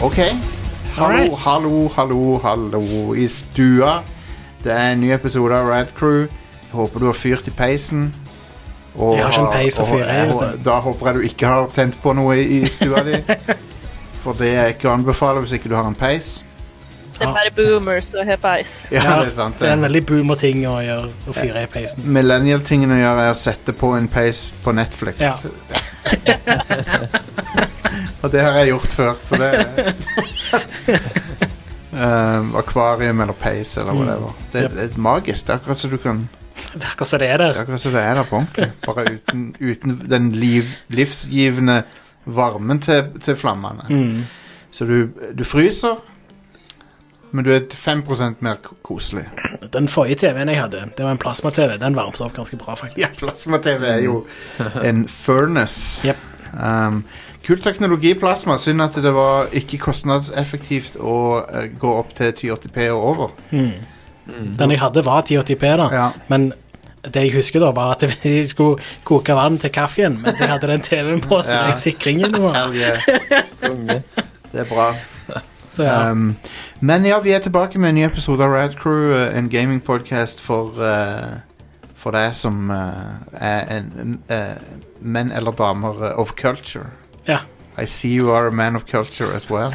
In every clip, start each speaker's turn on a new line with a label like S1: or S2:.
S1: OK. Hallo,
S2: Alright.
S1: hallo, hallo, hallo i stua. Det er en ny episode av Rad Crew. Jeg håper du har fyrt i peisen. Og,
S2: Jeg har ikke en peis å
S1: og-
S2: fyre i,
S1: og-
S2: Jostein.
S1: Da håper jeg du ikke har tent på noe i i stua di. For det er ikke å anbefale hvis ikke du har en peis.
S3: Det er bare boomers og har peis.
S1: Ja,
S2: Ja,
S1: det er sant.
S2: en
S1: det.
S2: veldig boomer-ting å gjøre, å fyre i peisen.
S1: Millennial-tingen å gjøre er å sette på en peis på Netflix.
S2: Ja.
S1: Og det har jeg gjort før, så det um, Akvarium eller peis eller whatever. Det,
S2: Mm. Yep.
S1: det er magisk. Det er akkurat som du kan
S2: Det er akkurat som det er
S1: Det
S2: der.
S1: er akkurat som det er der på ordentlig. Bare uten, uten den liv, livsgivende varmen til, til flammene.
S2: Mm.
S1: Så du, du fryser, men du er 5 mer ko- koselig.
S2: Den forrige TV-en jeg hadde, det var en plasma-TV. Den varmte opp ganske bra, faktisk.
S1: Ja, plasma-TV er jo en furnace.
S2: Jep.
S1: Um, kul teknologi, plasma. Synd at det var ikke kostnadseffektivt å eh, gå opp til 1080P og over.
S2: Mm. Den jeg hadde, var 1080p, da.
S1: Ja.
S2: Men det jeg husker, da, var at jeg skulle koke vann til kaffen mens jeg hadde den TV-en på, så
S1: Ja.
S2: jeg sikringen var
S1: Hell yeah.
S4: Konge.
S1: Altså, Det er bra.
S2: Så ja.
S1: Um, men ja, vi er tilbake med en ny episode av Rad Crew, eh, en gamingpodcast for, eh, for deg som eh, er en, en, eh, menn eller damer eh, of culture.
S2: Ja.
S1: I see you are a man of culture as well.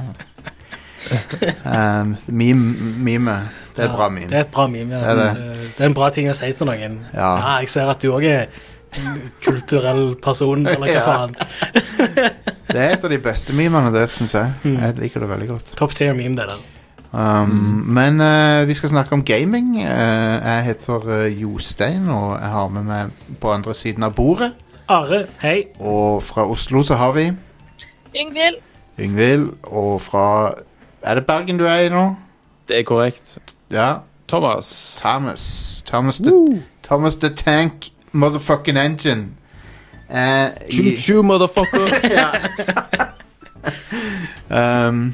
S1: um, meme, meme. Det er
S2: Ja,
S1: bra meme.
S2: Det er et bra meme. Ja.
S1: Det er
S2: Eh, det er en bra ting å si til noen.
S1: Ja.
S2: jeg ser at du òg er en kulturell person, eller hva
S1: Ja.
S2: faen.
S1: Det er et av de beste memene, det syns jeg.
S2: Mm.
S1: Jeg liker det veldig godt.
S2: Top tier meme, det der.
S1: Um,
S2: Mm.
S1: Men eh, vi skal snakke om gaming. Eh, jeg heter eh, Jostein, og jeg har med meg på andre siden av bordet.
S2: Are, hei.
S1: Og fra Oslo så har vi
S3: Yngvild,
S1: Yngvild, og fra Er det Bergen du er i nå?
S4: Det er korrekt.
S1: Ja.
S4: Thomas.
S1: Thomas. Thomas the, Thomas the Tank Motherfucking Engine. Eh, i-
S4: Choo-choo, motherfucker.
S1: ja. um,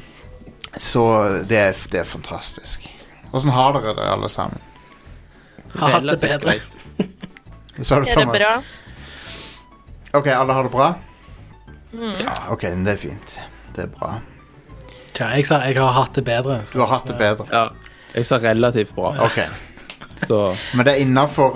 S1: så det er, det er fantastisk. Åssen har dere det, alle sammen?
S2: Har hatt det
S4: Relativt
S2: bedre.
S4: greit.
S1: Så har du
S3: er det
S1: Thomas.
S3: bra?
S1: Ok, alle har det bra?
S3: Mm.
S1: Ja, ok, men det er fint. Det er bra.
S2: Tja, jeg sa jeg har hatt det bedre.
S1: Du
S2: Så.
S1: har hatt det bedre.
S4: Ja. Jeg sa relativt bra,
S1: Ok,
S4: så
S1: Men det er innafor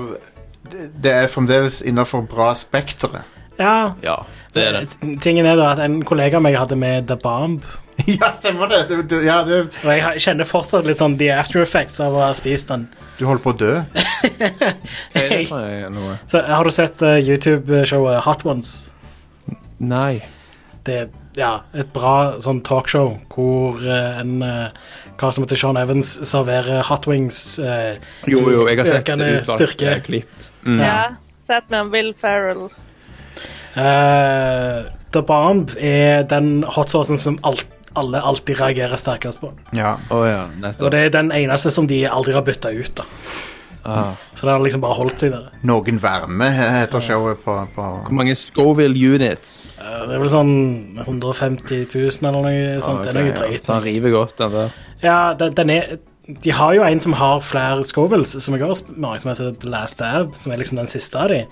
S1: Det er fremdeles innafor bra spekteret.
S2: Ja.
S4: ja. Det er det.
S2: T- Tingen er da at En kollega av meg hadde med The Bomb.
S1: ja, stemmer det. Du, du, ja, du,
S2: Og jeg har- kjenner fortsatt litt sånn The After Effects av å ha spist den.
S1: du holder på å dø.
S4: Er det fra noe?
S2: Så Har du sett eh, YouTube-showet Hot Ones?
S4: Nei.
S2: det er ja, et bra sånn talkshow hvor eh, en eh, hva som heter Sean Evans serverer hot wings eh,
S4: Jo, jo, jeg har sett
S2: Økende
S4: det utvalgte
S2: styrke.
S4: klipp.
S3: Ja. Sett med Will Ferrell.
S2: eh, The Bomb er den hotsaucen som alt, alle alltid reagerer sterkest på.
S1: Ja.
S4: Å ja,
S2: Og
S4: nettopp.
S2: det er den eneste som de aldri har bytta ut. da
S4: Ah.
S2: Så den har liksom bare holdt seg der.
S1: Noen varme heter showet på, på
S4: Hvor mange Scoville units?
S2: Eh, det er vel sånn 150 000 eller noe
S4: Ah,
S2: sånt.
S4: ok,
S2: det er noe
S4: ja.
S2: drøyt.
S4: Så han river godt, den der.
S2: Ja, den, den er De har jo en som har flere Scovilles, som jeg også mange som heter The Last Dab, som er liksom den siste av de.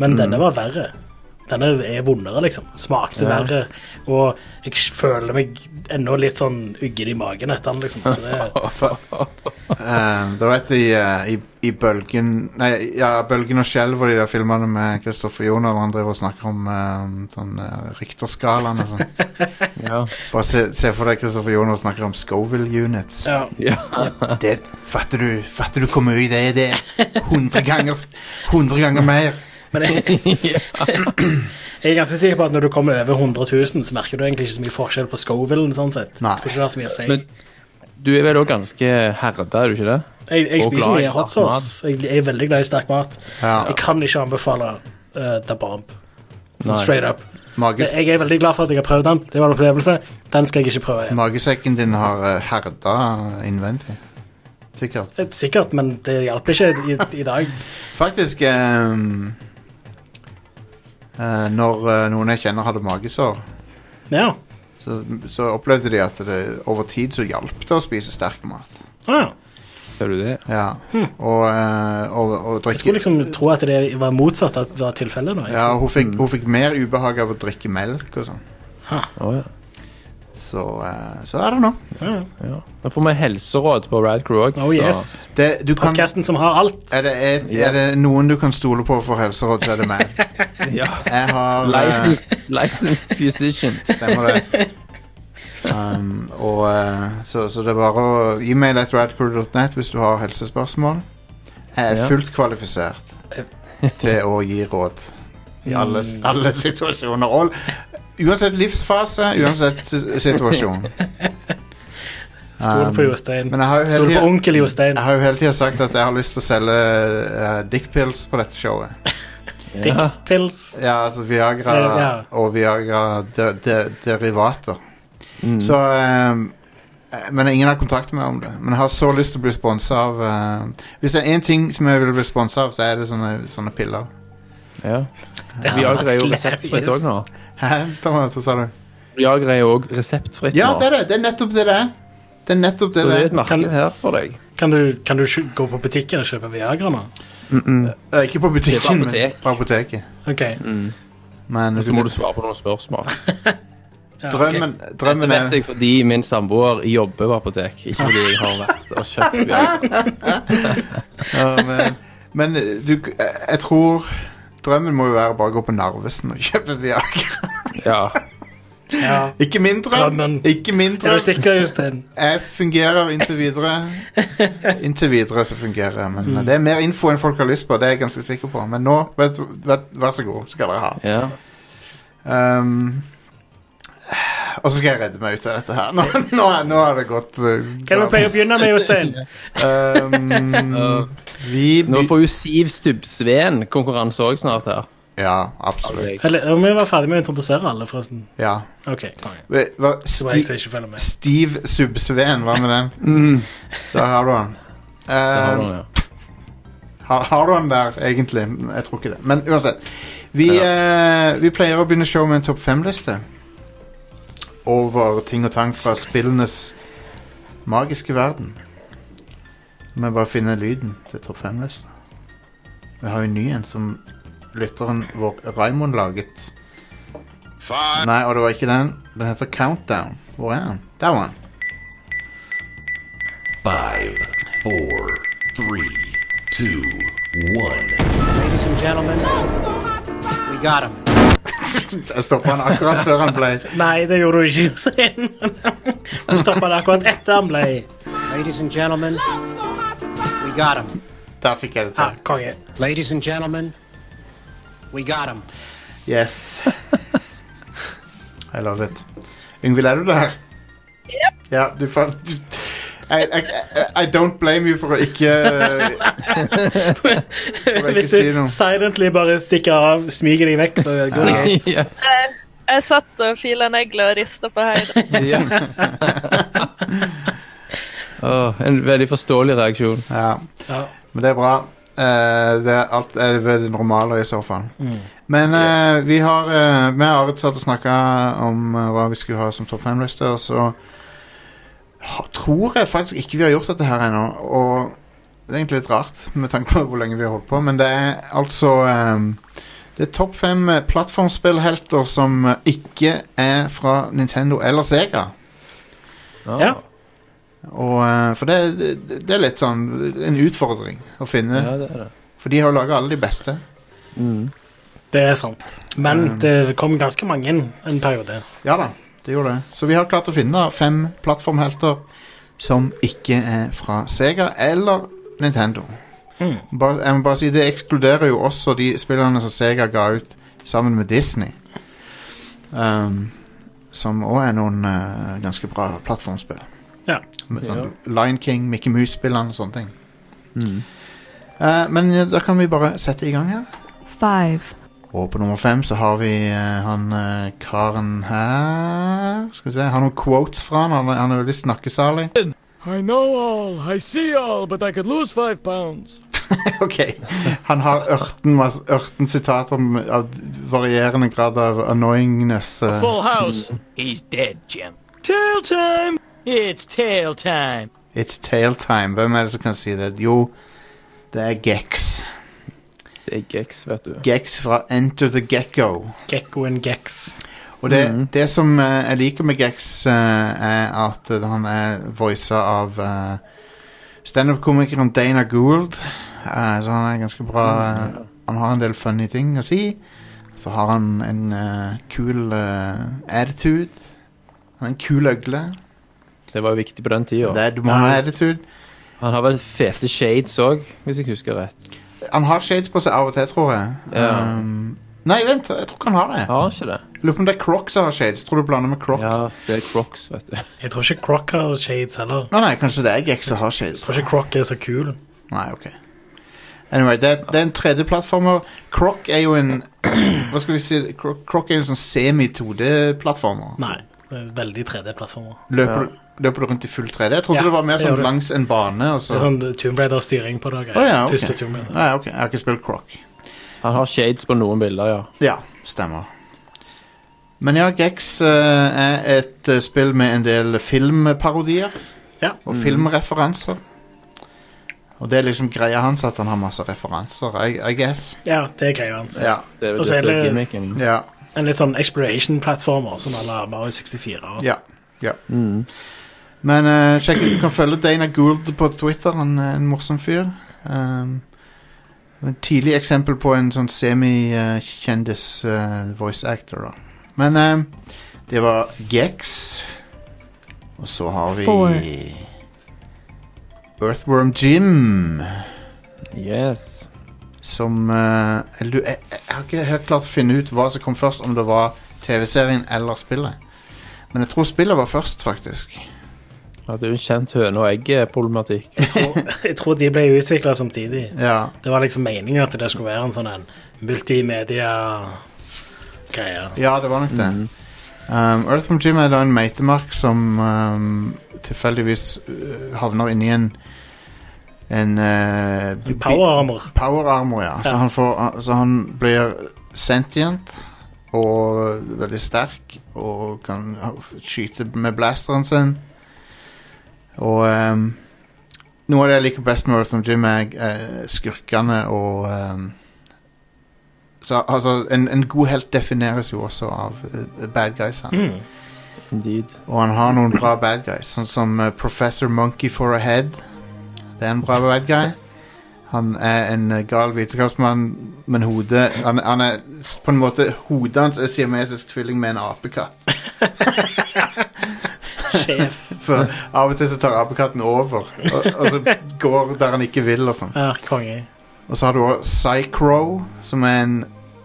S2: Men
S4: Mm.
S2: denne var verre. Denne er vondere, liksom. Smakte
S4: Ja.
S2: verre. Og jeg føler meg ennå litt sånn uggen i magen etter den, liksom. Så det,
S1: Eh, Det var et i, eh, i, i Bølgen Nei, ja, Bølgen og Skjelv og de der filmene med Kristoffer Joner når han driver og snakker om eh, sånn eh, Richterskalaen og sånn.
S4: Ja.
S1: Bare se, se for deg Kristoffer Joner snakker om Scoville units.
S2: ja.
S4: ja.
S1: Det, fatter du fatter du hvor mye det er? Det er 100 ganger, 100 ganger mer.
S2: Men jeg, jeg er ganske sikker på at når du kommer over 100 000, så merker du egentlig ikke så mye forskjell på Scovillen, sånn sett.
S1: Nei.
S2: Jeg tror ikke det har så mye å si.
S4: Men du er vel òg ganske herda, er du ikke det?
S2: Jeg, jeg
S4: Og
S2: spiser
S4: glad i
S2: mye hot
S4: sterk
S2: sauce. Jeg, jeg er veldig glad i sterk mat.
S1: Ja.
S2: Jeg kan ikke anbefale eh, The Bomb. Sånn
S4: Nei.
S2: straight up.
S1: Mages,
S2: Jeg er veldig glad for at jeg har prøvd den. Det var en opplevelse. Den skal jeg ikke prøve igjen.
S1: magesekken din har eh, herda innvendig. Sikkert.
S2: Det er Sikkert, men det hjalp ikke i, i dag.
S1: Faktisk ehm, eh, Når eh, noen jeg kjenner hadde magesår,
S2: Ja.
S1: så, så opplevde de at det over tid så hjalp det å spise sterk mat.
S2: Ah,
S4: Ser du det?
S1: Ja. Og, eh, og, og
S2: jeg skulle
S1: drikke
S2: liksom tro at det var motsatt at det var tilfellet nå.
S1: ja, hun, fikk, hun fikk mer ubehag av å drikke melk og sånn.
S4: Å ja.
S1: Så, eh, så I don't know.
S2: Ja.
S4: Ja. Da får vi helseråd på Rad Crew òg.
S2: Oh yes.
S1: Det, du kan,
S2: Podkasten som har alt.
S1: er, det, er, er det
S4: Yes.
S1: noen du kan stole på for helseråd, så er det meg.
S4: Ja.
S1: Jeg har eh,
S4: Licensed, licensed physician.
S1: Stemmer det. Um, og, eh, så, så det er bare å e-mail at radcrew.net hvis du har helsespørsmål. Jeg er
S4: Ja.
S1: fullt kvalifisert til å gi råd i alle,
S2: Mm.
S1: alle situasjoner. Og, uansett livsfase, uansett s- situasjon.
S2: Stol på
S1: Um,
S2: Jostein.
S1: Men jeg har jo hele
S2: Stol på
S1: tiden-
S2: onkel Jostein.
S1: jeg har jo hele tida sagt at jeg har lyst til å selge eh, dickpills på dette showet.
S4: Ja.
S2: Dickpils.
S1: Ja, altså Viagra
S2: Eh, ja.
S1: og Viagra-derivater.
S4: Mm.
S1: Så ehm, eh, Men ingen har kontaktet meg om det. Men jeg har så lyst til å bli sponsa av ehm, Hvis det er én ting som jeg vil bli sponsa av, så er det sånne, sånne piller.
S4: Ja.
S2: Det hadde
S4: Viagra er jo
S2: vært
S4: reseptfritt òg
S2: hilarious.
S4: nå.
S1: Hæ, Thomas, hva sa du?
S4: Viagra er jo òg reseptfritt
S1: Ja,
S4: nå.
S1: det er det! Det er nettopp det det er. Det er nettopp det
S4: Så det
S1: det
S4: er
S1: er.
S4: et marked
S2: Kan-
S4: her for deg.
S2: Kan du, kan du kjø- gå på butikken og kjøpe Viagra nå?
S1: Eh, Ikke på
S4: Det er på
S1: butikken, men
S4: apotek.
S1: på apoteket.
S2: OK.
S4: Mm.
S1: Men
S4: Og Så må du svare på noen spørsmål.
S2: Ja,
S1: drømmen,
S4: Dette
S1: drømmen er
S4: vet jeg fordi min samboer jobber på apotek. Ikke fordi jeg har vært og kjøpt Viagra. Ja, men-
S1: Men eh, du eh, Jeg tror Drømmen må jo være bare å gå på Narvesen og kjøpe Viagra.
S4: ja.
S2: ok. Ja.
S1: Ikke min drøm!
S2: Drømmen.
S1: Ikke min
S2: Er du
S1: drøm!
S2: sikker, Jostein?
S1: Jeg fungerer inntil videre. Inntil videre så fungerer jeg, men
S2: Mm.
S1: eh, det er mer info enn folk har lyst på. Det er jeg ganske sikker på. Men nå, vet, du- vet, vær så god, skal dere ha.
S4: ja.
S1: Ehm, og så skal jeg redde meg ut av dette her. Nå, nå, nå har det gått eh,
S2: Hva er det vi pleier å begynne med, Jostein?
S1: Ehm,
S4: Uh,
S1: Vi
S4: Nå
S1: by-
S4: får jo Siv Stubbsveen konkurranse òg snart her.
S1: Ja, absolutt.
S2: Eller, om vi var ferdig med å introdusere alle, forresten.
S1: Ja.
S2: OK. konge.
S1: Hva- hva-
S2: Så var jeg
S1: Sti
S2: som ikke følger med.
S1: Steve Subsveen, hva med den?
S4: Mm.
S1: Der har du han.
S4: Det har
S1: Ehm,
S4: hun, ja.
S1: Har, har du den der, egentlig? Jeg tror ikke det. Men uansett. Vi, eh, vi pleier å begynne show med en topp fem-liste. Over ting og tang fra spillenes magiske verden. Vi bare finne lyden til topp fem-lista. Vi har jo en ny en som lytteren vår Raymond laget. Nei, og det var ikke den. Den heter Countdown. Hvor er den? Der var den.
S5: Five, four, three, two, one.
S6: Ladies and gentlemen, we got him.
S1: Jeg stoppa den akkurat før han ble
S2: Nei, det gjorde du ikke, Jostein. Du stoppa det akkurat etter han ble
S6: Ladies and gentlemen, we got him.
S1: Der fikk jeg det
S2: ja,
S1: til.
S2: konge.
S6: Ladies and gentlemen, we got him.
S1: Yes. I love it. Yngvild, er du der? Ja, du fant du, I, I, I don't blame you for å ikke For å ikke
S2: Hvis
S1: si
S2: du
S1: noe.
S2: silently bare stikker av, smyger deg vekk, så går det greit.
S4: ja.
S3: Jeg satt og fila negler og rista på høyden.
S4: ja. Åh, en veldig forståelig reaksjon.
S1: Ja,
S2: Ja.
S1: men det er bra. Eh, det er alt er ved det normale i så fall. Men eh, vi har uh, Vi har Arit satt og snakka om eh, hva vi skulle ha som topp fem-liste, og så ha- tror jeg faktisk ikke vi har gjort dette her ennå. Og det er egentlig litt rart med tanke på hvor lenge vi har holdt på, men det er altså ehm, Det er topp fem eh, plattformspillhelter som eh, ikke er fra Nintendo eller Sega.
S2: Ja.
S1: Og, eh, for det, det, det er litt sånn en utfordring å finne.
S4: ja, det er det.
S1: For de har jo laga alle de beste.
S4: Mm.
S2: Det er sant. Men
S1: Um.
S2: det kom ganske mange en periode.
S1: Ja da, det gjorde det. Så vi har klart å finne fem plattformhelter som ikke er fra Sega eller Nintendo.
S2: Mm.
S1: Bare, jeg må bare si, Det ekskluderer jo også de spillerne som Sega ga ut sammen med Disney. Ehm, som òg er noen eh, ganske bra plattformspill.
S2: Ja.
S1: Med sånn
S4: Ja.
S1: Lion King, Mickey Mouse-spillene og sånne ting.
S4: Mm.
S1: Eh, men eh, da kan vi bare sette i gang her.
S7: Five,
S1: Og på nummer fem så har vi eh, han eh, karen her Skal vi se, jeg har noen quotes fra han. Han, er- han er veldig snakkesalig.
S8: I know all, I see all, but I could lose five pounds.
S1: ok. Han har ørten, masse- ørten sitater om- av varierende grad av annoyingness. eh.
S8: Full house. He's dead, Jim. Tail time! It's tail time.
S1: It's tail time. Hvem er det som kan si det? Jo, det er Gex.
S4: Det er Gex, vet du.
S1: Gex fra Enter the Gecko.
S2: Gekkoen Gex.
S1: Og det,
S4: Mm.
S1: det som eh, jeg liker med Gex, eh, er at eh, han er voisa av eh, standup-komikeren Dana Gould. Eh, så han er ganske bra
S4: Mm.
S1: eh, Han har en del funny ting å si. Så har han en eh, kul eh, attitude. Han er en kul øgle.
S4: Det var jo viktig på den tida.
S1: Det, du må ha attitude.
S4: Han har vel fete shades òg, hvis jeg husker rett.
S1: Han har shades på seg av og til, tror jeg.
S4: Ja.
S1: Um, nei, vent, jeg tror ikke han har det.
S4: Har han ikke det?
S1: Lurer på om det er Croc som har shades. Tror du blander med Croc?
S4: Ja, det er Crocs, vet du.
S2: Jeg tror ikke Croc har shades heller.
S1: Nei, nei, kanskje det er Gex som har shades.
S2: Jeg tror ikke Croc er så kul.
S1: Nei, ok. Anyway, det, er- det er en 3D-plattformer. Croc er jo en Hva skal vi si? Croc, Croc er jo en sånn semi-2D-plattformer.
S2: Nei. det er Veldig 3D-plattformer.
S1: Løper, du- løper du rundt i full 3D? Jeg trodde
S2: Ja,
S1: det var mer
S2: det gjør
S1: sånn
S2: du.
S1: langs en bane. Og
S2: Det
S1: så.
S2: er sånn Tomb Raider-styring på det. og greier.
S1: Å, ja, ok.
S2: Første Tomb Raider.
S1: Nei, ok, Jeg har ikke spilt Croc.
S4: Han har shades på noen bilder, ja.
S1: Ja, stemmer. Men ja, Gex eh, er et eh, spill med en del filmparodier
S2: Ja.
S1: og filmreferanser. Og det er liksom greia hans at han har masse referanser, I, I guess.
S2: Ja, det er greia hans.
S1: Ja,
S4: Det er
S2: Og
S4: vel
S2: så
S4: det
S2: er
S4: som er
S2: det-
S4: gimmicken.
S1: ja,
S2: En litt sånn exploration-plattformer, som alle Mario 64 og sånn.
S1: ja.
S4: Mm.
S1: Men eh, sjekk ut, du kan følge Dana Gould på Twitter. Han er en morsom fyr. Um, et tidlig eksempel på en sånn semi-kjendis eh, voice actor. da. Men eh, det var Gex. Og så har vi
S7: Four.
S1: Earthworm Jim.
S4: Yes.
S1: Som eh, jeg, lu- jeg, jeg har ikke helt klart finne ut hva som kom først, om det var TV-serien eller spillet. Men jeg tror spillet var først, faktisk.
S4: Ja, det er jo en kjent høne- og egg-problematikk.
S2: Jeg tror de ble utvikla samtidig.
S1: Ja,
S2: Det var liksom meningen at det skulle være en sånn en multimedia-greie.
S1: Ja, det var nok det. Um, Earthworm Jim er da en meitemark som um, tilfeldigvis øh, havner inni en en, uh,
S2: En power armor.
S1: power armor, ja. Så,
S2: Ja.
S1: han får, så han blir sentient og veldig sterk og kan ha- skyte med blasteren sin. Og um, noe av det jeg liker best med Earthworm Jim, er eh, skurkene og um, så, altså, en, en god helt defineres jo også av eh, bad guys. Han.
S2: Mm.
S4: Indeed.
S1: Og han har noen bra bad guys, sånn som eh, Professor Monkey for a Head. Det er en bra bad guy. Han er en eh, gal vitenskapsmann, men hodet han, han er s- på en måte Hodet hans er siamesisk tvilling med en apekatt.
S2: Sjef.
S1: Så av og til så tar apekatten over, og, og så går der han ikke vil og sånn.
S2: Ja, konge.
S1: Og så har du også Psychro, som er en,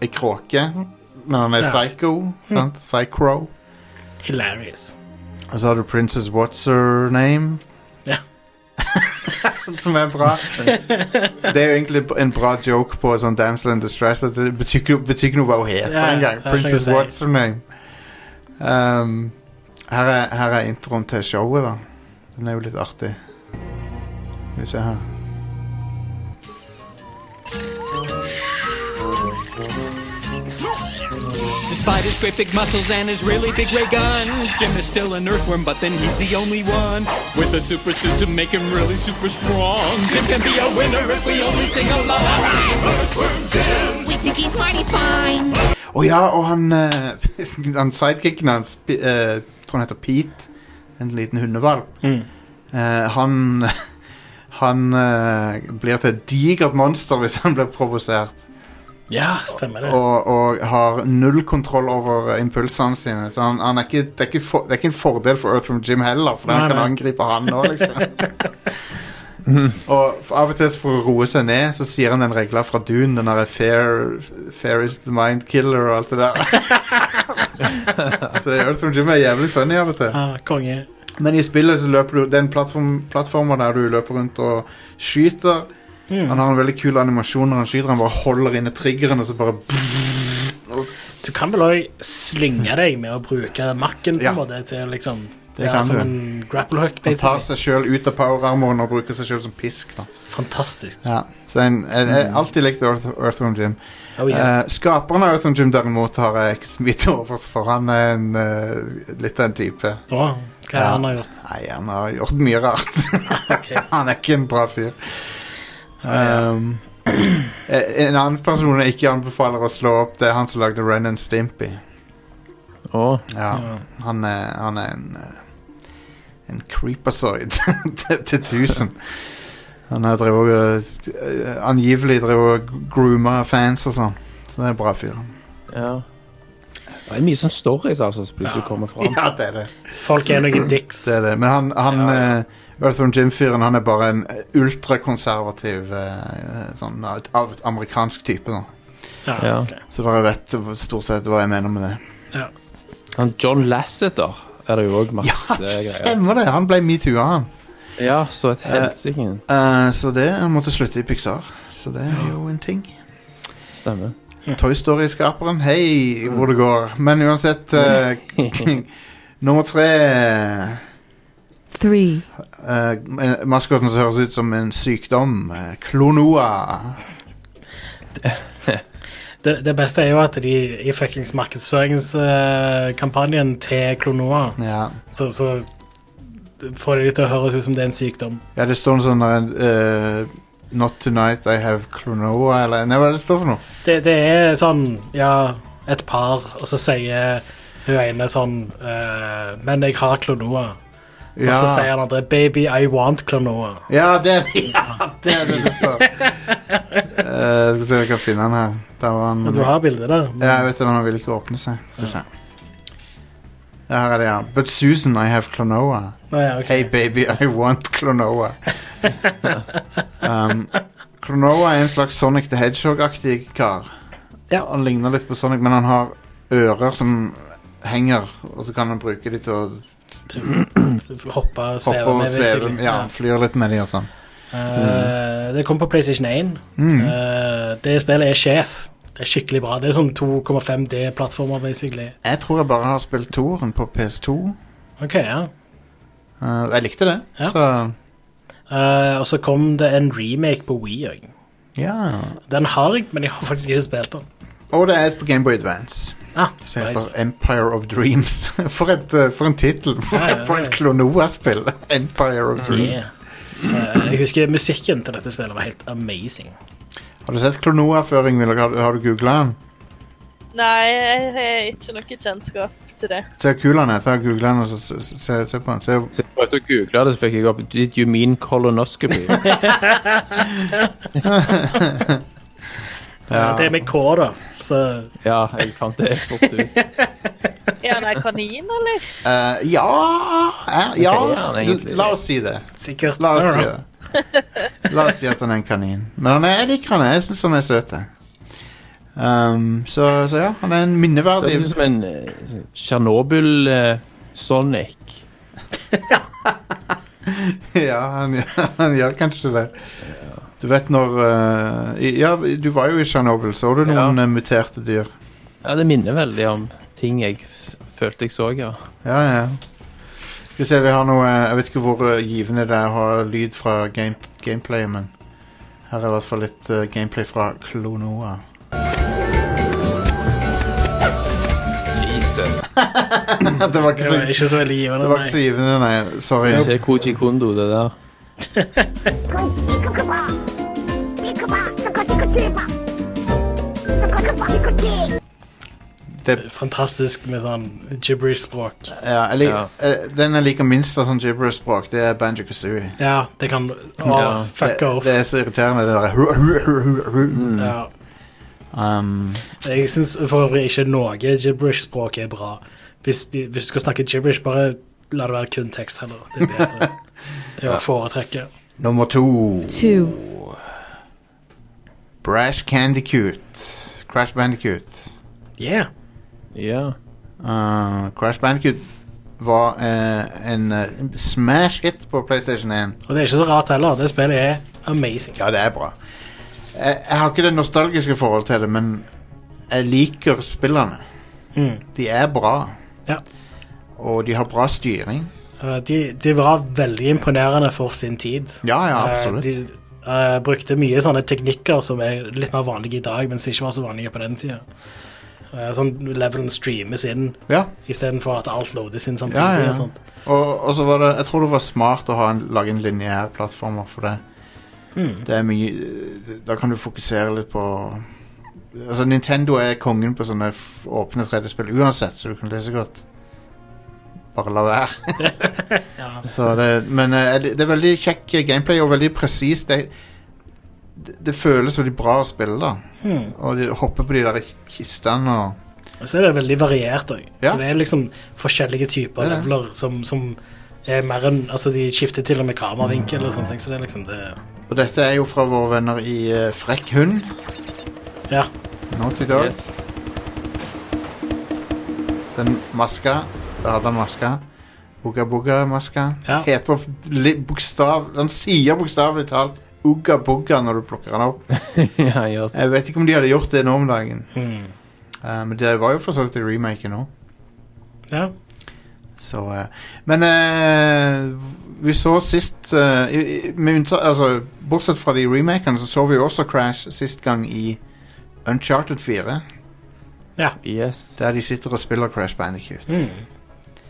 S1: en kråke, men han er
S2: Ja.
S1: psycho, sant? Psychro.
S2: Hilarious.
S1: Og så har du Princess What's Her Name.
S2: Ja.
S1: Som er bra. Det er jo egentlig en bra joke på sånn Damsel in Distress. eh, At det betyr, ikke- betyr ikke noe hva hun heter
S2: Ja,
S1: engang.
S2: det er
S1: Princess
S2: slik å
S1: What's Her Name. Um, her, er, her er introen til showet, da. Den er jo litt artig. Skal vi se her.
S9: Despite his great big muscles and his really big ray gun, Jim is still an earthworm, but then he's the only one with a super suit to make him really super strong. Jim can be a winner if we only sing along.
S7: We think he's mighty fine.
S1: Å ja, og han, eh, han sidekicken hans, P- eh, tror han heter Pete, en liten hundevalp, eh, han, han eh, blir til et digert monster hvis han blir provosert,
S2: Ja, stemmer det.
S1: og, og har null kontroll over eh, impulsene sine. Så han, han er ikke, det, er ikke for, det er ikke en fordel for Earthworm Jim heller, for
S2: Nei,
S1: han kan
S2: nei.
S1: angripe han nå, liksom. og for- av og til så for å roe seg ned, så sier han den regla fra Dune, den derre fair, fair is the mind killer og alt det der. Så Earthworm Jim er jævlig funny av og til.
S2: Ja, konge.
S1: Men i spillet så løper du Det er en plattform, plattformer der du løper rundt og skyter.
S2: Mm.
S1: Han har en veldig kul animasjon når han skyter. Han bare holder inne triggeren og så bare
S2: Du kan vel òg slynge deg med å bruke makken på
S1: Ja.
S2: en måte til liksom
S1: Det
S2: ja,
S1: kan
S2: Som
S1: du.
S2: en grapple hook,
S1: Han tar
S2: basically.
S1: seg sjøl ut av power-armoren og bruker seg sjøl som pisk. da
S2: Fantastisk.
S1: Så en, jeg, jeg har alltid likte Earth, Earthworm Jim.
S2: Mm. Oh yes.
S1: Eh, skaperen av Earthworm Jim derimot har jeg ikke så mye til overs for. Han er en, eh, litt av en type.
S2: Bra. Hva
S1: ja.
S2: har han har gjort?
S1: Nei, han har gjort mye rart. han er ikke en bra fyr. Um, eh, en annen person jeg ikke anbefaler å slå opp, det er han som lagde Ren and Stimpy.
S4: Å,
S1: Ja, han er, han er en eh, En creepersoid til, til tusen. Han har drevet og eh, Angivelig drevet og grooma fans og sånn. Så det er en bra fyr.
S4: ja. Det er mye sånn stories altså, som plutselig kommer fram.
S1: Ja, det er det.
S2: Folk er noen dicks.
S1: det, er det. Men han, han eh, Earthworm Jim-fyren Han er bare en eh, ultrakonservativ eh, sånn av, av amerikansk type. Da.
S2: Ja,
S4: Ja.
S2: ok.
S1: Så dere vet stort sett hva jeg mener med det.
S4: Han John Lasseter er det jo òg masse greier.
S1: Stemmer det! Han ble metoo-a, han.
S4: Ja, så et helsike.
S1: Eh, så det han måtte slutte i Pixar. Så det er jo en ting.
S4: Stemmer.
S1: Toy Story-skaperen. Hei, hvor det går. Men uansett eh, Nummer tre
S10: Three,
S1: eh, eh, Maskoten som høres ut som en sykdom. eh, Klonoa.
S2: Det, det beste er jo at de i fuckings markedsføringskampanjen til Klonoa,
S1: Ja.
S2: så, så får de det til å høres ut som det er en sykdom.
S1: ja, det står en sånn eh, Not tonight I have Klonoa, eller Nei, hva er det det står for noe?
S2: Det, det er sånn, ja, et par, og så sier hun ene sånn eh, Men jeg har Klonoa. Og
S1: Ja,
S2: så sier han andre Baby, I want Klonoa.
S1: ja, det, er- ja det er det det står. Eh, skal se om jeg kan finne han her. Der var han
S2: Og du har bildet der. men-
S1: Mm. Ja, jeg vet det, men han vil ikke åpne seg. Skal vi se. Ja, her er det, ja. But Susan, I have Klonoa.
S2: Å, ja, ok.
S1: Hey baby, I want Klonoa. um, Klonoa er en slags Sonic the Hedgehog-aktig kar.
S2: Ja.
S1: Han ligner litt på Sonic, men han har ører som henger, og så kan han bruke de til å
S2: Hoppe og sveve
S1: hoppe og
S2: med.
S1: sveve.
S2: basically.
S1: Ja, flyr litt med de og sånn.
S2: Eh, Det kom på PlayStation 1.
S1: Mm.
S2: Eh, det spillet er sjef. Det er skikkelig bra. Det er sånn 2,5D-plattformer, basically.
S1: Jeg tror jeg bare har spilt toeren på PS2.
S2: Ok, ja.
S1: Uh, jeg likte det,
S2: Ja.
S1: så
S2: Eh, og så kom det en remake på Wii òg.
S1: ja.
S2: Den har jeg, men jeg har faktisk ikke spilt den.
S1: Og det er et på Gameboy Advance.
S2: Ah,
S1: Som heter
S2: nice.
S1: Empire of Dreams. For, et, uh, for en tittel! For,
S2: Ja, ja,
S1: for
S2: ja.
S1: et Klonoa-spill! Empire of Dreams.
S2: Yeah. Eh, jeg husker musikken til dette spillet var helt amazing.
S1: Har du sett Klonoa før, Ingvild? Har, har du googla den?
S3: Nei, jeg har ikke noe kjennskap til det.
S1: Se hvor kul han er. Ta og Google den og så se, se, se på den. Se,
S4: Så jeg prøvde å google det, så fikk jeg opp Did you mean colonoscopy?
S1: Ja.
S2: Det er med K, da. Så
S4: Ja, jeg fant det fort ut.
S3: Er han ei kanin, eller?
S1: Eh, ja eh, Ja,
S4: Ok, ja, han er egentlig-
S1: la oss si det.
S2: sikkert
S1: La oss si det. La oss si at han er en kanin. Men han er, jeg liker han. er. Jeg syns han er søt. jeg. Um, så, så ja, han er en
S4: Så det
S1: minneverdig
S4: er som en eh, Tsjernobyl-Sonic.
S1: Ja, han, han gjør kanskje det. Du vet når eh, i- Ja, du var jo i Tsjernobyl. Så du
S4: Ja.
S1: noen eh, muterte dyr?
S4: ja, det minner veldig om ting jeg f- følte jeg så, ja.
S1: Ja, ja. Skal vi se, vi har noe Jeg vet ikke hvor eh, givende det er å ha lyd fra game, gameplay, men her er i hvert fall litt eh, gameplay fra Klonoa.
S4: Jesus.
S1: det var ikke
S2: Det
S1: så,
S2: var ikke så veldig givende.
S1: det var ikke så
S2: nei.
S1: givende, nei. Sorry.
S4: Se Koji Kondo, det der.
S1: Det,
S2: Fantastisk med sånn gibberish-språk.
S1: ja, jeg lik,
S4: Ja.
S1: eh, den jeg liker minst av sånn gibberish-språk, det er Banjo Kazooie.
S2: Ja, det kan Å,
S4: Ja,
S1: Det,
S2: fuck off.
S1: det er så irriterende, det derre
S4: Mm.
S2: Ja.
S1: um,
S2: Jeg syns for øvrig ikke noe gibberish-språk er bra. Hvis, de, hvis du skal snakke gibberish, bare la det være kun tekst heller. Det er bedre. Det er å foretrekke.
S1: Nummer to.
S10: two,
S1: Brash Candycoot. Crash Bandicoot.
S2: Yeah.
S4: Ja.
S1: Uh, Crash Bandicoot var eh, en eh, smash hit på PlayStation 1.
S2: Og det er ikke så rart heller. Det spillet er amazing.
S1: Ja, det er bra. Jeg, jeg har ikke det nostalgiske forholdet til det, men jeg liker spillerne.
S2: Mm.
S1: De er bra.
S2: Ja.
S1: Og de har bra styring.
S2: Eh, De, de var veldig imponerende for sin tid.
S1: Ja, ja,
S2: Eh,
S1: absolutt.
S2: De eh, brukte mye sånne teknikker som er litt mer vanlige i dag, men som ikke var så vanlige på den tida. Eh, Sånn levelen streames inn
S1: Ja.
S2: istedenfor at alt loades inn samtidig.
S1: Ja, ja.
S2: og sånn. sånt.
S1: Og, og så var det Jeg tror det var smart å ha en, lage en lineær plattformer for det. Det er mye Da kan du fokusere litt på Altså, Nintendo er kongen på sånne f- åpne 3D-spill uansett, så du kan lese godt. Bare la være.
S2: Ja.
S1: Så det, men eh, det, det er veldig kjekk gameplay og veldig presist. Det, det, det føles veldig bra å spille, da.
S2: Hmm.
S1: Og de hopper på de der kistene og
S2: Og så er det veldig variert òg.
S1: Ja.
S2: Det er liksom forskjellige typer
S1: Det er det.
S2: leveler som, som er mer enn Altså, de skifter til og med kameravinkel og sånne ting, så det er liksom det
S1: Og dette er jo fra våre venner i eh, Frekk hund.
S2: Ja.
S1: Naughty Dog.
S4: Yes.
S1: Den maska Da hadde han maska. Ugga Bugga-maska.
S2: Ja.
S1: Heter f- li- bokstav Den sier bokstavelig talt Ugga Bugga når du plukker den opp.
S4: ja, altså. gjør så.
S1: Jeg vet ikke om de hadde gjort det nå om dagen.
S2: Hmm.
S1: Eh, men det var jo for så vidt i remaken òg.
S2: ja.
S1: Så eh, Men eh, vi så sist eh, i- i- med unnta, altså, Bortsett fra de remakene, så så vi jo også Crash sist gang i Uncharted 4.
S4: Yes.
S1: Der de sitter og spiller Crash Bandicoot.
S2: Hmm.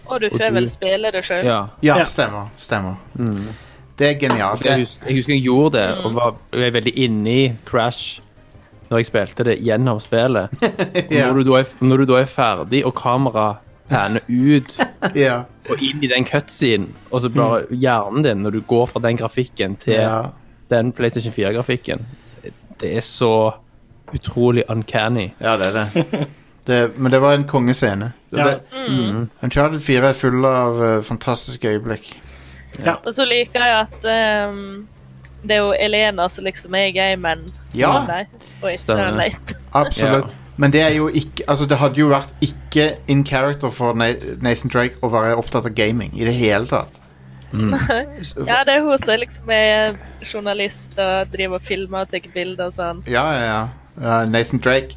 S3: Og du
S4: Og
S3: får
S4: du-
S3: vel spille det sjøl.
S4: Ja.
S1: Ja,
S2: Ja.
S1: stemmer. stemmer.
S4: Mm.
S1: Det er genialt.
S4: Jeg,
S1: Det,
S4: hus jeg husker jeg gjorde det, og var jeg er veldig inne i Crash når jeg spilte det gjennom spillet. Og
S1: ja,
S4: Når, du da er, når du da er ferdig, og kameraet panner ut
S1: ja,
S4: og inn i den cutscenen, og så bare hjernen din, når du går fra den grafikken til
S1: ja.
S4: den PlayStation 4-grafikken, det er så utrolig uncanny.
S1: ja, det er det. det. Men det var en kongescene. Det-
S2: Ja.
S1: det- Mm. Uncharted 4 er full av eh, fantastiske øyeblikk.
S3: Og så liker jeg at ehm, det er jo Elena som liksom er gameren.
S1: Ja.
S3: av deg, Og ikke
S4: Stemmer.
S3: den leit.
S1: Absolutt. Men det er jo ikke Altså, det hadde jo vært ikke in character for Na- Nathan Drake å være opptatt av gaming i det hele tatt.
S3: Ja, det er hun som liksom er journalist og driver og filmer og tar bilder og sånn.
S1: Ja, ja, ja. Eh, Nathan Drake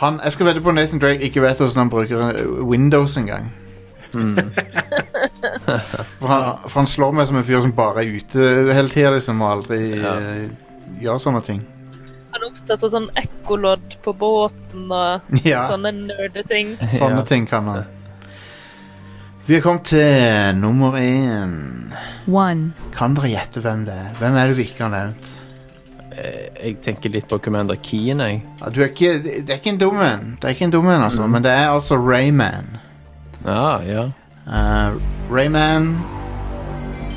S1: han, Jeg skal vedde på Nathan Drake ikke vet hvordan han bruker eh, Windows engang.
S4: Mm.
S1: for, han- for han slår meg som en fyr som bare er ute hele tida, liksom, og aldri
S4: Ja.
S1: eh, gjør sånne ting.
S3: Han er opptatt av sånn ekkolodd på båten og
S1: Ja, sånne,
S3: sånne nerdeting.
S4: Ja.
S1: ting kan han. Vi er kommet til nummer én.
S10: One.
S1: Kan dere gjette hvem det er? Hvem er det vi ikke har nevnt?
S4: Eh, Jeg tenker litt på Commander Keen, jeg.
S1: Ja, du er ikke, det er ikke en dum en, Det er ikke en dum en,
S4: Mm.
S1: altså, men det er altså Rayman.
S4: Ja, ja.
S1: Eh, Rayman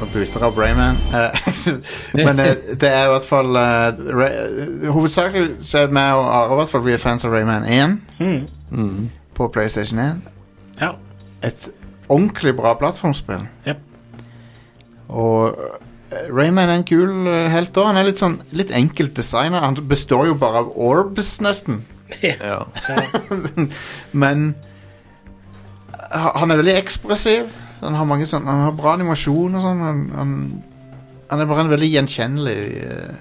S1: Og puter av Rayman Eh, Men eh, det er i hvert fall eh, Ray- Hovedsakelig så er meg og Are i hvert fall Vi er fans av Rayman 1
S2: Hmm.
S4: Mm.
S1: På Playstation 1
S2: ja.
S1: Et ordentlig bra plattformspill
S2: Jep.
S1: Og eh, Rayman er en kul eh, helt da Han er litt sånn Litt enkelt designer Han består jo bare av orbs nesten
S4: ja.
S1: Men ha- han er veldig ekspressiv. så Han har, mange sånn, han har bra animasjon og sånn. Han, han, han er bare en veldig gjenkjennelig eh,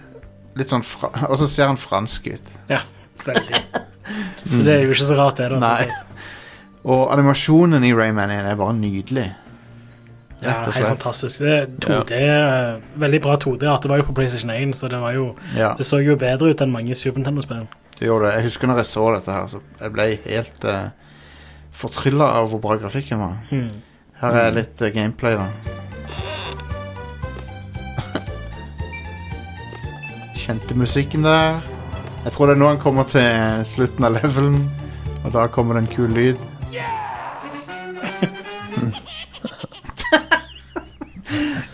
S1: Litt sånn fra, Og så ser han fransk ut.
S2: ja. Veldig. For det er jo ikke så rart, det. da.
S1: Nei.
S2: sånn sett.
S1: Og animasjonen i Rayman 1 er bare nydelig.
S2: Ja,
S1: Rett og
S2: helt
S1: slett.
S2: fantastisk. Det er 2D, eh, Veldig bra 2D-art. Det var jo på PlayStation 1, så det var jo
S1: Ja,
S2: Det så jo bedre ut enn mange Super Nintendo-spill.
S1: det gjorde det. Jeg husker når jeg så dette her, så jeg ble helt uh, fortrylla av hvor bra grafikken var.
S2: Hmm.
S1: Her er litt eh, gameplay, da. Kjente musikken der. Jeg tror det er nå han kommer til slutten av levelen, og da kommer det en kul lyd.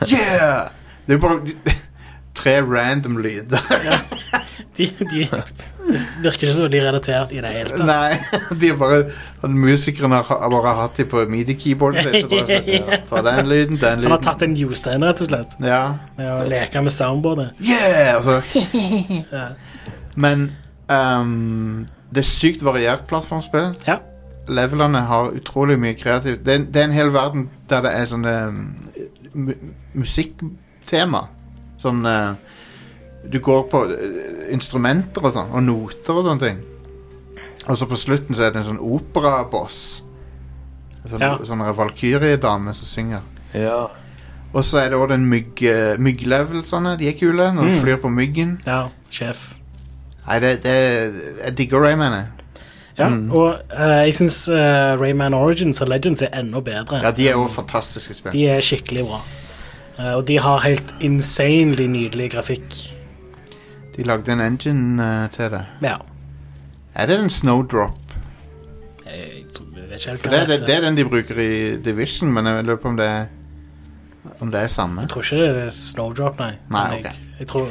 S1: yeah! Det er jo bare tre random lyder.
S2: De, de virker ikke så veldig relatert i det hele tatt.
S1: Nei, de er bare han Musikeren har har bare hatt de på midi-keyboardet sitt. så bare sånn, ja, Ta den lyden, den
S2: Han har
S1: lyden.
S2: tatt en jostein, rett og slett,
S1: Ja.
S2: med å leke med soundboardet.
S1: Yeah! Og så
S2: Ja.
S1: Men ehm, det er sykt variert plattformspill.
S2: Ja.
S1: Levelene har utrolig mye kreativt. Det, er- det er en hel verden der det er sånne mm, mu- musikktema. Sånn eh, Du går på eh, instrumenter og sånn, og noter og sånne ting. Og så på slutten så er det en sånn operaboss. En sånn,
S2: Ja.
S1: sånn valkyriedame som synger.
S4: ja.
S1: Og så er det òg den mygg, mygglevelene. De er kule når
S2: Mm.
S1: du flyr på myggen.
S2: ja. Sjef.
S1: Nei, det, det Jeg digger Rayman, jeg.
S2: Ja,
S1: Mm.
S2: og eh, jeg syns Rayman Origins og Legends er enda bedre.
S1: Ja, de er òg fantastiske spill.
S2: De er skikkelig bra. Eh, og de har helt insanely nydelig grafikk.
S1: De lagde en engine eh, til det.
S2: Ja.
S1: Er det en snowdrop?
S2: Jeg, tror- jeg vet ikke helt
S1: For
S2: hva
S1: det, er det,
S2: heter.
S1: det er den de bruker i Division, men jeg lurer på om det er, om det er samme.
S2: Jeg tror ikke det er Snowdrop, nei.
S1: Nei,
S2: Men jeg,
S1: ok.
S2: jeg, tror,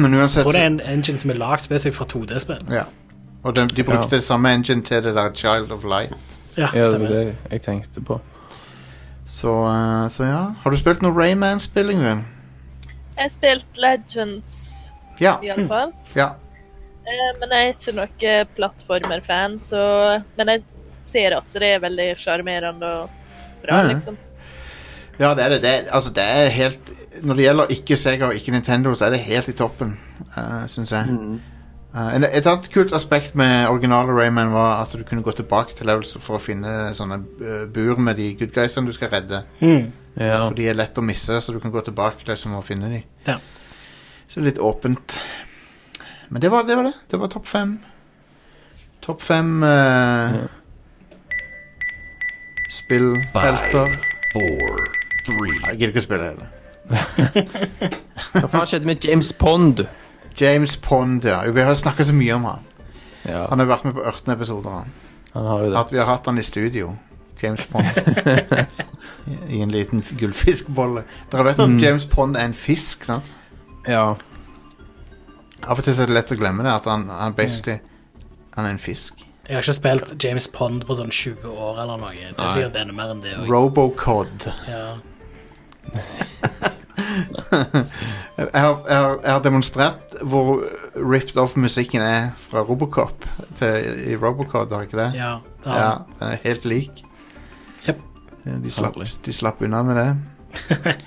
S1: Men uansett
S2: jeg tror det
S1: så-
S2: er en engine som er lagd spesifikt for 2D-spill.
S1: Ja. Og de, de brukte samme engine til det der Child of Light.
S2: Ja,
S4: Ja, det var
S2: stemmer.
S4: det jeg tenkte på.
S1: Så, eh, så ja. Har du spilt noe Rayman-spilling, Vin?
S3: Jeg spilte Legends,
S1: Ja.
S3: iallfall.
S1: ja.
S3: Eh, men jeg er ikke noe plattformer-fan, så Men jeg ser at det er veldig sjarmerende og bra,
S1: Ja, ja.
S3: liksom.
S1: Ja, det er det. det er, altså, det er helt Når det gjelder ikke Sega og ikke Nintendo, så er det helt i toppen, uh, syns jeg. Eh, en- et annet kult aspekt med originale Rayman var at du kunne gå tilbake til levels for å finne sånne eh, bur med de good guysene du skal redde.
S2: Mm.
S4: Ja.
S1: For de er lett å misse, så du kan gå tilbake til liksom, og finne de.
S2: Ja.
S1: Så litt åpent. Men det var det. var Det Det var topp fem. Topp fem eh,
S4: Ja.
S1: spillhelter.
S5: Five, four, three,
S1: Jeg gidder ikke å spille heller.
S4: Hva faen skjedde med James Pond?
S1: James Pond, ja. Vi har snakka så mye om han.
S4: Ja,
S1: Han har vært med på 18 episoder. Han.
S4: han har jo det.
S1: At vi har hatt han i studio. James Pond. I en liten f- gullfiskbolle. Dere vet at James Pond er en fisk, sant?
S4: Ja.
S1: Av og til så er det lett å glemme det, at han, han basically Han er en fisk.
S2: Jeg har ikke spilt James Pond på sånn 20 år eller noe. Det er
S4: Nei.
S2: sikkert enda mer enn det. også.
S1: Robocod.
S2: Ja.
S1: Jeg har, jeg, har, jeg har demonstrert hvor ripped off musikken er fra Robocop til, i Robocod, har jeg ikke det?
S2: Ja.
S1: Ja,
S2: ja.
S1: Den er helt lik.
S2: Jep.
S1: De, slapp,
S4: Herlig.
S1: de slapp unna med det.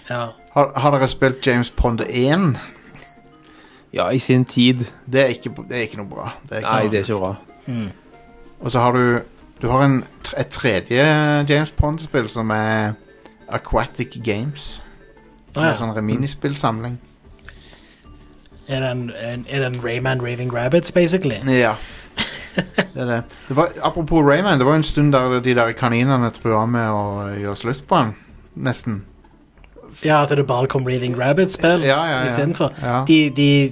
S2: ja.
S1: Har, har dere spilt James Pond 1?
S4: ja, i sin tid.
S1: Det er ikke, det er ikke noe bra. Det er ikke
S4: Nei,
S1: noe.
S4: det er ikke bra.
S1: Og så har du Du har en, tr- et tredje James Pond-spill som er Aquatic Games. Som
S2: Ah,
S1: er
S2: ja.
S1: en sånn minispillsamling.
S2: Er det en, en, er det en Rayman Raving Rabbits, basically?
S1: Ja. Det er det. det var, apropos Rayman, det var en stund der de der kaninene trua med å gjøre slutt på han. Nesten.
S2: Ja, at det bare kom Raving Rabbits-spill
S1: Ja, ja, ja.
S2: istedenfor.
S1: Ja.
S2: De, de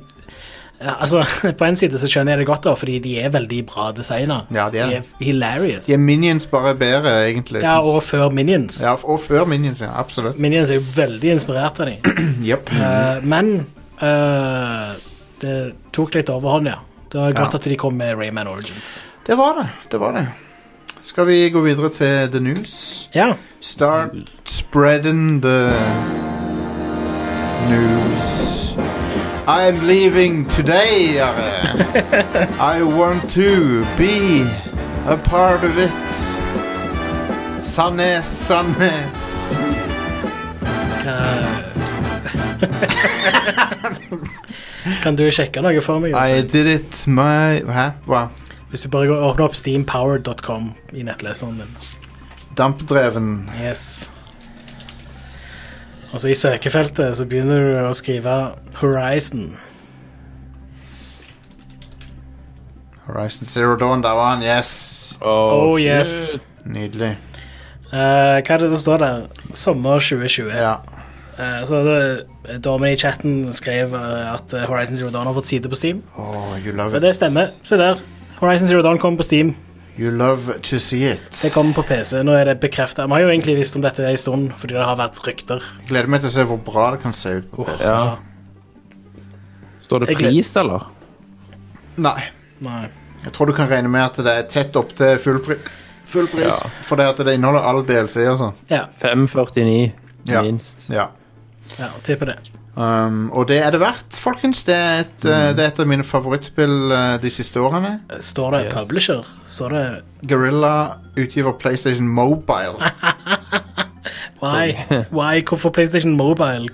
S2: ja, Altså, på en side så skjønner jeg det godt, da, fordi de er veldig bra designa.
S1: Ja, de er
S2: de
S1: det.
S2: er hilarious.
S1: De er minions bare bedre, egentlig.
S2: ja, og før Minions.
S1: ja, og før minions, ja. Absolutt.
S2: Minions er jo veldig inspirert av dem.
S1: Jepp.
S2: men eh, det tok litt overhånd, ja. Det var godt
S1: Ja.
S2: at de kom med Rayman Origins.
S1: Det var det. Det var det. Skal vi gå videre til the news?
S2: Ja.
S1: Start spreading the news. I'm leaving today, Are. I want to be a part of it. Sandnes, Sandnes.
S2: Eh, Kan du sjekke noe for meg?
S1: I
S2: Jostein?
S1: did it my Hæ? Hva?
S2: Hvis du bare går åpner opp steampowered.com i nettleseren din.
S1: Dampdreven.
S2: Yes. Og så i søkefeltet så begynner du å skrive Horizon.
S1: Horizon Zero Dawn, der var han. Yes.
S2: Oh, yes.
S1: Nydelig.
S2: Eh, hva er det det står der? Sommer 2020.
S1: Ja.
S2: Eh, så det, Dormen i chatten skrev eh, at eh, Horizon Zero Dawn har fått side på Steam.
S1: Oh, you love
S2: Og
S1: it.
S2: det stemmer. Se der. Horizon Zero Dawn kommer på Steam.
S1: You love to see it.
S2: Det kommer på PC. Nå er det bekrefta. Vi har jo egentlig visst om dette en stund fordi det har vært rykter.
S1: Jeg gleder meg til å se hvor bra det kan se ut. på
S2: Uff,
S1: PC.
S4: Ja.
S2: så-
S4: Står det
S2: Jeg gled-
S4: pris, eller?
S1: Nei.
S2: Nei.
S1: Jeg tror du kan regne med at det er tett opp til full, pri full pris.
S4: Ja.
S1: Fordi at det inneholder all DLC og sånn.
S2: Ja,
S4: 5,49
S1: Ja.
S4: minst.
S1: Ja.
S2: ja tipper det.
S1: Um, og det er det verdt, folkens. Det er et, eh, det er et av mine favorittspill eh, de siste årene.
S2: Står det
S4: Yes.
S2: publisher? Står det
S1: Gorilla utgiver PlayStation Mobile.
S2: Why? Why? Hvorfor PlayStation Mobile?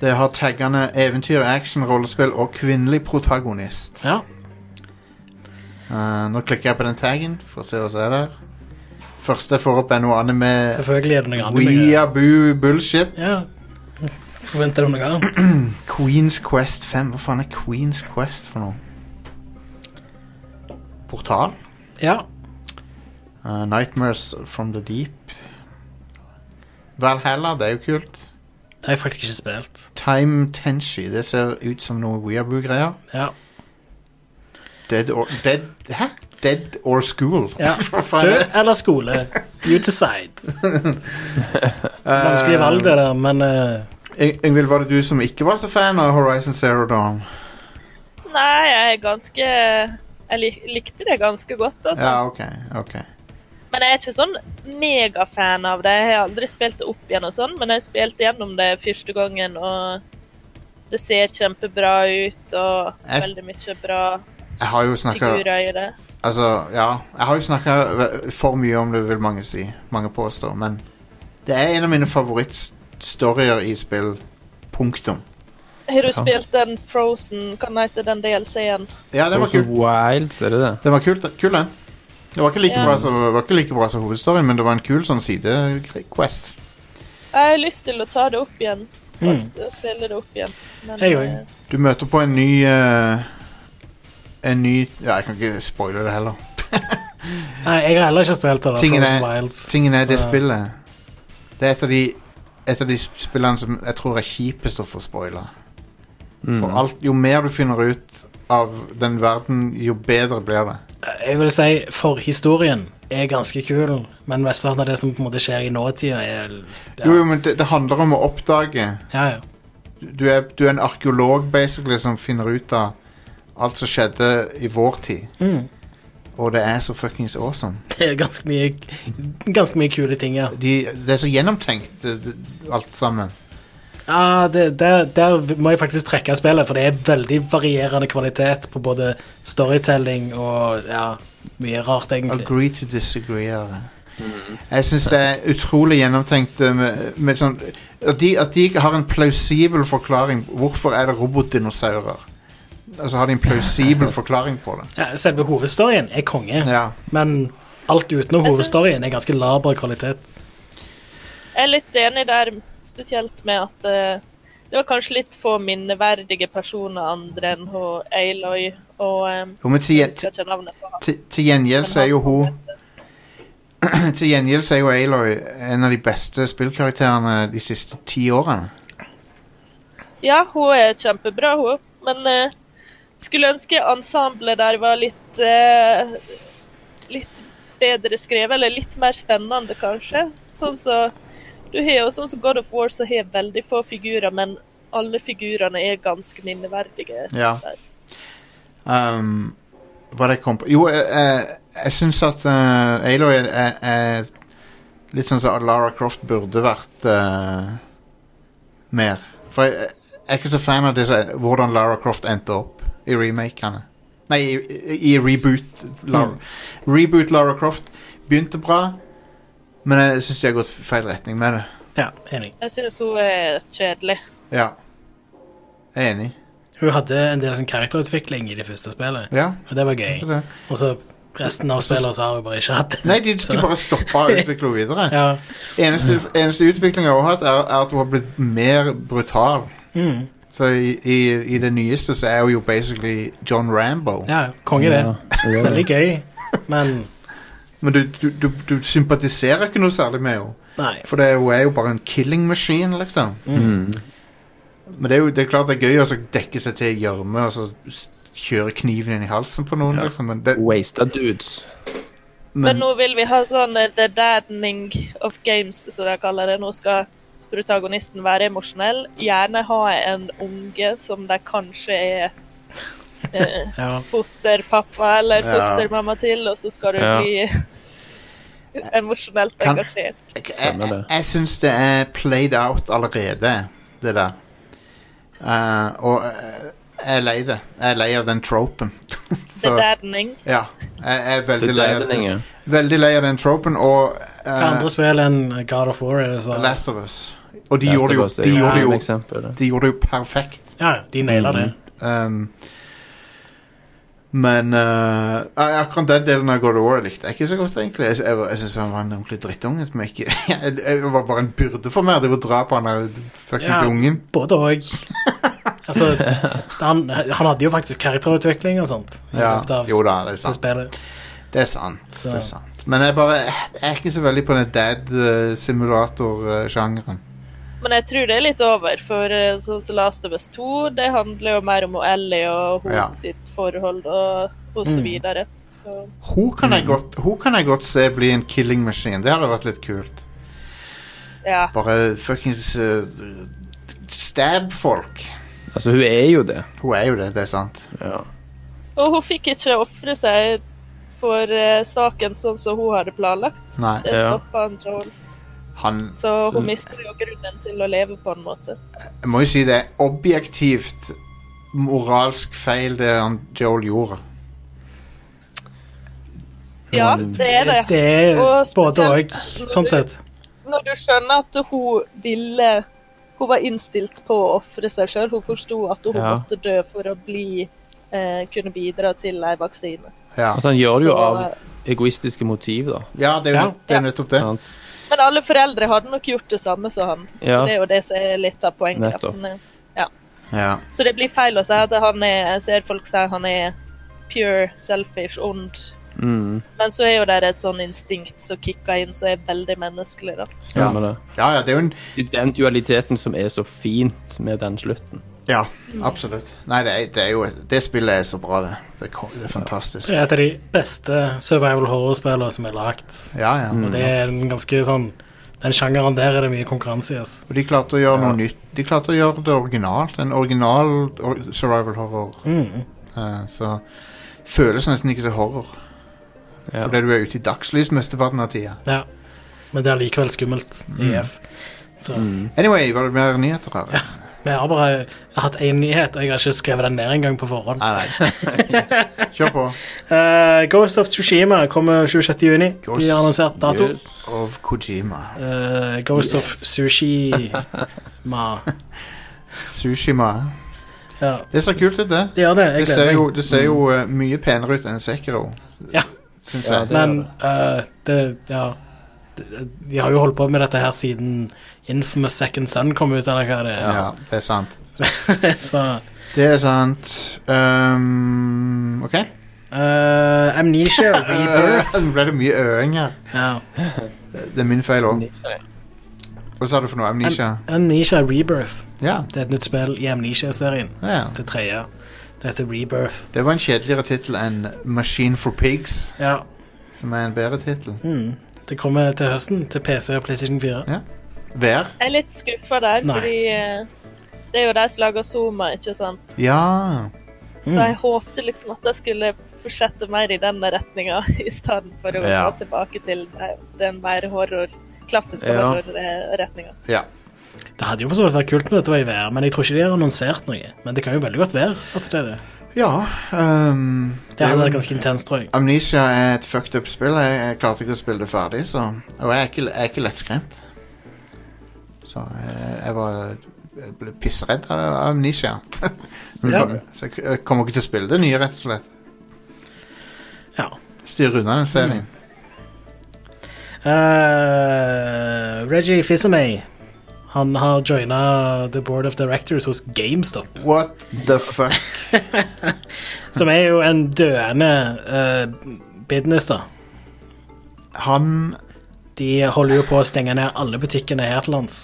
S1: Det har taggene eventyr, action, rollespill og kvinnelig protagonist.
S2: Ja.
S1: Eh, nå klikker jeg på den taggen for å se hva som er der. Første jeg får opp, er noe anime.
S2: Selvfølgelig er det noe annet. men-
S1: Weaboo bullshit.
S2: Ja. Forventer du noe annet?
S1: Queens Quest 5. Hva faen er Queens Quest for noe? Portal?
S2: Ja.
S1: Eh, Nightmares from the Deep. Valhalla, det er jo kult.
S2: Det har jeg faktisk ikke spilt.
S1: Time Tenshi, det ser ut som noe Weaboo-greier.
S2: Ja.
S1: Dead or Dead Hæ? Dead or school.
S2: Ja.
S1: For faen.
S2: Død eller skole? You decide. Vanskelig valg, det der, men eh,
S1: Ing- Ingvild, var det du som ikke var så fan av Horizon Zero Dawn?
S3: Nei, jeg er ganske Jeg lik, likte det ganske godt, altså.
S1: Ja, ok. ok.
S3: Men jeg er ikke sånn megafan av det. Jeg har aldri spilt det opp igjen og sånn, men jeg spilte gjennom det første gangen, og det ser kjempebra ut, og
S1: Jeg-
S3: veldig mye bra
S1: Jeg har jo snakka
S3: figurer i det.
S1: Altså, ja. Jeg har jo snakka for mye om det, vil mange si. Mange påstår. Men det er en av mine favorittstorier i spill. Punktum.
S3: Har du spilt den Frozen, kan den hete den DLC-en?
S1: Ja, det var
S4: Frozen
S1: kult.
S4: Wilds, er det det?
S1: Det var kult, kul, den. Det var ikke like,
S3: Ja.
S1: bra som, var ikke like bra som hovedstoryen, men det var en kul sånn side-quest.
S3: Jeg har lyst til å ta det opp igjen. Fakt- å Spille det opp igjen. Men,
S2: Jeg
S3: eh,
S2: òg.
S1: Du møter på en ny eh, En ny Ja, jeg kan ikke spoile det heller.
S2: Nei, jeg har heller ikke spilt det. da,
S1: Tingen
S2: Frozen
S1: er,
S2: Wilds.
S1: tingen er det
S2: Så-
S1: spillet. Det er et av de et av de spillene som jeg tror er kjipest å få spoila. For
S2: Mm.
S1: alt, jo mer du finner ut av den verden, jo bedre blir det.
S2: eh, Jeg vil si forhistorien er ganske kul, men mesteparten av det som på en måte skjer i nåtida, er ja.
S1: Jo, jo, men det, det handler om å oppdage.
S2: Ja, ja.
S1: Du er, du er en arkeolog basically som finner ut av alt som skjedde i vår tid.
S2: Mm.
S1: Og det er så fuckings awesome.
S2: Det er ganske mye, ganske mye kule ting, ja.
S1: De, det er så gjennomtenkt, det, det, alt sammen.
S2: ja det, der, der må jeg faktisk trekke av spillet, for det er veldig varierende kvalitet på både storytelling og ja, mye rart, egentlig.
S1: Agree to disagree. er det. Jeg syns det er utrolig gjennomtenkt eh, med, med sånn, at, de, at de har en plausibel forklaring. Hvorfor er det robotdinosaurer? Og så har de en plausibel forklaring på det.
S2: Ja, selve hovedstoryen er konge,
S1: Ja.
S2: men alt utenom
S3: Jeg synes-
S2: hovedstoryen er ganske laber kvalitet.
S3: Jeg er litt enig der, spesielt med at eh, det var kanskje litt få minneverdige personer andre enn hun Aloy. Og um,
S1: Jo, men til,
S3: jeg
S1: gjen-
S3: husker ikke navnet på han.
S1: til, til gjengjeld så er jo hun Til gjengjeld så er jo Aloy en av de beste spillkarakterene de siste ti årene.
S3: Ja, hun er kjempebra, hun. Men eh, skulle ønske ensemblet der var litt eh, Litt bedre skrevet, eller litt mer spennende, kanskje. Sånn som du har jo sånn som God of War, så har veldig få figurer, men alle figurene er ganske minneverdige.
S1: Ja. Um, hva det kom på Jo, jeg, jeg, jeg syns at eh, Aloy er, er, er litt sånn som Lara Croft burde vært eh, mer. For jeg, jeg er ikke så fan av det, som- hvordan Lara Croft endte opp i remakene. Nei, i, i, i reboot. Lara.
S2: Hmm.
S1: Reboot Lara Croft begynte bra, men jeg syns de har gått feil retning med det.
S2: Ja, enig.
S3: Jeg syns hun er kjedelig.
S1: Ja. Jeg er enig.
S2: Hun hadde en del sånn karakterutvikling i det første spillet,
S1: Ja.
S2: og det var
S1: det
S2: gøy.
S1: er det.
S2: Og så resten av spillet så har hun bare ikke hatt det.
S1: Nei, de skulle
S2: Så-
S1: bare stoppe å utvikle henne videre.
S2: Ja.
S1: Eneste, eneste utvikling jeg har hatt, er, er at hun har blitt mer brutal.
S2: Mm.
S1: Så i, i, i det nyeste så er hun jo basically John Rambo.
S2: ja, konge det. Veldig gøy, men
S1: Men du, du, du, du sympatiserer ikke noe særlig med henne.
S2: nei. Mm.
S1: For det, hun er jo bare en killing machine, liksom. Men det er jo det er klart det er gøy å så dekke seg til i gjørme og så s- kjøre kniven inn i halsen på noen,
S4: Ja.
S1: liksom. Men det,
S4: Wasted dudes.
S3: Men
S1: men,
S3: nå vil vi ha sånn eh, the daddening of games, som de kaller det. Nå skal protagonisten være emosjonell. Gjerne ha en unge som de kanskje er eh,
S2: Ja.
S3: fosterpappa eller
S1: Ja.
S3: fostermamma til, og så skal du
S4: Ja.
S3: bli emosjonelt
S1: Kan-
S3: engasjert.
S1: jeg, jeg,
S4: Stemmer det.
S1: jeg syns det er played out allerede, det der. Eh, og eh, jeg er lei det. Jeg er lei av den tropen.
S3: The daddening.
S1: Ja, jeg er
S4: Det
S1: veldig
S4: er
S1: lei av
S4: det,
S1: den,
S4: Inge.
S1: veldig lei av den tropen og eh,
S2: Hva andre spill enn God of War er det så
S1: Last of Us. Og de
S4: Last
S1: gjorde det jo,
S4: of Us er
S1: de gjorde det
S4: et
S1: jo,
S4: eksempel.
S1: de gjorde det jo perfekt.
S2: Ja, de nailer det.
S1: Um, men eh, ja, akkurat den delen av God of War likte jeg ikke så godt, egentlig. Jeg, jeg, var- jeg syns han var en ordentlig drittunge. Som jeg ikke jeg, jeg var bare en byrde for meg. Det var drap på han der fuckings
S2: Ja.
S1: ungen.
S2: Både og. Altså, han, han hadde jo faktisk karakterutvikling og sånt. i
S1: Ja.
S2: løpet av
S1: Jo da, det er
S2: det
S1: sant.
S2: spillet.
S1: Det er sant.
S2: Så-
S1: Det er sant. Men jeg bare Jeg er ikke så veldig på den eh, dad-simulator-sjangeren.
S3: Men jeg tror det er litt over, for eh, sånn som Last of Us 2, det handler jo mer om Ellie
S1: Ja.
S3: og
S1: Mm.
S3: hennes sitt forhold og og så videre. Så
S1: Hun kan, jeg godt, hun kan jeg godt se bli en killing machine. Det hadde vært litt kult.
S3: ja.
S1: Bare fuckings eh, stab folk.
S4: Altså, hun er jo det.
S1: Hun er jo det, det er sant.
S4: Ja.
S3: Og hun fikk ikke ofre seg for eh, saken sånn som hun hadde planlagt.
S1: Nei.
S3: Det
S4: Ja.
S3: stoppet han Joel,
S1: Han
S3: så hun mister jo grunnen til å leve på en måte.
S1: Jeg må jo si det er objektivt moralsk feil det han Joel gjorde.
S3: Ja, det er det.
S2: Det er
S3: Og spesielt-
S2: både òg, sånn sett.
S3: Når du skjønner at hun ville Hun var innstilt på å ofre seg sjøl. Hun forsto at hun
S4: Ja.
S3: måtte dø for å bli eh, kunne bidra til ei vaksine.
S1: Ja,
S4: Altså, han gjør det jo
S3: Så,
S4: av
S3: eh,
S4: egoistiske motiv, da.
S1: ja det er jo
S2: Ja.
S1: nett- det er nettopp det.
S4: Sant?
S3: Men alle foreldre hadde nok gjort det samme som han. Så
S4: Ja.
S3: det er jo det som er litt av poenget.
S4: Nettopp.
S3: Han er-
S1: Ja.
S3: Så det blir feil å si at han er Jeg ser folk si han er pure, selfish, ond.
S4: Mm,
S3: Men så er jo det et sånn instinkt som kicker inn, som er veldig menneskelig, da.
S4: stemmer
S1: Ja.
S4: det.
S1: ja, ja, det er jo en
S4: Det er Den dualiteten som er så fint med den slutten.
S1: Ja, absolutt. Nei, det er, det er jo Det spillet er så bra, det. Det er, ko- det er fantastisk.
S2: Det er et av de beste survival horror-spillene som er lagd.
S1: Ja, ja.
S2: Og det er en ganske sånn Den sjangeren der er det mye konkurranse i. ass.
S1: Og de klarte å gjøre noe nytt. De klarte å gjøre det originalt. En original or survival horror. Eh, så føles nesten ikke som horror.
S4: Ja.
S1: Fordi du er ute i dagslys mesteparten av tida.
S2: Ja. Men det er likevel skummelt i
S1: Mm.
S2: F. Så
S1: Anyway, var det mer nyheter her?
S2: vi har bare hatt én nyhet, og jeg har ikke skrevet den ned engang på forhånd.
S1: Nei, nei. Kjør på.
S2: Eh, Ghost of Tsushima kommer 26. juni. De har annonsert dato.
S4: Yes.
S1: Of Kojima.
S2: Eh, Ghost of Sushi Ma.
S1: Sushima.
S2: Ja.
S1: Det ser kult ut, det.
S2: De gjør det.
S1: Det
S2: Jeg
S1: ser
S2: gleder
S1: jo,
S2: meg.
S1: det ser jo eh, mye penere ut enn Sekiro.
S2: Ja.
S1: Syns
S4: Ja,
S1: jeg.
S4: det-
S2: Men eh, det Ja. De, de har jo holdt på med dette her siden Infamous Second Son kom ut, eller hva det
S1: ja.
S2: er.
S1: det er sant.
S2: Så
S1: Det er sant. Um, OK.
S2: eh, Amnesia Rebirth.
S1: Nå ble det mye øing her.
S2: Ja.
S1: Det er min feil òg. Hva sa du for noe? Amnesia?
S2: Amnesia Rebirth.
S1: Ja.
S2: Det er et nytt spill i Amnesia-serien.
S1: ja.
S2: Det tredje. Det heter Rebirth.
S1: Det var en kjedeligere tittel enn Machine for Pigs,
S2: Ja.
S1: som er en bedre tittel.
S2: Mm. Det kommer til høsten til PC og PlayStation 4.
S1: Vær?
S3: Jeg er litt skuffa der,
S2: Nei.
S3: fordi eh, det er jo de som lager Zoma, ikke sant?
S1: Ja.
S3: Så jeg håpte liksom at jeg skulle fortsette mer i den retninga, i stedet for å
S1: Ja.
S3: gå tilbake til eh, den mer horror, klassiske eh,
S4: Ja.
S3: horrorretninga.
S1: ja.
S2: Det hadde jo for så vidt vært kult med dette var i VR, men jeg tror ikke de har annonsert noe. Men det kan jo veldig godt være at det er det.
S1: Ja um,
S2: Det hadde
S1: jo-
S2: vært ganske intenst, tror jeg.
S1: Amnesia er et fucked up spill. Jeg, jeg klarte ikke å spille det ferdig, så Og jeg er ikke, jeg er ikke lettskremt. Så jeg, jeg var jeg ble pissredd av av Amnesia. Men
S2: Ja.
S1: bare- Så jeg, jeg kommer ikke til å spille det nye, rett og slett.
S2: Ja.
S1: Styre unna den serien.
S2: Eh, Reggie Fizemay. Han har joina The Board of Directors hos GameStop.
S1: What the fuck?
S2: Som er jo en døende eh, business, da.
S1: Han
S2: De holder jo på å stenge ned alle butikkene her til lands.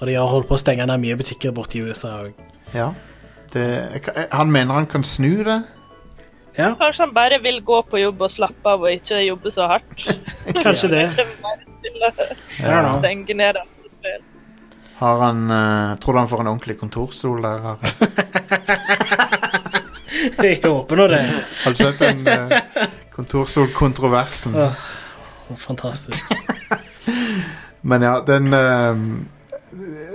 S2: Og de har holdt på å stenge ned mye butikker borte i USA òg.
S1: Ja. Det, jeg kan- jeg- han mener han kan snu det.
S2: Ja,
S3: Kanskje han bare vil gå på jobb og slappe av og ikke jobbe så hardt?
S2: kanskje det.
S3: Det er mer til å
S2: I don't know.
S3: Stenge ned alt.
S1: Har han eh, Tror du han får en ordentlig kontorstol der? Har,
S2: Jeg håper nå det.
S1: har du sett den eh, kontorstolkontroversen?
S2: Fantastisk.
S1: Men ja, den ehm,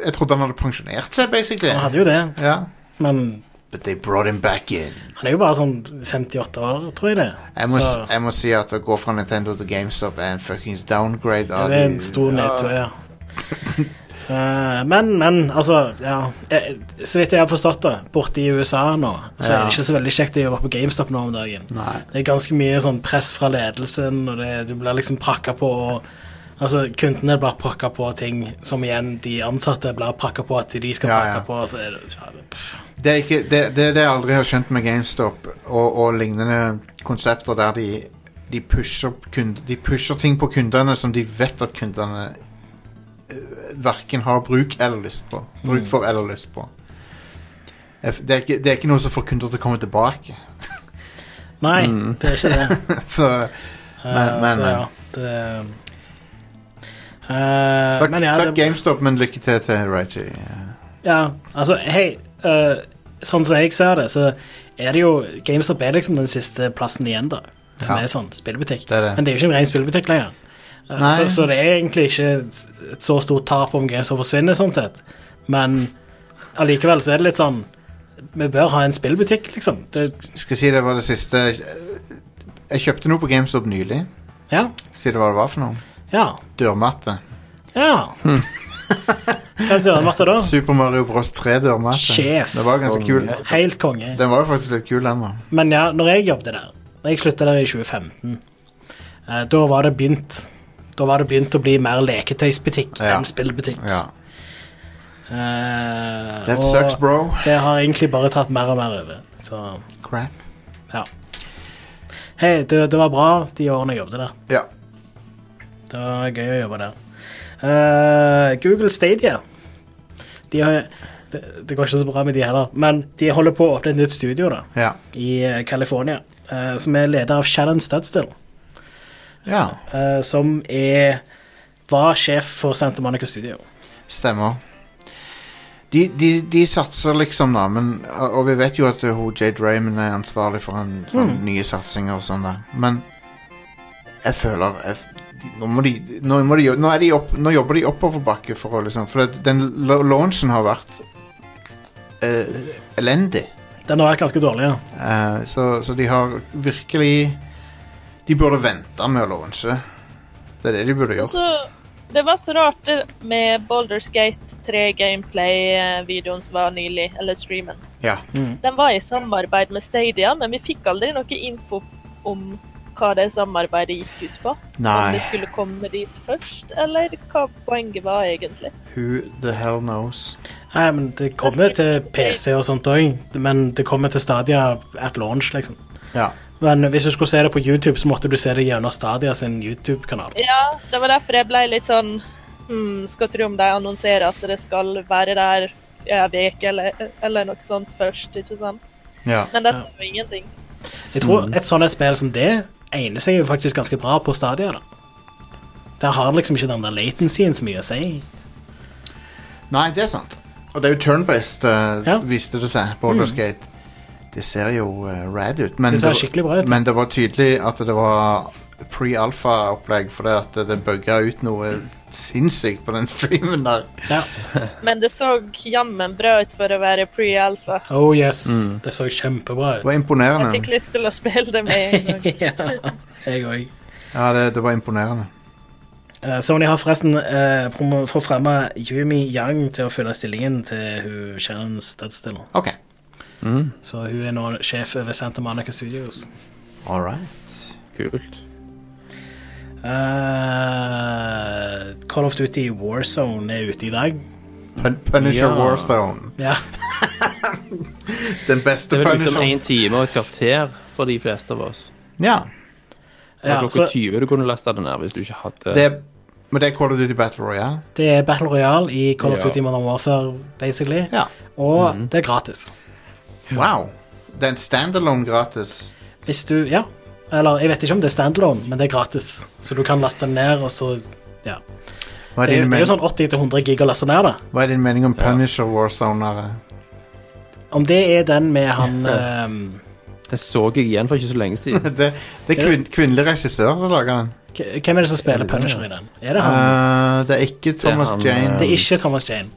S1: Jeg trodde han hadde pensjonert seg, basically.
S2: Han hadde jo det,
S1: Ja.
S2: men
S1: But they brought him back in.
S2: han er jo bare sånn 58 år, tror jeg det.
S1: Jeg må,
S2: Så-
S1: jeg må si at å gå fra Nintendo til GameStop er en fuckings downgrade.
S2: Ja,
S1: av
S2: det er
S1: de-
S2: en stor nedtur, ja. Eh, men, men, altså ja. Eh, Så vidt jeg har forstått det, borte i USA nå, så er
S1: Ja.
S2: det ikke så veldig kjekt å jobbe på GameStop nå om dagen.
S1: Nei.
S2: Det er ganske mye sånn press fra ledelsen, og det, du blir liksom prakka på og Altså, Kundene blir prakka på ting som igjen de ansatte blir prakka på at de skal
S1: Ja,
S2: prakke
S1: ja.
S2: på. Så er det, ja, det, pff.
S1: Det er ikke, det, det, er det jeg aldri har skjønt med GameStop og, og lignende konsepter der de, de, pusher kund, de pusher ting på kundene som de vet at kundene eh, verken har bruk eller lyst på.
S2: Mm.
S1: Bruk for eller lyst på. Jeg f- Det er, ikke, det er ikke noe som får kunder til å komme tilbake.
S2: Nei,
S1: Mm.
S2: det er ikke det. Eh,
S1: Så Men- men-
S2: så, ja, det Eh,
S1: fuck,
S2: men ja,
S1: fuck
S2: det,
S1: GameStop, men lykke til til Reggie.
S2: ja, altså, hei eh, Sånn som jeg ser det, så er det jo GameStop er liksom den siste plassen igjen, da. Som
S1: Ja.
S2: er sånn spillbutikk.
S1: Det er det.
S2: Men det er jo ikke en ren spillbutikk lenger. Eh,
S1: Nei.
S2: Så, så det er egentlig ikke et- et så stort tap om GameStop forsvinner, sånn sett. Men allikevel så er det litt sånn Vi bør ha en spillbutikk, liksom. Det,
S1: Jeg skal si det var det siste Eh, Jeg kjøpte noe på GameStop nylig.
S2: ja.
S1: Si det hva det var for noe.
S2: Ja.
S1: Dørmatte.
S2: Ja. Hva døren ble det da?
S1: Hm. Super Mario Bros 3 dørmatte.
S2: Sjef.
S1: Det var ganske kul.
S2: Helt konge.
S1: Den var jo faktisk litt kul, den. da.
S2: Men ja, når jeg jobbet der når Jeg slutta der i 2015. eh, da var det begynt Da var det begynt å bli mer leketøysbutikk
S1: Ja.
S2: enn spillbutikk.
S1: Ja.
S2: Eh,
S1: That
S2: og
S1: sucks, bro.
S2: Det har egentlig bare tatt mer og mer over. Så
S1: Crap.
S2: ja. Hei, det, det var bra de årene jeg jobbet der.
S1: Ja.
S2: Det var gøy å jobbe der. Eh, Google Stadia de har, det, det går ikke så bra med de heller, men de holder på å åpne et nytt studio da,
S1: Ja.
S2: i eh, California, eh, som er leder av Shannon Studstill,
S1: ja.
S2: eh, som er, var sjef for Santa Monica Studio.
S1: Stemmer. De, de, de satser liksom, da, men, og vi vet jo at uh, hun Jade Raymond er ansvarlig for en, for nye satsinger og sånn, da. Men jeg føler jeg, f- nå, må de, nå, må de, jo- nå, er de opp, nå jobber de oppoverbakke for å liksom For at den la- launchen har vært eh, elendig.
S2: Den har vært ganske dårlig, ja.
S1: Eh, så, så de har virkelig De burde vente med å launche. Det er det de burde gjøre.
S3: Så det var så rart det med Baldur's Gate 3 gameplay-videoen som var nylig, eller streamen.
S1: Ja.
S3: Den var i samarbeid med Stadia, men vi fikk aldri noe info om hva det samarbeidet gikk ut på. Om
S1: Nei.
S3: vi skulle komme dit først, eller hva poenget var egentlig.
S1: Who the hell knows?
S2: Nei, men det kommer til PC og sånt òg, men det kommer til Stadia at launch, liksom.
S1: Ja.
S2: Men hvis du skulle se det på YouTube, så måtte du se det gjennom Stadia sin YouTube-kanal.
S3: Ja, det var derfor jeg ble litt sånn hmm, Skal tro om de annonserer at det skal være der en uke eller, eller noe sånt først, ikke sant?
S1: ja.
S3: Men det sa jo ingenting.
S2: Jeg tror et sånt et spill som det egner seg jo faktisk ganske bra på Stadia. da. Der har det liksom ikke den der latencyen så mye å si.
S1: Nei, det er sant. Og det er jo turn-based, eh,
S2: Ja. Mm.
S1: viste det seg. Baldur's Gate. Det ser jo eh, rad ut. Men
S2: Det ser
S1: var-
S2: skikkelig bra ut.
S1: Men det var tydelig at det var pre-alfa-opplegg, for det at det bugga ut noe sinnssykt på den streamen der.
S2: Ja.
S3: Men det så jammen bra ut for å være pre-alfa.
S2: Oh yes, det så kjempebra
S1: Det
S2: ut.
S1: var
S3: Jeg fikk
S1: imponerende.
S3: lyst til å spille det med en gang.
S2: ja, jeg òg.
S1: Ja, det, det var imponerende.
S2: Eh, Sony har forresten uh, forfremma Yumi Yang til å fylle stillingen til hun Shannon Studstill.
S1: OK.
S2: Så hun er nå sjef over Santa Monica Studios.
S1: All right.
S4: Kult.
S2: Eh, Call of Duty Warzone er ute i dag.
S1: Pun Punisher
S4: Ja.
S1: Warstone.
S2: Ja.
S1: Den
S4: Det
S1: beste
S4: er vel ute om
S1: Punisher.
S4: én time og et kvarter for de fleste av oss.
S1: Ja.
S4: Det var
S2: ja
S4: klokka
S2: så
S4: 20 du kunne lasta det ned hvis du ikke hadde
S1: Det, men det er Call of Duty Battle Royale.
S2: det er Battle Royale i Call of
S4: Ja.
S2: Duty Modern Warfare, basically.
S1: Ja.
S2: Og det er gratis.
S1: Wow. Det er en standalone gratis.
S2: Hvis du Ja. Eller jeg vet ikke om det er standalone, men det er gratis. Så du kan laste den ned, og så Ja.
S1: Hva
S2: Det
S1: er
S2: er,
S1: din,
S2: det er jo
S1: men
S2: sånn 80-100 gig å laste ned, da.
S1: hva er din mening om Punisher Warzone? Are?
S2: Om det er den med han ehm,
S4: Det så jeg igjen for ikke så lenge siden.
S1: Det, det er kvin kvinnelig regissør som lager den.
S2: k- Hvem er det som spiller Punisher i den? Er det han?
S1: Eh, det er ikke Thomas
S4: han,
S1: Jane.
S2: det er ikke Thomas Jane.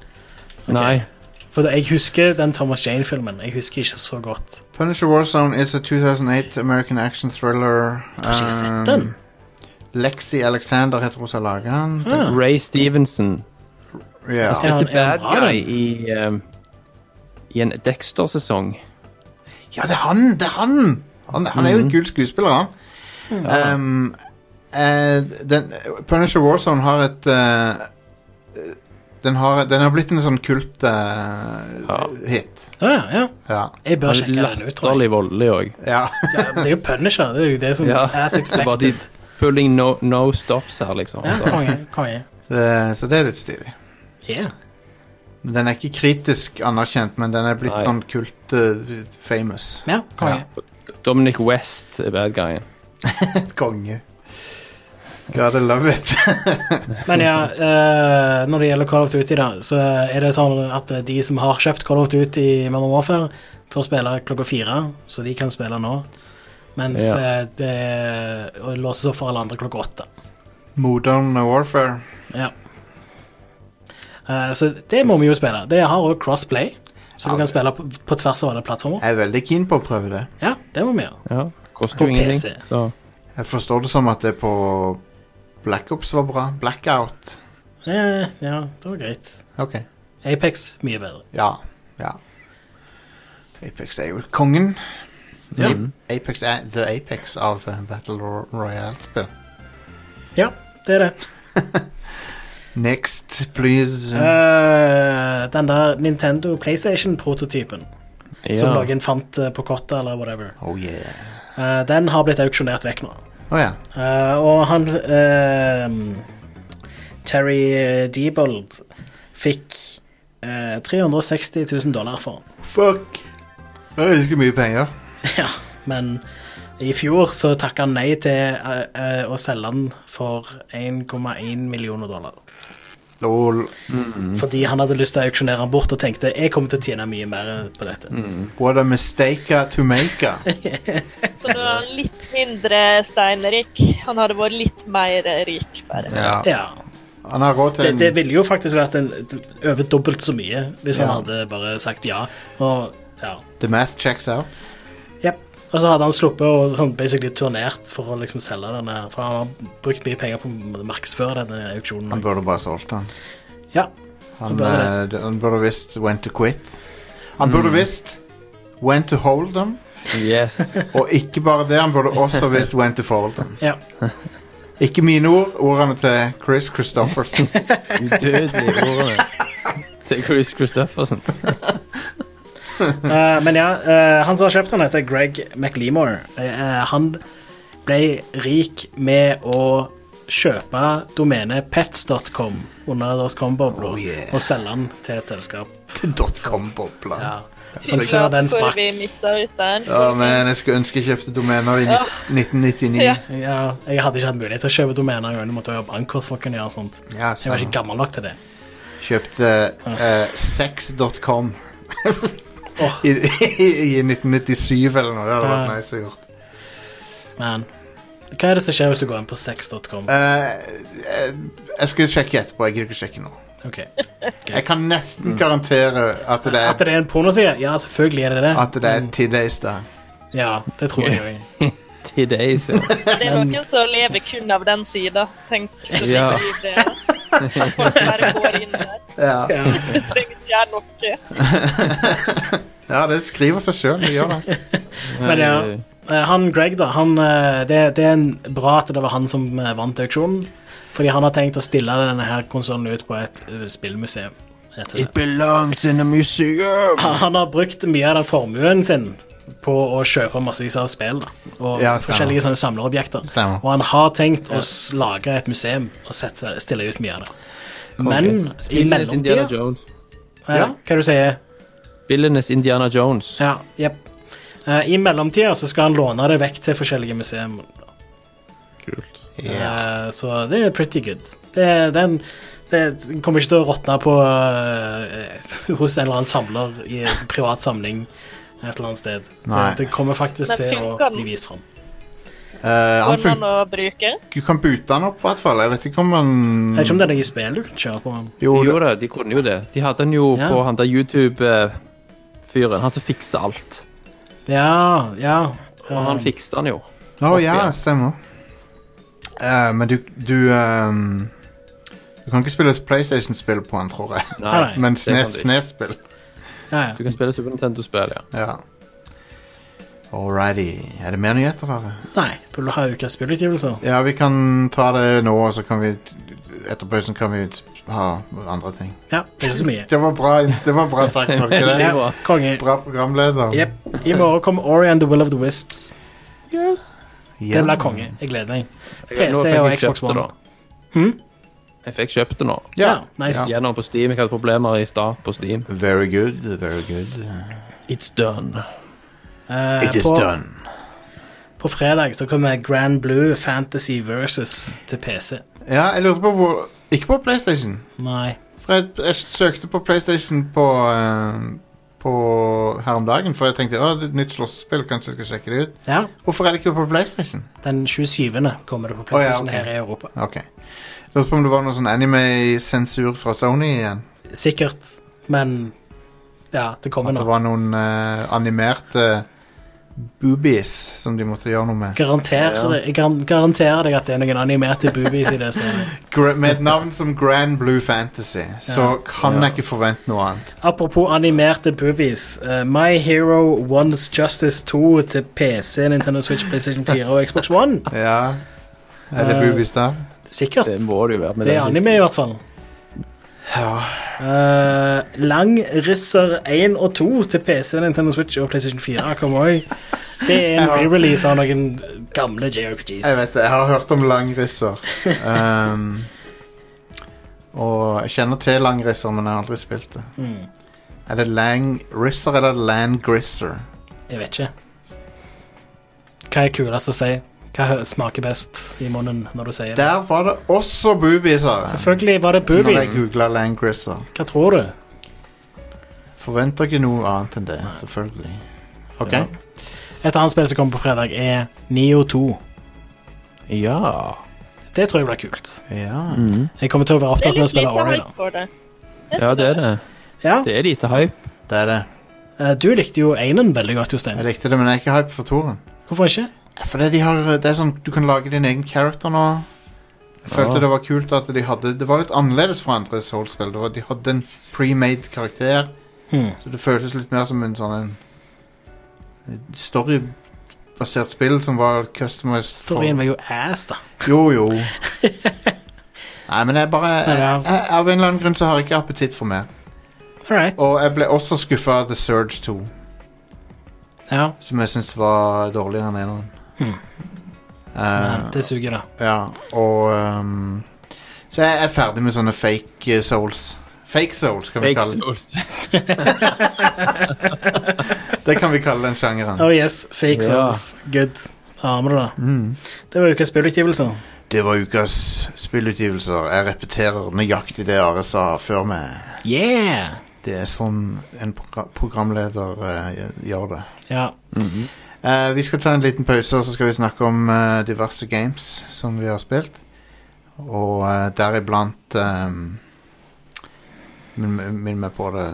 S4: Nei.
S2: For jeg husker den Thomas Jane-filmen. Jeg husker ikke så godt.
S1: Punisher Warzone is a 2008 American action thriller.
S2: Jeg har ikke
S1: Um,
S2: sett den.
S1: Lexi Alexander heter hun som lager den. Det-
S4: Ray Stevenson.
S1: Ja.
S2: Ja,
S4: Spilte
S2: han er
S4: bad
S2: bra,
S4: guy
S2: den.
S4: i, ehm, i en Dexter-sesong.
S1: ja, det er han! Det er han! Han, han er jo
S2: Mm.
S1: en kul skuespiller, han. Um, eh, den, Punisher Warzone har et eh, den, har, den har blitt en sånn kult eh,
S4: Ja.
S1: hit.
S2: Ja, ja.
S1: Ja.
S2: Jeg bør
S4: Han er
S2: sjekke den ut, tror jeg.
S4: Latterlig voldelig òg.
S1: ja.
S2: Ja, men det er jo Punisher. Det er jo det som
S4: Ja.
S2: as
S4: Bare de
S2: expected.
S4: pulling no, no stops her, liksom.
S2: Ja,
S4: Så.
S2: konge, konge.
S1: det, så det er litt stilig.
S2: Yeah.
S1: Men Den er ikke kritisk anerkjent, men den er blitt
S4: Nei.
S1: sånn kult eh, famous.
S2: Ja, konge.
S4: Det Dominic West er bad guyen.
S1: Konge. Gotta love it.
S2: Men ja, eh, når det gjelder Call of Duty, da, så er det sånn at de som har kjøpt Call of Duty i Modern Warfare, får spille klokka fire, så de kan spille nå. Mens
S4: Ja.
S2: eh, det og låses opp for alle andre klokka åtte.
S1: Modern Warfare.
S2: Ja. Eh, så det må vi jo spille. Det har òg crossplay, så
S1: Ja,
S2: du kan
S1: det-
S2: spille på, på tvers av alle plattformer.
S1: Jeg er veldig keen på å prøve det.
S2: Ja, det må vi gjøre.
S4: Ja. Koster
S2: Og
S4: jo ingenting.
S2: PC.
S4: Så.
S1: Jeg forstår det som at det på Black Ops var bra. Blackout.
S2: Eh, ja, det var greit.
S1: Ok.
S2: Apex mye bedre.
S1: Ja. Ja. Apex er jo kongen.
S2: Ja.
S1: mm. Apex er the Apex av eh, Battle Ro- Royale-spill.
S2: Ja, det er det.
S1: Next, please.
S2: Eh, den der Nintendo PlayStation-prototypen som
S4: Ja.
S2: noen fant eh, på kottet eller whatever,
S1: Oh yeah.
S2: eh, den har blitt auksjonert vekk nå.
S1: Å ja.
S2: Eh, og han eh, Terry Diebold fikk eh, 360 000 dollar for den.
S1: Fuck. Det er ganske mye penger.
S2: Ja, men i fjor så takka han nei til eh, eh, å selge den for 1,1 millioner dollar.
S1: Lol.
S2: Fordi han hadde lyst til å auksjonere den bort og tenkte jeg kommer til å tjene mye mer på dette.
S1: What a mistake to make. ah.
S3: Så nå er han litt mindre steinrik. Han hadde vært litt mer rik, bare.
S1: Ja.
S2: Ja,
S1: Han har råd
S2: det,
S1: til
S2: det
S1: en
S2: ville jo faktisk vært en, over dobbelt så mye hvis han
S1: Ja.
S2: hadde bare sagt ja. Og, ja.
S1: The math checks out.
S2: Jep. og så hadde han sluppet og sånn basically turnert for å liksom selge denne. her, For han har brukt mye penger på å markedsføre denne
S1: Han
S2: auksjonen.
S1: burde bare solgt den.
S2: Ja,
S1: Han,
S2: Han burde
S1: eh, d- han burde visst when to quit. Han burde visst when to hold them.
S4: Yes.
S1: Og ikke bare det, han burde også visst when to fold them.
S2: ja.
S1: Ikke mine ord, ordene til Chris Christoffersen.
S4: Udødelige ordene til Chris Christoffersen.
S2: Eh, men ja, eh, han som har kjøpt den, heter Greg McLemore. Eh, han ble rik med å kjøpe domenet pets.com under .com-bobla
S1: Oh, yeah.
S2: og selge den til et selskap.
S1: Dotcom-bobla.
S2: Ja.
S3: Fy
S2: Som før
S3: flate
S2: den
S3: hvor
S2: sprakk.
S3: vi missa ut den.
S1: Ja, men jeg skulle ønske jeg kjøpte domener i ni-
S3: Ja.
S1: 1999.
S3: Ja.
S2: Ja, jeg hadde ikke hatt mulighet til å kjøpe domener. Jeg måtte ha bankkort for å kunne gjøre sånt.
S1: Ja,
S2: Så jeg var
S1: stemmer.
S2: ikke gammel nok til det.
S1: Kjøpte eh, sex.com
S2: Åh.
S1: I, i, i 1997 eller noe. Det hadde vært
S2: Ja.
S1: nice å gjort.
S2: Men hva er det som skjer hvis du går inn på sex.com?
S1: Eh, eh, jeg skulle sjekke etterpå. Jeg gidder ikke sjekke nå.
S2: Ok.
S1: Jeg kan nesten garantere at det
S2: Mm. At
S1: er,
S2: det Mm. er en pornoside? Ja, selvfølgelig er det det.
S1: at det er Tidays der.
S2: Ja, det tror jeg òg.
S4: Til deg, så.
S3: Det er noen som lever kun av den sida. Tenk så mye
S4: Ja.
S3: det er. At Folk bare går inn der.
S1: Ja.
S2: Ja.
S3: Du trenger ikke gjøre noe.
S1: ja, det skriver seg sjøl. Det gjør det.
S2: Men ja, eh, han Greg, da, han, eh, det, det er en bra at det var han som eh, vant auksjonen. Fordi han har tenkt å stille denne her konsollen ut på et eh, spillmuseum. rett og slett.
S4: belongs in a museum.
S2: Han, han har brukt mye av den formuen sin på å kjøpe massevis av spill. Da, og
S1: Ja, stemmer.
S2: forskjellige sånne samlerobjekter.
S1: Stemmer.
S2: Og han har tenkt å s- lage et museum og sette, stille ut mye av det. Men i
S4: Billenes Indiana
S2: mellomtida
S4: Jones.
S2: ja, Hva du sier
S4: Billenes Indiana Jones.
S2: Ja, jepp. Eh, I mellomtida så skal han låne det vekk til forskjellige museum.
S4: Kult.
S2: Eh, så det er pretty good. Det, den det kommer ikke til å råtne på eh, hos en eller annen samler i en privat samling et eller annet sted. Det,
S1: Nei.
S2: det kommer faktisk
S3: Men
S2: til å
S3: funker den?
S2: bli vist fram.
S1: Eh, han
S3: Går
S1: fun
S3: man å bruke?
S1: du kan boote han opp, i hvert fall. Jeg vet ikke om han
S2: Jeg vet ikke om det er noe spill du kan kjøre på. Men.
S1: Jo,
S4: De
S1: det-
S4: gjorde det, de kunne jo det. De hadde den jo
S2: Ja.
S4: på han der YouTube-fyren. Han som fikser alt.
S2: Ja, ja. Eh,
S4: Og han fikste den jo.
S1: Å
S4: Opp
S1: ja,
S4: igjen.
S1: stemmer. Eh, men du Du ehm, Du kan ikke spille PlayStation-spill på den, tror jeg.
S2: Nei,
S1: men
S4: det kan
S1: Snes-
S4: du ikke.
S1: Snes-spill.
S2: Ja,
S4: Du
S2: ja.
S4: kan spille Super Nintendo-spill, ja.
S1: Ja. Alrighty. Er det mer nyheter, Are?
S2: Nei, burde du ha ukas spillutgivelser?
S1: Ja, vi kan ta det nå, og så kan vi Etter pausen kan vi ha andre ting.
S2: Ja, det er ikke så mye.
S1: Det var bra, det var bra sagt, var det ikke det?
S2: Ja, konge.
S1: Bra programleder.
S2: Jep. I morgen kommer Ori and the Will of the Wisps.
S1: Ja.
S2: Det blir konge. Jeg gleder meg.
S4: Jeg- nå
S2: PC
S4: fikk jeg
S2: og
S4: kjøpt
S2: Xbox
S4: det
S2: One. Hm?
S4: da. Jeg fikk kjøpt det nå.
S2: Ja,
S1: Ja.
S2: nice.
S4: Gjennom på Steam. Jeg hadde problemer i stad på Steam.
S1: Very good, very good.
S4: It's done.
S2: Eh,
S1: It is
S2: på,
S1: done.
S2: På fredag så kommer Grand Blue Fantasy versus til PC.
S1: Ja, jeg lurte på hvor Ikke på PlayStation.
S2: Nei.
S1: For jeg, jeg søkte på PlayStation på, eh, på her om dagen, for jeg tenkte å, det er et nytt slåsspill, kanskje jeg skal sjekke det ut.
S2: Ja,
S1: Hvorfor er det ikke på PlayStation?
S2: den 27. kommer det på
S1: Å, ja,
S2: PlayStation
S1: ok.
S2: her i Europa.
S1: Ok. Jeg lurte på om det var noe sånn anime-sensur fra Sony igjen.
S2: Sikkert, men ja, det kommer
S1: At det
S2: nå.
S1: var noen eh, animerte boobies som de måtte gjøre noe med.
S2: Garanter, jeg garan- garanterer deg at det er noen animerte boobies i det spillet.
S1: Gra med et navn som Grand Blue Fantasy, så
S2: Ja.
S1: kan jeg ikke forvente noe annet.
S2: Apropos animerte boobies. eh, My Hero One's Justice 2 til PC, Nintendo Switch, PlayStation 4 og Xbox One.
S1: Ja. Er det
S2: Eh,
S1: boobies der?
S2: Sikkert.
S4: Det må det jo være. men
S2: Det er
S4: den-
S2: anime, i hvert fall. Ja. Lang Risser 1 og 2 til PC, Nintendo Switch og PlayStation 4 kommer òg. Det er en
S1: Ja.
S2: re-release av noen gamle JRPGs.
S1: Jeg vet det, jeg har hørt om langrisser. Um, og jeg kjenner til langrisser, men jeg har aldri spilt det.
S2: Mm,
S1: Er det langrisser eller landgrisser?
S2: jeg vet ikke. Hva er kulest å si? Hva hø- smaker best i munnen når du sier det?
S1: Der var det også boobies, Are.
S2: Selvfølgelig var det
S1: Når jeg
S2: boobies.
S1: googla landgrisser.
S2: Hva tror du?
S1: Forventer ikke noe annet enn det, selvfølgelig. OK.
S4: Ja.
S2: Et annet spill som kommer på fredag, er Neo 2.
S4: Ja. Mm.
S2: Det tror jeg blir kult.
S1: Ja.
S2: Jeg kommer til å være
S3: Det er
S2: opptatt med å
S3: litt
S2: spille
S3: lite
S2: Ori,
S3: hype
S2: da.
S3: for det. Jeg
S4: ja,
S3: tror
S4: det er det.
S2: Ja.
S4: Det er lite hype.
S1: Det er det.
S2: Eh, Du likte jo Einen veldig godt, Jostein.
S1: Jeg likte det, men jeg er ikke hype for toeren.
S2: Hvorfor ikke?
S1: Fordi de har, det er sånn, du kan lage din egen character nå. Jeg følte
S4: Ja.
S1: det var kult at de hadde Det var litt annerledes fra andre Souls-spill. Det var- De hadde en pre-made karakter,
S2: Hmm.
S1: så det føltes litt mer som en sånn en storybasert spill som var customized for-
S2: Storyen var jo ass, da.
S1: Jo, jo. Nei, men jeg bare jeg,
S2: Ja, ja.
S1: jeg, Av en eller annen grunn så har jeg ikke appetitt for mer.
S2: All right.
S1: Og jeg ble også skuffa av The Surge 2,
S2: Ja,
S1: som jeg syns var dårligere enn eneren.
S2: Hmm.
S1: Eh,
S2: men det suger, da.
S1: Ja, og ehm, Så jeg er ferdig med sånne fake eh, souls. Fake souls, kan vi
S4: Fake
S1: kalle det.
S4: souls.
S1: Det kan vi kalle den sjangeren.
S2: Oh yes, fake
S4: Ja.
S2: souls. Good. Har vi det, da.
S1: Mm.
S2: Det var ukas spillutgivelse.
S1: Det var ukas spillutgivelser. Jeg repeterer nøyaktig det Are sa før meg.
S2: Yeah!
S1: Det er sånn en progra programleder eh, gjør det.
S2: Ja.
S1: Eh, vi skal ta en liten pause, og så skal vi snakke om eh, diverse games som vi har spilt. Og eh, deriblant ehm, Minn minn meg på det.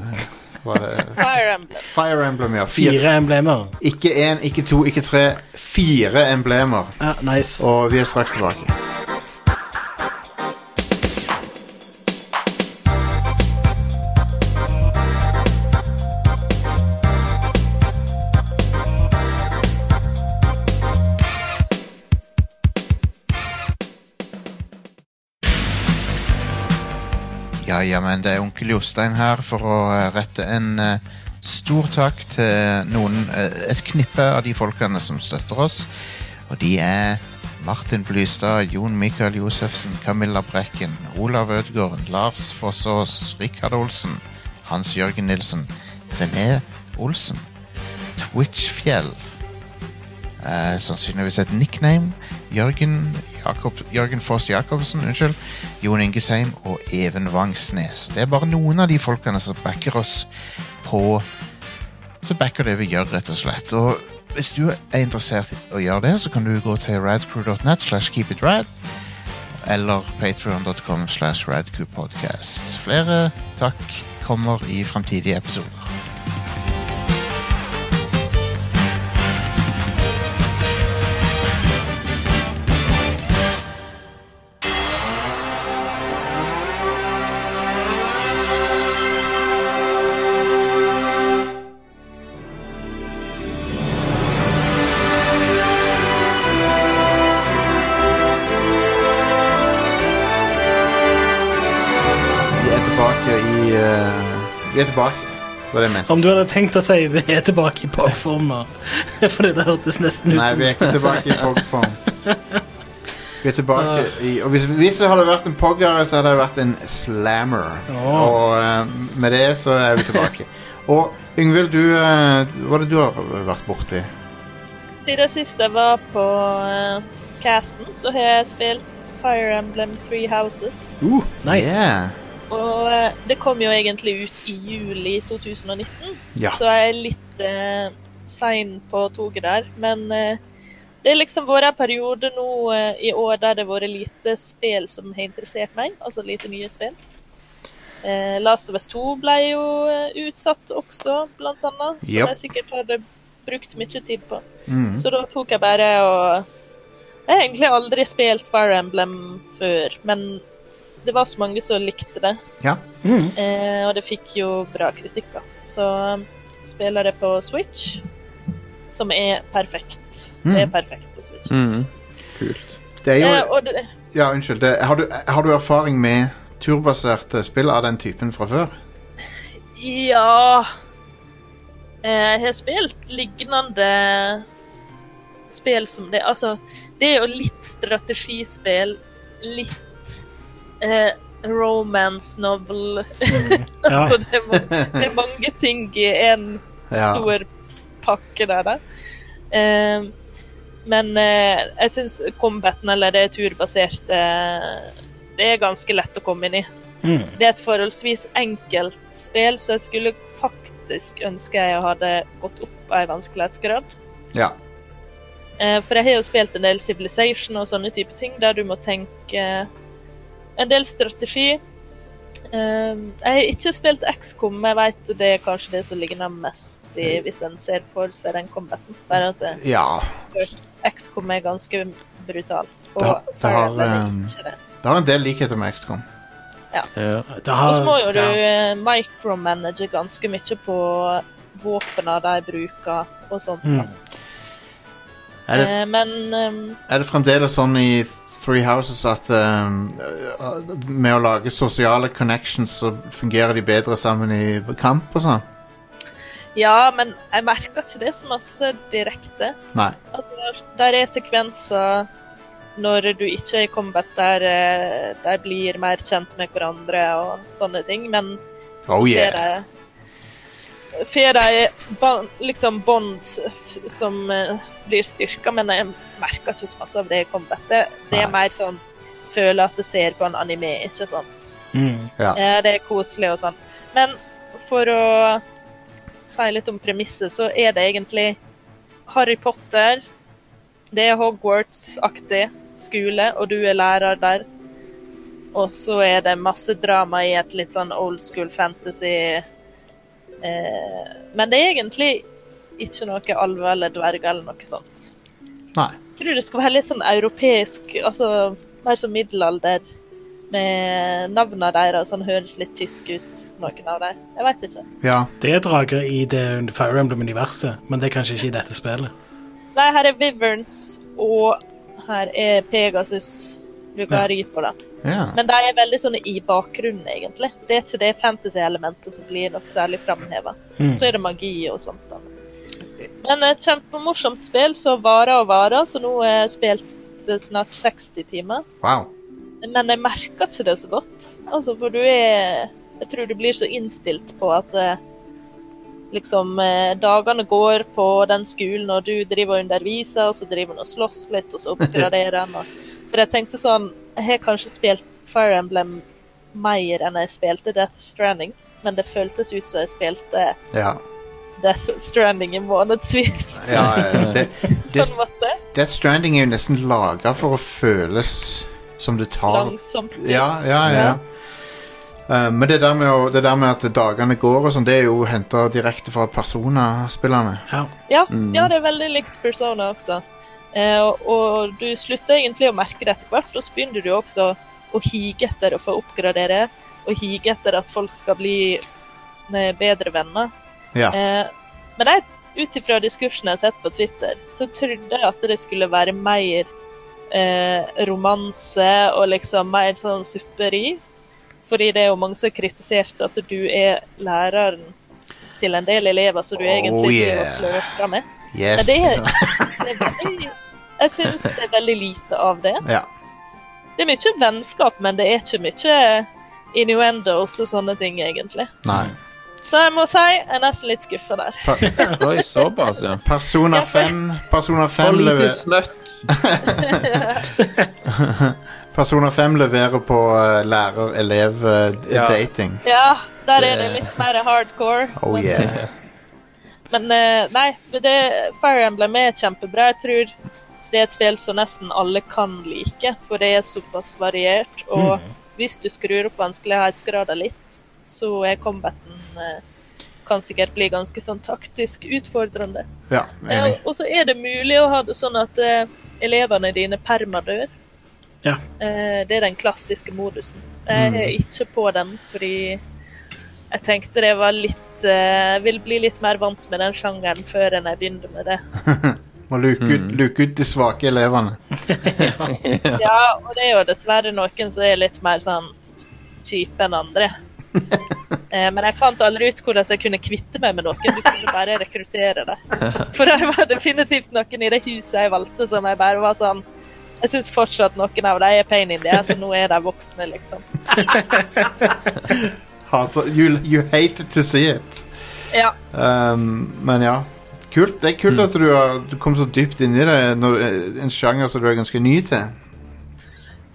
S1: Hva er det?
S3: Fire Emblem.
S1: Fire Emblem, ja. Fire
S2: Fire emblemer.
S1: Ikke én, ikke to, ikke tre. Fire emblemer.
S2: Ja, nice.
S1: Og vi er straks tilbake. Ja, ja, men det er onkel Jostein her for å eh, rette en eh, stor takk til noen, eh, et knippe av de folkene som støtter oss. Og de er Martin Blystad, Jon Mikael Josefsen, Camilla Brekken, Olav Ødgaard, Lars Fossås, Rikard Olsen, Hans Jørgen Nilsen, René Olsen, Twitchfjell, eh, sannsynligvis et nickname, Jørgen, Jakob, Jørgen Foss Jacobsen, unnskyld, Jon Ingesheim og Even Vangsnes. Det er bare noen av de folkene som backer oss på så backer det vi gjør, rett og slett. Og hvis du er interessert i å gjøre det, så kan du gå til radcrew.net slash keepitrad eller patreon.com slash radcrewpodcast. Flere takk kommer i fremtidige episoder. Vi er tilbake i Vi er tilbake. Hva er det jeg
S2: Om du hadde tenkt å si vi er tilbake i popform nå, fordi det hørtes nesten ut
S1: Nei,
S2: som
S1: vi er ikke tilbake i pogform. Vi er tilbake i Og hvis, hvis det hadde vært en poggere, så hadde det vært en slammer.
S2: Åh.
S1: Og eh, med det så er vi tilbake. Og Yngvild, du eh, Hva er det du har vært borti?
S3: Siden sist jeg var på eh, casten, så har jeg spilt Fire Emblem Three Houses.
S2: Uh, nice.
S1: Yeah.
S3: Og eh, det kom jo egentlig ut i juli 2019,
S1: Ja.
S3: så jeg er litt eh, sein på toget der. Men eh, det har liksom vært en periode nå eh, i år der det har vært lite spill som har interessert meg, altså lite nye spill. Eh, Last of Us 2 ble jo eh, utsatt også, blant annet, som
S1: Yep.
S3: jeg sikkert hadde brukt mye tid på.
S1: Mm.
S3: Så da tok jeg bare og Jeg har egentlig aldri spilt Fire Emblem før, men det var så mange som likte det.
S1: Ja.
S3: Eh, og det fikk jo bra kritikk, da. Så um, spiller det på Switch, som er perfekt. Det er perfekt på Switch.
S4: Mm. Kult.
S1: Det er
S3: Eh,
S1: jo
S3: og det,
S1: Ja, unnskyld. Det, har, du, har du erfaring med turbaserte spill av den typen fra før?
S3: ja eh, Jeg har spilt lignende spill som det. Altså, det er jo litt strategispill, litt eh, romance novel.
S2: Mm. Ja.
S3: Så det er, ma- det er mange ting i en
S1: Ja.
S3: stor pakke der, da. Eh, men eh, jeg syns combaten, eller det turbaserte, det er ganske lett å komme inn i.
S2: Mm.
S3: Det er et forholdsvis enkelt spill, så jeg skulle faktisk ønske jeg hadde gått opp ei vanskelighetsgrad.
S1: Ja.
S3: Eh, For jeg har jo spilt en del Civilization og sånne type ting, der du må tenke en del strategi. Eh, Jeg har ikke spilt XCOM, jeg vet det er kanskje det som ligner mest i, hvis en ser for seg den combaten. Bare at eh,
S1: ja.
S3: XCOM er ganske brutalt. Og
S1: Det har- det har,
S3: Fireball er
S1: ehm,
S3: ikke det.
S1: Det har en del likheter med XCOM.
S4: Ja.
S2: Det
S3: Og så må jo du
S2: ja.
S3: eh, micromanage ganske mye på våpnene de bruker og sånt. da.
S2: Mm.
S1: Er det,
S3: Eh, Men ehm,
S1: er det fremdeles sånn i Three Houses at um, uh, med å lage sosiale connections, så fungerer de bedre sammen i kamp og sånn?
S3: Ja, men jeg merker ikke det så masse direkte.
S1: Nei.
S3: At der- der er sekvenser når du ikke er i combat der eh, de blir mer kjent med hverandre og sånne ting, men
S1: Oh
S3: så
S1: yeah.
S3: får de- får de ban- liksom bånd f- som eh, blir styrka, men jeg merker ikke så masse av det i combat. Det, det er
S1: Nei.
S3: mer sånn føler at jeg ser på en anime, ikke sant?
S2: Mm.
S3: Eh, Det er koselig og sånn. Men for å si litt om premisset, så er det egentlig Harry Potter. Det er Hogwarts-aktig skole, og du er lærer der. Og så er det masse drama i et litt sånn old school fantasy eh, Men det er egentlig ikke noe alver eller dverger eller noe sånt.
S1: Nei.
S3: Jeg tror det skal være litt sånn europeisk, altså mer som middelalder. Med navnene deres, sånn høres litt tysk ut, noen av dem. Jeg veit ikke.
S1: Ja.
S2: Det er drager i det Fire Emblem-universet, men det er kanskje ikke i dette spillet.
S3: Nei, her er Viverns, og her er Pegasus. Du kan
S2: Ja.
S3: ri på det.
S1: ja.
S3: Men de er veldig sånne i bakgrunnen, egentlig. Det er ikke det fantasy-elementet som blir noe særlig framheva. Så er det magi og sånt. Da. Men et kjempemorsomt spill som varer og varer, så nå har jeg spilt eh, snart 60 timer.
S1: Wow.
S3: Men jeg merker ikke det så godt. Altså, for du er Jeg tror du blir så innstilt på at eh, liksom eh, Dagene går på den skolen, og du driver og underviser, og så driver han og slåss litt, og så oppgraderer han. og- For jeg tenkte sånn Jeg har kanskje spilt Fire Emblem mer enn jeg spilte Death Stranding, men det føltes ut som jeg spilte
S1: Ja.
S3: Death Stranding i månedsvis.
S1: ja eh, det,
S3: På
S1: det,
S3: en måte.
S1: Death Stranding er jo nesten laga for å føles som du tar
S3: Langsomt.
S1: Ja, ja, ja. Eh, men det der, med å, det der med at dagene går og sånn, det er jo henta direkte fra Persona-spillerne.
S2: Ja.
S3: Ja,
S1: Mm.
S3: ja, det er veldig likt Persona også. Eh, og, og du slutter egentlig å merke det etter hvert, og så begynner du også å hige etter å få oppgradere, og hige etter at folk skal bli med bedre venner.
S1: Ja.
S3: Eh, men jeg, ut ifra diskursen jeg har sett på Twitter, så trodde jeg at det skulle være mer eh, romanse og liksom mer sånn supperi. Fordi det er jo mange som har kritisert at du er læreren til en del elever som du
S1: Oh,
S3: egentlig driver
S1: yeah.
S3: og flørter med.
S1: Yes.
S3: Men det Det er veldig, jeg syns det er veldig lite av det.
S1: Ja.
S3: Det er mye vennskap, men det er ikke mye innuendos og sånne ting, egentlig.
S1: Nei.
S3: Så jeg må si jeg er nesten litt skuffa der.
S1: Per-
S4: Oi, såpass, ja.
S1: Persona
S3: Ja, for-
S1: 5 Persona 5
S4: For lite
S1: lever-
S4: snøtt.
S1: Persona 5 leverer på eh,
S4: Ja.
S1: lærer-elev-dating.
S3: Ja, der er det
S4: Det-
S3: litt mer hardcore.
S1: Oh
S3: men-
S1: yeah.
S3: Men eh, nei, men det, Fire Emblem er kjempebra. Jeg tror det er et spill som nesten alle kan like, for det er såpass variert. Og hvis du skrur opp vanskelighetsgrader litt, så er combaten eh, kan sikkert bli ganske sånn taktisk utfordrende.
S1: Ja,
S3: Eh,
S1: enig.
S3: og så er det mulig å ha det sånn at eh, elevene dine permadør.
S2: Ja.
S3: Eh, det er den klassiske modusen. Jeg er ikke på den fordi jeg tenkte det var litt eh, Jeg vil bli litt mer vant med den sjangeren før enn jeg begynner med det.
S1: Må luke ut, luke ut de svake elevene.
S3: Ja, og det er jo dessverre noen som er litt mer sånn kjipe enn andre. Eh, Men jeg fant aldri ut hvordan jeg kunne kvitte meg med noen. Du kunne bare rekruttere det. For det var definitivt noen i det huset jeg valgte som jeg bare var sånn Jeg syns fortsatt noen av dem er pain in the ass, og nå er de voksne, liksom.
S1: Hater, you, you hate to see it.
S3: Ja.
S1: Um, men ja. Kult. Det er kult at du, har, du kom så dypt inn i det. Når, eh, en sjanger som du er ganske ny til.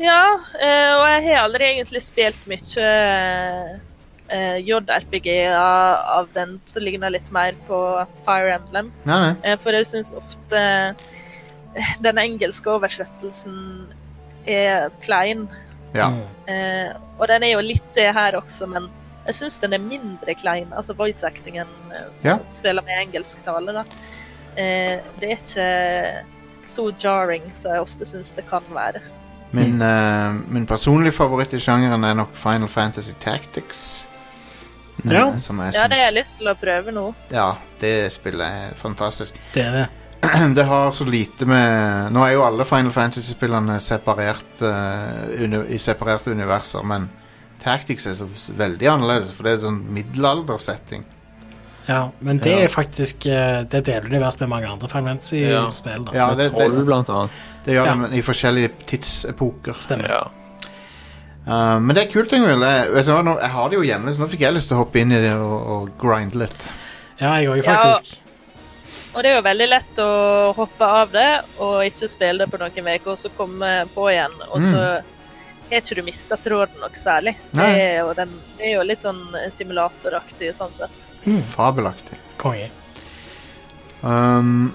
S3: Ja, eh, og jeg har aldri egentlig spilt mye eh, JRPG av, av den som ligner litt mer på Fire Emblem.
S1: Nei, nei.
S3: Eh, For jeg syns ofte eh, den engelske oversettelsen er klein.
S1: Ja.
S3: Eh, og den er jo litt det her også, men jeg syns den er mindre klein. Altså voice-actingen eh,
S1: Ja.
S3: spiller med engelsk tale, da. Eh, det er ikke så jarring som jeg ofte syns det kan være.
S1: Min, eh, min personlige favoritt i sjangeren er nok Final Fantasy Tactics. Eh,
S2: Ja.
S1: Som jeg
S3: Ja, det har jeg
S1: syns-
S3: lyst til å prøve nå.
S1: ja, det spillet er fantastisk.
S2: Det er det.
S1: Det har så lite med Nå er jo alle Final Fantasy-spillene separert eh, uni, i separerte universer, men Tactics er så s- veldig annerledes, for det er sånn middelaldersetting.
S2: Ja, men det
S1: Ja.
S2: er faktisk eh, Det deler univers med mange andre Final
S4: Ja.
S2: Fantasy-spill. da.
S1: Ja, det, det,
S4: Troll, blant annet.
S1: det gjør
S2: Ja.
S1: det men i forskjellige tidsepoker.
S2: Stemmer.
S4: Ja.
S1: Eh, men det er kult, Ingvild. Jeg, vet du hva, nå- jeg har det jo hjemme, så nå fikk jeg lyst til å hoppe inn i det og, og grinde litt.
S2: Ja, jeg òg,
S3: Ja.
S2: faktisk.
S3: Og det er jo veldig lett å hoppe av det og ikke spille det på noen uker, og så komme på igjen, og så har ikke du mista tråden noe særlig. Det
S1: Nei.
S3: er, jo den, det er jo litt sånn simulatoraktig sånn sett.
S1: Fabelaktig.
S2: Konge.
S1: Um,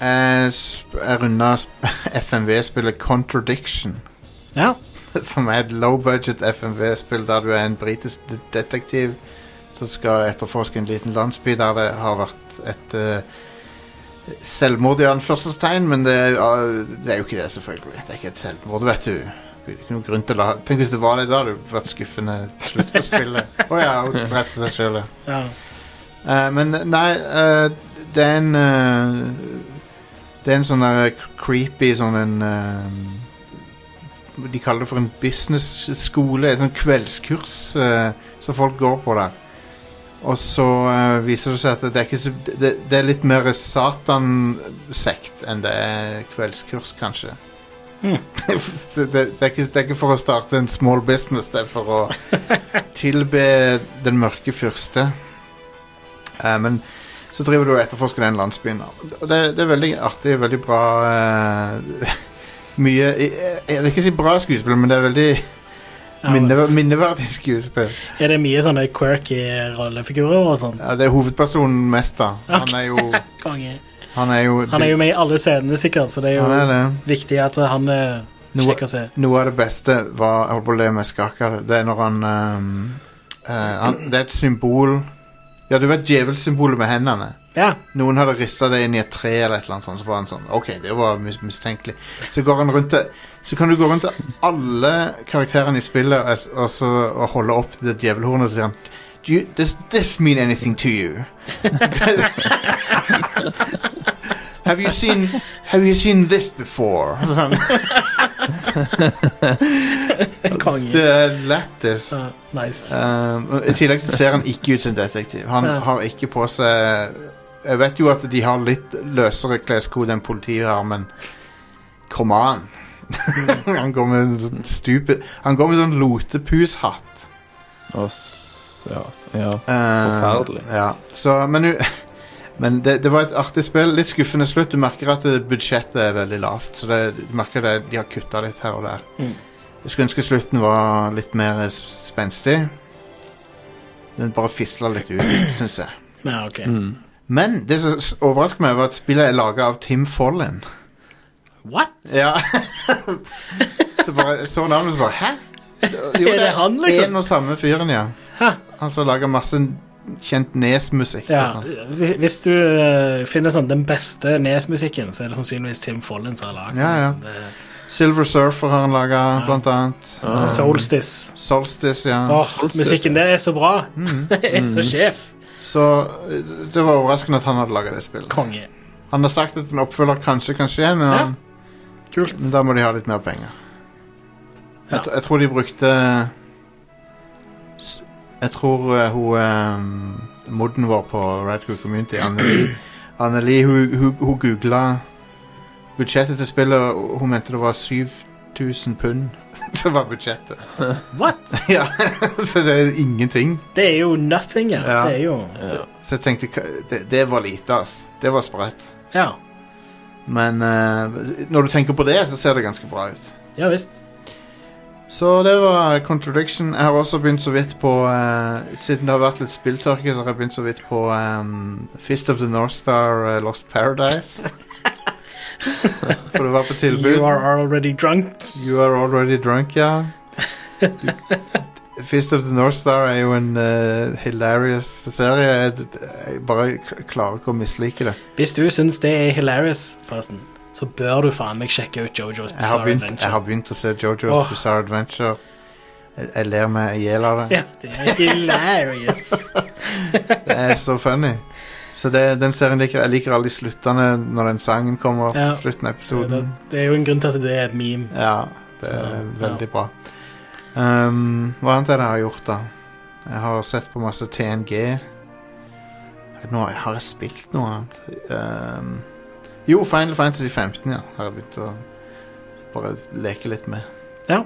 S1: jeg sp- jeg runda sp- FMV-spillet Contradiction,
S2: Ja.
S1: som er et low budget FMV-spill der du er en britisk de- detektiv som skal etterforske en liten landsby der det har vært et eh, selvmord i anførselstegn, men det, er- ja, det er jo ikke det, selvfølgelig. Det er ikke et selvmord, vet du. Det er ikke noen grunn til å ha Tenk hvis det var det, da hadde det vært skuffende slutt på spillet. Å ja, hun drepte seg sjøl, ja.
S2: ja.
S1: Eh, men nei, eh, det er en eh, Det er en sånn der creepy sånn en eh, De kaller det for en business-skole. Et sånn kveldskurs eh, som folk går på der. Og så eh, viser det seg at det er, ikke så, det, det er litt mer satansekt enn det er kveldskurs, kanskje. Så det, det, er ikke, det er ikke for å starte en small business, det er for å tilbe den mørke fyrste. Eh, men så driver du og etterforsker den landsbyen. Og det, det er veldig artig, veldig bra eh, Mye jeg, jeg vil ikke si bra skuespill, men det er veldig
S2: Ja, men-
S1: minnever, minneverdig skuespill.
S2: Er det mye sånne quirky rollefigurer og sånt?
S1: Ja, det er hovedpersonen mest, da. Han er jo
S2: Konge.
S1: Han er jo,
S2: Han er jo med i alle scenene, sikkert, så det er jo
S1: Han er det.
S2: viktig at han eh,
S1: Noe-
S2: sjekker seg.
S1: Noe av det beste var Jeg holdt på å le med skakere. Det er når han, eh, eh, han Det er et symbol Ja, du vet djevelsymbolet med hendene?
S2: Ja.
S1: Noen hadde rista det inn i et tre eller et eller annet sånt, så var han sånn OK, det var mis mistenkelig. Så går han rundt til Så kan du gå rundt til alle karakterene i spillet og, s- og, så, og holde opp det djevelhornet og så sier han Do you, does this mean anything to you? have you seen Have you seen this before? Sånn.
S2: Konge.
S1: Det er lættis.
S2: Ja, nice.
S1: Um, og I tillegg så ser han ikke ut som detektiv. Han
S2: Ja.
S1: har ikke på seg Jeg vet jo at de har litt løsere kleskode enn politiet har, men come on. han går med en sånn stupid Han går med sånn lotepushatt.
S4: Og s- ja. Ja.
S1: Eh,
S4: Forferdelig.
S1: Ja. Så, men u- men det, det var et artig spill. Litt skuffende slutt. Du merker at eh, budsjettet er veldig lavt. Så det, du merker det, de har kutta litt her og der.
S2: Mm.
S1: Jeg skulle ønske slutten var litt mer eh, s- spenstig. Den bare fisla litt ut, syns jeg.
S2: Ja, ok.
S4: Mm.
S1: Men det som s- overrasker meg, var at spillet er laga av Tim Follin.
S2: What?
S1: Ja. så bare jeg så navnet, så bare Hæ? Jo,
S2: Er det han, liksom?
S1: En og samme fyren, ja.
S2: Hæ?
S1: Han som lager masse kjent Nes-musikk. og
S2: Ja,
S1: sånn.
S2: hvis- hvis du eh, finner sånn den beste Nes-musikken, så er det sannsynligvis Tim Follin som har lagd den,
S1: Ja, ja.
S2: liksom. Det-
S1: Silver Surfer har han laga, blant annet.
S4: Ah.
S2: Solstice.
S1: Solstice, ja. Mm.
S2: Åh, musikken der er så bra. Det er så sjef.
S1: Så eh, det var overraskende at han hadde laga det spillet.
S2: Konge.
S1: Han har sagt at en oppfølger kanskje kan skje, men,
S2: Ja.
S1: han,
S2: Kult.
S1: men da må de ha litt mer penger. Jeg,
S2: Ja.
S1: tr- jeg tror de brukte s- Jeg tror eh, hun eh, modden vår på Radcrew Community, Anneli, Anneli hun, hun, hun googla budsjettet til spillet, og hun mente det var 7000 pund. Det var budsjettet.
S2: What?
S1: Ja, så det er ingenting.
S2: Det er jo nothing, ja.
S1: Ja.
S2: Det er jo
S4: Ja.
S1: Så jeg tenkte, hva- det, det var lite, ass. Det var sprøtt.
S2: Ja,
S1: Men eh, når du tenker på det, så ser det ganske bra ut.
S2: ja visst.
S1: Så det var Contradiction. Jeg har også begynt så vidt på eh, Siden det har vært litt spilltørke, så har jeg begynt så vidt på eh, Fist of the North Star eh, Lost Paradise. For det var på tilbud.
S2: You are already drunk.
S1: You are already drunk, ja. Du- Fist of the North Star er jo en eh, hilarious serie. Jeg, jeg bare k- klarer ikke å mislike det.
S2: Hvis du syns det er hilarious, forresten, så bør du faen meg sjekke ut Jojo's
S1: Jeg har
S2: Bizarre
S1: begynt, jeg har
S2: Adventure.
S1: begynt å se Jojo's
S2: Åh.
S1: Bizarre Adventure. Jeg, jeg ler meg i hjel av det.
S2: Ja, det er hilarious.
S1: Det er så funny. Så det, den serien liker jeg. Jeg liker alle de sluttene når den sangen kommer
S2: Ja.
S1: på slutten av
S2: det,
S1: episoden.
S2: det er jo en grunn til at det er et meme.
S1: Ja, det
S2: Så,
S1: er
S2: ja.
S1: veldig bra. Um, hva annet er det jeg har gjort, da? Jeg har sett på masse TNG. Nå har jeg spilt noe annet. Um, jo, Final Fantasy 15, ja. Har jeg begynt å bare leke litt med.
S2: Ja.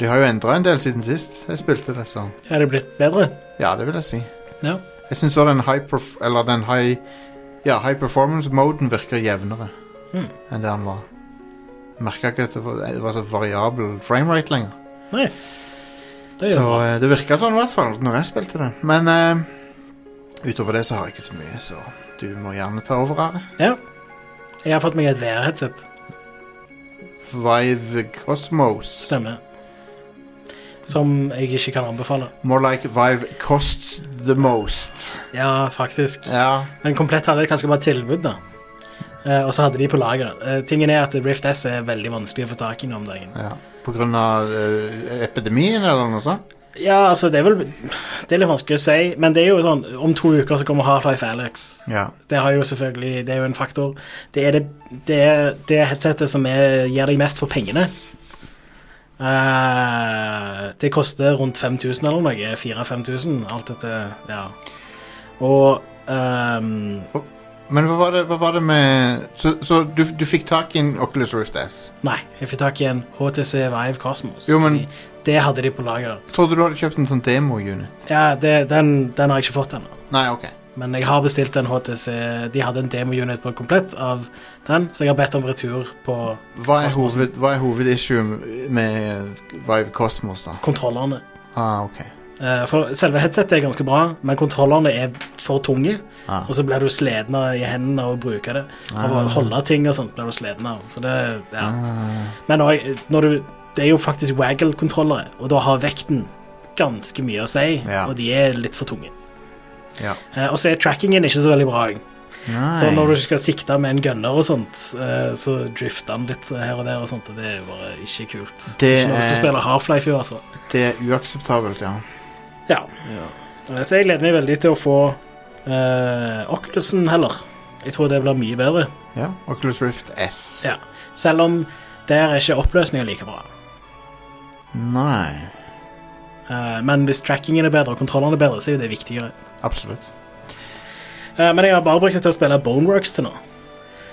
S1: De har jo endra en del siden sist jeg spilte det, så
S2: Er det blitt bedre?
S1: ja, det vil jeg si.
S2: Ja.
S1: Jeg syns òg den high perf eller den high Ja, high performance-moden virker jevnere
S2: Hmm.
S1: enn det den var. Merka ikke at det var, det var så variabel framerate lenger.
S2: Nice. Det er
S1: Så
S2: jo bra.
S1: eh, det virka sånn i hvert fall når jeg spilte det. Men eh, utover det så har jeg ikke så mye, så du må gjerne ta over her.
S2: Ja. Jeg har fått meg et VR-headset.
S1: Vive Cosmos.
S2: Stemmer. Som jeg ikke kan anbefale.
S1: More like Vive costs the most.
S2: Ja, faktisk.
S1: Ja.
S2: Men komplett hadde et ganske bra tilbud, da. Eh, og så hadde de på lager. Eh, tingen er at Rift S er veldig vanskelig å få tak i nå om dagen.
S1: ja. På grunn av eh, epidemien eller noe sånt?
S2: Ja, altså, det er vel Det er litt vanskelig å si, men det er jo sånn Om to uker så kommer Half-Life Alex.
S1: Ja.
S2: Det har jo selvfølgelig Det er jo en faktor. Det er det, det, er det headsetet som er, gir deg mest for pengene. Eh, det koster rundt 5000 eller noe. 4000-5000, alt dette. Ja. Og ehm,
S1: Men hva var det, hva var det med Så, så du, du fikk tak i en Oculus Rift S?
S2: Nei, jeg fikk tak i en HTC Vive Cosmos.
S1: Jo, men-
S2: fordi Det hadde de på lager.
S1: Jeg trodde du hadde kjøpt en sånn demo-unit.
S2: Ja, det, den, den har jeg ikke fått ennå.
S1: Nei, ok.
S2: Men jeg har bestilt en HTC De hadde en demo-unit på komplett av den, så jeg har bedt om retur på
S1: Hva er, hoved, hva er hovedissue med Vive Cosmos, da?
S2: kontrollerne.
S1: Ah, ok.
S2: Eh, For selve headsetet er ganske bra, men kontrollerne er for tunge.
S1: Ah.
S2: Og så blir du sliten av i hendene av å bruke det. Av å
S1: Ah.
S2: holde ting og sånt blir du sliten av. Så det, ja.
S1: Ah,
S2: Men også, når du, det er jo faktisk waggle-kontrollere, og da har vekten ganske mye å si,
S1: Ja.
S2: og de er litt for tunge.
S1: ja.
S2: Eh, Og så er trackingen ikke så veldig bra.
S1: Nei.
S2: Så når du skal sikte med en gunner og sånt, eh, så drifter han litt her og der og sånt, og det er jo bare ikke kult.
S1: Det
S2: Ikke når du
S1: er,
S2: spiller Half-Life i hvert fall.
S1: det er uakseptabelt, ja.
S2: Ja. Eh, Så jeg gleder meg veldig til å få eh, Oculusen heller. Jeg tror det blir mye bedre.
S1: ja. Oculus Rift S.
S2: Ja. Selv om der er ikke oppløsninga like bra.
S1: Nei.
S2: Eh, men hvis trackingen er bedre og kontrollene er bedre, så er jo det viktigere.
S1: Absolutt.
S2: Eh, men jeg har bare brukt det til å spille Boneworks til nå.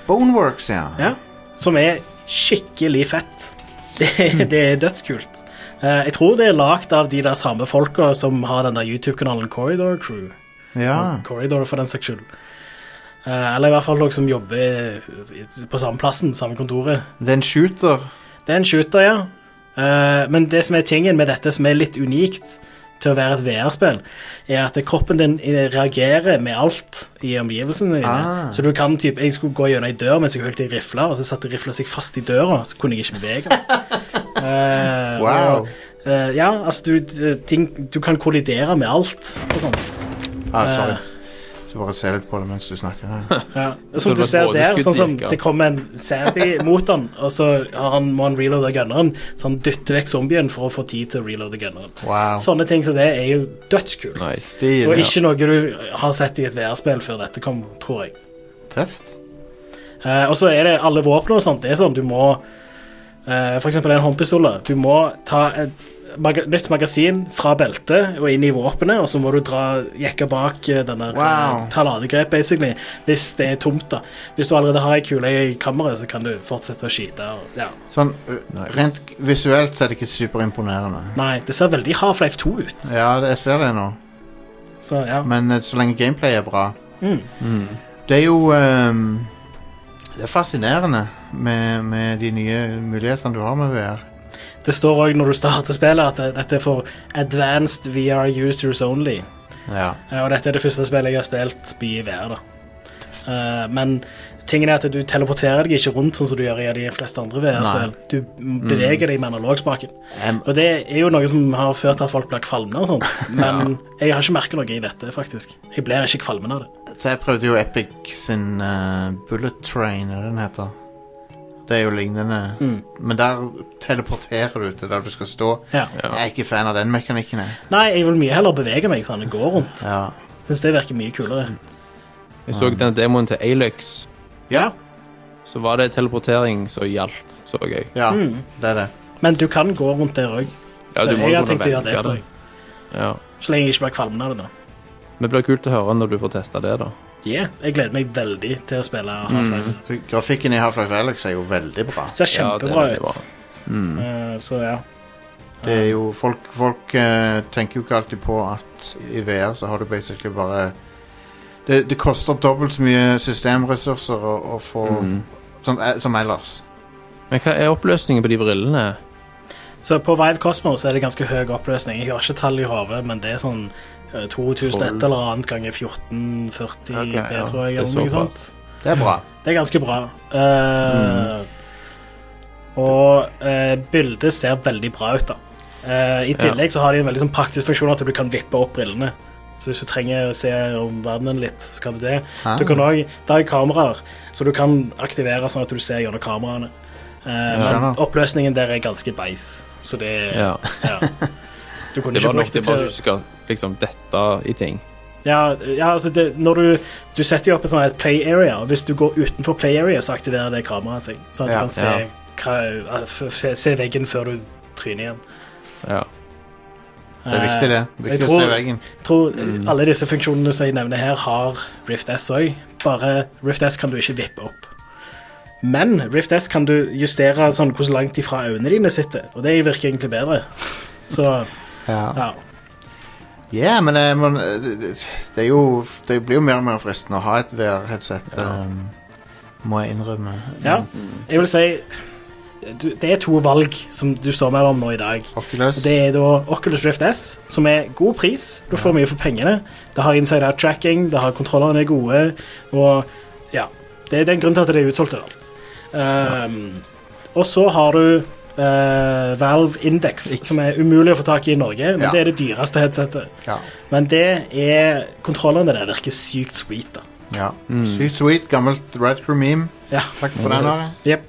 S1: Boneworks, ja.
S2: Ja. Som er skikkelig fett. Det, det er dødskult. Eh, jeg tror det er lagd av de der samme folka som har den der YouTube-kanalen Corridor Crew.
S1: Ja.
S2: Corridor, for den saks skyld. Eh, eller i hvert fall noen som jobber i- i- på samme plassen, samme kontoret.
S1: Det er en shooter.
S2: Det er en shooter, ja. Eh, men det som er tingen med dette som er litt unikt til å være et VR-spill, er at kroppen din eh, reagerer med alt i omgivelsene dine.
S1: Ah.
S2: Så du kan typ, Jeg skulle gå gjennom ei dør mens jeg holdt i rifla, og så satte rifla seg fast i døra, så kunne jeg ikke bevege meg. Eh,
S1: Wow.
S2: og, eh, ja, altså du, eh, ting, du kan kollidere med alt og sånt.
S1: Ah, sorry.
S2: Eh.
S1: Så bare se litt på det mens du snakker. Ja.
S2: Ja.
S4: Så
S2: Som
S4: det
S2: du
S4: var
S2: ser
S4: både
S2: der,
S4: skudd
S2: sånn som
S4: gikk av.
S2: det kommer en zombie mot han, og så har han, må han reloade gunneren, så han dytter vekk zombien for å få tid til å reloade gunneren.
S1: Wow.
S2: Sånne ting som det er jo dødskult.
S4: Nice.
S1: Stil.
S2: Og
S1: ja.
S2: ikke noe du har sett i et VR-spill før dette kom, tror jeg.
S1: Tøft.
S2: Eh, og så er det alle våpen og sånt. Det er sånn du må eh, For eksempel en håndpistol. da. Du må ta et maga nytt magasin fra beltet og inn i våpenet, og så må du dra jekka bak eh, denne
S1: Wow.
S2: ta ladegrep, basically, hvis det er tomt. da Hvis du allerede har ei kule i kammeret, så kan du fortsette å skyte. Og, ja.
S1: Sånn ø,
S4: Nice.
S1: rent visuelt så er det ikke superimponerende.
S2: Nei, det ser veldig Half-Life 2 ut.
S1: Ja, det- jeg ser det nå.
S2: Så ja.
S1: Men eh, så lenge gameplay er bra
S2: Mm.
S1: Det er jo ehm, Det er fascinerende med, med de nye mulighetene du har med VR.
S2: Det står òg når du starter spillet, at det- dette er for advanced VR users only.
S1: Ja.
S2: Eh, Og dette er det første spillet jeg har spilt i VR. da. Eh, men tingen er at du teleporterer deg ikke rundt sånn som du gjør i de fleste andre VR-spill. Du m- beveger deg med analogspaken.
S1: Em,
S2: Og det er jo noe som har ført til at folk blir kvalme og sånt, men jeg har ikke merka noe i dette, faktisk. Jeg blir ikke kvalmen av det.
S1: så jeg prøvde jo Epic sin eh, Bullet Train, er det den heter. Det er jo lignende.
S2: Mm.
S1: Men der teleporterer du til der du skal stå.
S2: Ja.
S1: Jeg er ikke fan av den mekanikken. Jeg.
S2: Nei, jeg vil mye heller bevege meg sånn, gå rundt.
S1: Ja.
S2: Syns det virker mye kulere.
S4: Jeg så den demoen til Alux,
S1: Ja.
S4: så var det teleportering som gjaldt, så jeg.
S1: ja,
S2: Mm.
S1: det er det.
S2: Men du kan gå rundt der òg,
S4: Ja,
S2: så
S4: du må
S2: jeg har
S4: kunne
S2: tenkt å gjøre
S4: velge
S2: det, tror jeg.
S4: Ja.
S2: Så lenge jeg ikke blir kvalmen av det, da.
S4: Men det blir kult å høre når du får testa det, da.
S2: Yeah. Jeg gleder meg veldig til å spille
S4: Mm.
S2: Half-Life.
S1: Så grafikken i Half-Life Alex er jo veldig bra.
S2: Ser
S4: Ja, det er
S2: kjempebra
S4: veldig
S2: ut.
S4: Mm.
S2: Eh, så ja.
S1: Det er jo, Folk, folk eh, tenker jo ikke alltid på at i VR så har du basically bare Det, det koster dobbelt så mye systemressurser å, å få
S2: Mm.
S4: Mhm.
S1: som, eh, som ellers.
S4: Men hva er oppløsningen på de brillene?
S2: Så på Vive Cosmos er det ganske høy oppløsning. Jeg har ikke tall i hodet, men det er sånn eh, 2001 eller annet ganger 1440
S4: Ok,
S2: det
S4: ja,
S2: tror jeg,
S4: det er
S2: eller noe sånt.
S4: såpass.
S1: Det er bra.
S2: Det er ganske bra. Eh, Og eh, bildet ser veldig bra ut, da. Eh, I tillegg så har de en veldig sånn praktisk funksjon at du kan vippe opp brillene. Så hvis du trenger å se om verdenen litt, så kan du det.
S1: Ah.
S2: Du kan også, det er jo kameraer, så du kan aktivere sånn at du ser gjennom kameraene. Eh, men
S1: skjønner.
S2: oppløsningen der er ganske beis, så det
S4: Ja.
S2: ja. Du kunne
S4: Det
S2: ikke
S4: var nok
S2: brukt
S4: det
S2: det
S4: bare du
S2: til
S4: skal liksom dette i ting.
S2: ja, ja, altså det, når du, du setter jo opp en sånn her play area, og hvis du går utenfor play area, så aktiverer det kameraet seg. Sånn at
S1: Ja,
S2: du kan se,
S4: ja.
S2: hva, f- f- se veggen før du tryner igjen.
S4: Ja.
S1: Det er viktig, det. Mm. Viktig
S2: Eh, jeg tror-
S1: å se veggen.
S2: Jeg Eh, tror alle disse funksjonene som jeg nevner her, har Rift S òg. Bare Rift S kan du ikke vippe opp. Men Rift S kan du justere sånn hvor langt ifra øynene dine sitter, og det virker egentlig bedre. Så
S1: Ja,
S2: ja.
S1: Ja, men eh, man, eh, det, det- det, er jo, det blir jo mer og mer fristende å ha et VR-headset, må jeg innrømme.
S2: ja.
S1: Mm.
S2: Jeg vil si du, Det er to valg som du står mellom nå i dag.
S1: Oculus.
S2: Det er da Oculus Rift S, som er god pris. Du får mye for pengene. Det har insider tracking, det har kontrollene er gode, og ja Det er den grunnen til at det er utsolgt overalt. Um, Og så har du eh, Valve Index, som er umulig å få tak i i Norge, men
S1: Ja.
S2: det er det dyreste headsetet.
S1: Ja.
S2: Men det er Kontrollene der virker sykt sweet, da.
S1: ja.
S4: Mm.
S1: Sykt sweet. Gammelt Red Crew-meme.
S2: Mm. Ja.
S1: Takk for den. Are.
S2: Jep.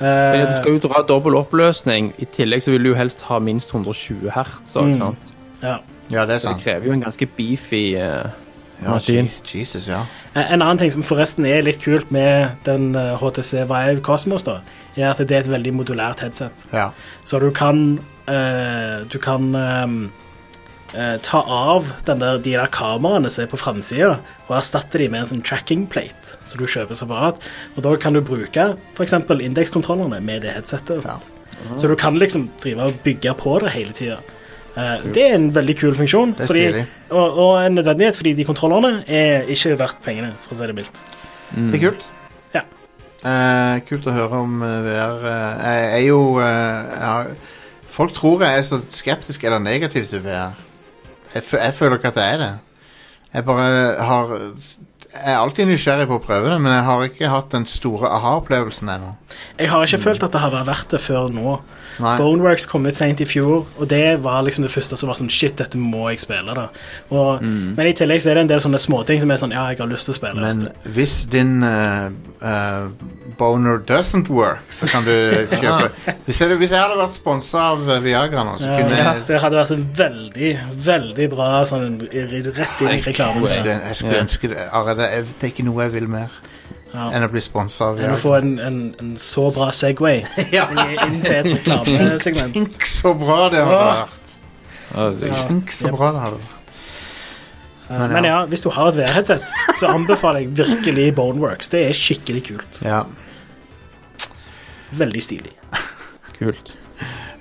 S4: Men
S2: Eh,
S4: du skal jo dra dobbel oppløsning. I tillegg så vil du jo helst ha minst 120 hertz. Også,
S2: Mm.
S4: ikke sant?
S2: ja.
S1: Ja, det er
S4: Så
S1: sant.
S4: det krever jo en ganske beefy eh,
S1: Ja,
S4: maskin.
S1: Je- Jesus, ja.
S2: En annen ting som forresten er litt kult med den eh, HTC Vive Cosmos, da, er at det er et veldig modulært headset.
S1: ja.
S2: Så du kan eh, Du kan eh, eh, ta av den der, de der kameraene som er på framsida, og erstatte de med en sånn tracking plate som du kjøper separat. Og da kan du bruke f.eks. indekskontrollene med det headsetet. og sånt.
S1: Mhm.
S2: Så du kan liksom drive og bygge på det hele tida. Eh, det er en veldig kul funksjon,
S1: Det er
S2: fordi,
S1: stilig.
S2: og, og en nødvendighet, fordi de kontrollerne er ikke verdt pengene, for å si det mildt.
S1: Det er kult.
S2: Ja.
S1: Mm. Eh, kult å høre om eh, VR. eh, Jeg er jo eh, jeg har- Folk tror jeg er så skeptisk eller negativ til VR. Jeg, fø- jeg føler ikke at jeg er det. Jeg bare har Jeg er alltid nysgjerrig på å prøve det, men jeg har ikke hatt den store aha-opplevelsen ennå.
S2: Jeg har
S1: Mm.
S2: ikke følt at det har vært verdt det før nå.
S1: Nei.
S2: Boneworks kom ut sent i fjor, og det var liksom det første som var sånn Shit, dette må jeg spille, da. Og, Men i tillegg så er det en del sånne småting som er sånn Ja, jeg har lyst til å spille.
S1: Mm. Men hvis din eh, eh, boner doesn't work, så kan du kjøpe Hvis jeg, hvis jeg hadde vært sponsa av eh, Viagra nå, så kunne
S2: ja,
S1: jeg
S2: det hadde vært en veldig, veldig bra sånn i- rett inn i reklamen.
S1: Jeg
S2: så.
S1: skulle, jeg skulle
S4: Ja.
S1: ønske det. Are, det, er, det er ikke noe jeg vil mer
S2: Ja.
S1: enn å bli sponsa av
S2: Jeg må få en, en, en så bra Segway inn i- inn til et reklamesegment.
S1: Tenk så bra det hadde
S2: eh, Åh.
S1: vært!
S4: Å, det-
S2: Ja.
S1: Tenk så
S2: Jep.
S1: bra det hadde vært. Men
S2: Men ja, hvis du har et VR-headset, så anbefaler jeg virkelig Boneworks. Det er skikkelig kult.
S1: Ja.
S2: Veldig stilig.
S4: Kult.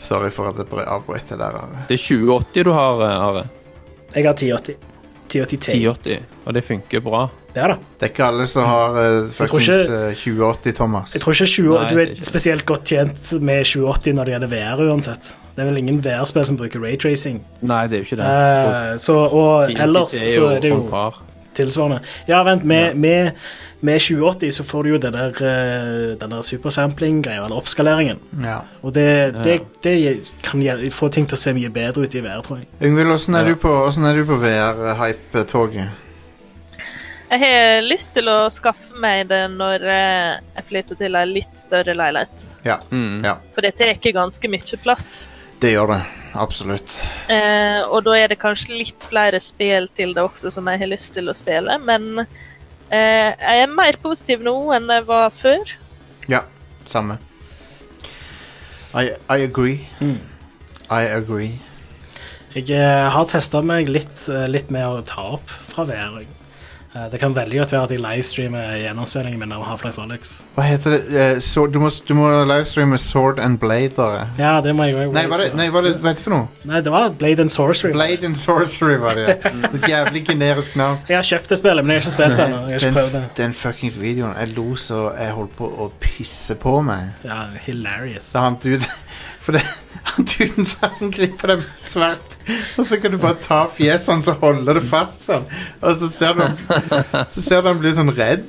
S1: Sorry for at jeg bare avbrøt det der. Are.
S4: Det er 2080 du har, eh, Are.
S2: Jeg har 1080. 1080 T.
S4: 1080. Og det funker bra.
S2: Det er det.
S1: Det er ikke alle som har uh,
S2: Mm. tror
S1: fuckings
S2: ikke-
S1: eh, 2080, Thomas.
S2: Jeg tror ikke 20, du
S4: Nei, det
S2: er
S4: er ikke det.
S2: spesielt godt tjent med 2080 når det gjelder VR uansett. Det er vel ingen VR-spill som bruker raytracing.
S4: Nei, det er jo ikke det.
S2: Eh, så, og ellers så er det jo
S4: Par.
S2: tilsvarende. Ja, vent, med, med, med 2080 så får du jo den der, eh, den der supersampling-greia, eller oppskaleringen.
S1: Ja.
S2: Og det, det, det kan gjel- få ting til å se mye bedre ut i VR, tror jeg.
S1: Yngvild, åssen er
S4: Ja.
S1: du på, hvordan er du på VR-hype-toget?
S3: Jeg har lyst til å skaffe meg det når eh, jeg flytter til ei litt større leilighet.
S1: Ja.
S4: Mm.
S1: ja,
S3: For det tar ganske mye plass.
S1: det gjør det. Absolutt.
S3: Eh, og da er det kanskje litt flere spill til det også som jeg har lyst til å spille, men eh, jeg er mer positiv nå enn jeg var før.
S1: Ja, samme. I, I agree.
S2: Mm.
S1: I agree.
S2: Jeg eh, har testa meg litt, eh, litt med å ta opp fra VR. jeg. Eh, Det kan veldig godt være at jeg livestreamer gjennomspillingen min av Half-Life Alex.
S1: Hva heter det? Eh, så, du, må, du må livestreame Sword and Blade. Are.
S2: Ja, det må jeg jo
S1: Nei, hva er det, nei, hva er det, hva er det for noe?
S2: Nei, det var Blade and Sorcery.
S1: Blade and Sorcery var det.
S2: Mm.
S1: ja. Et jævlig generisk navn.
S2: Jeg har kjøpt det spillet, men jeg har ikke spilt det ennå. Jeg har
S1: Den,
S2: ikke prøvd det.
S1: den fuckings videoen. Jeg lo så jeg holdt på å pisse på meg.
S2: Ja, hilarious.
S1: Da han duden For det, han duden så han griper deg med sverd, og så kan du bare ta fjeset hans og holde det fast sånn. Og så ser du han- Så ser du han blir sånn redd.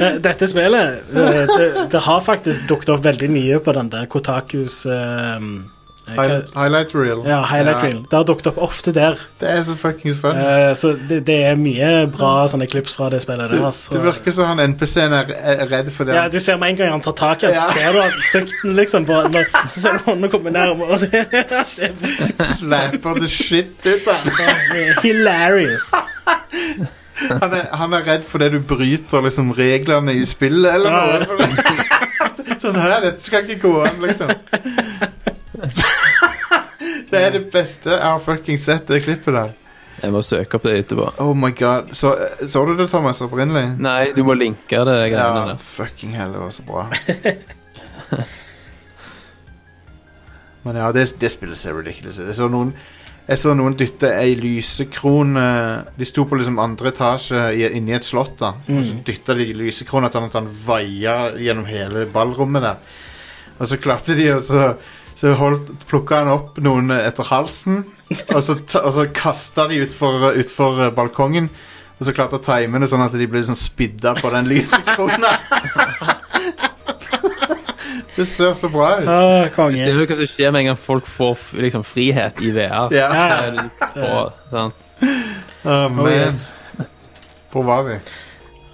S2: Eh, Dette spillet, eh, det, det har faktisk dukket opp veldig mye på den der Kotakus eh, eh, hva-
S1: Highlight, highlight reel.
S2: ja, highlight reel. Det har dukket opp ofte der.
S1: Det er så fuckings fun.
S2: Eh, så det, det er mye bra sånne klips fra det spillet der. Altså.
S1: Det virker som han NPC-en er er redd for det.
S2: Ja, du ser med en gang han tar tak i den, så ser du at frykten liksom på når, Så ser du hånda komme nærmere, og så
S1: Slapper the shit ut av han.
S2: Hilarious.
S1: han. er- Han er redd for det du bryter liksom reglene i spillet eller
S2: Ja,
S1: noe. sånn her, dette skal ikke gå an, liksom. det er det beste jeg har fucking sett, det klippet der.
S4: Jeg må søke opp det etterpå.
S1: Oh my god. Så, så du det, Thomas, opprinnelig?
S4: Nei, du må linke det greiene
S1: Ja,
S4: der.
S1: fucking hell, det var så bra. Men ja, det, det spillet ser ridiculous ut. Jeg så noen jeg så noen dytte ei lysekrone De sto på liksom andre etasje i- inni et slott, da. Og så dytta de lysekrona til han at han vaia gjennom hele ballrommet der. Og så klarte de, og så, så holdt, plukka han opp noen eh, etter halsen. Og så, ta- og så kasta de utfor, utfor eh, balkongen. Og så klarte å time det sånn at de ble sånn spidda på den lysekrona. det ser så bra ut.
S2: Å, konge.
S4: Ser du hva som skjer med en gang folk får f- liksom, frihet i VR?
S1: Ja.
S2: Ja,
S4: Det er
S2: ja.
S4: litt på, sant?
S1: Å,
S2: Oh,
S1: man.
S2: yes.
S1: Hvor var vi?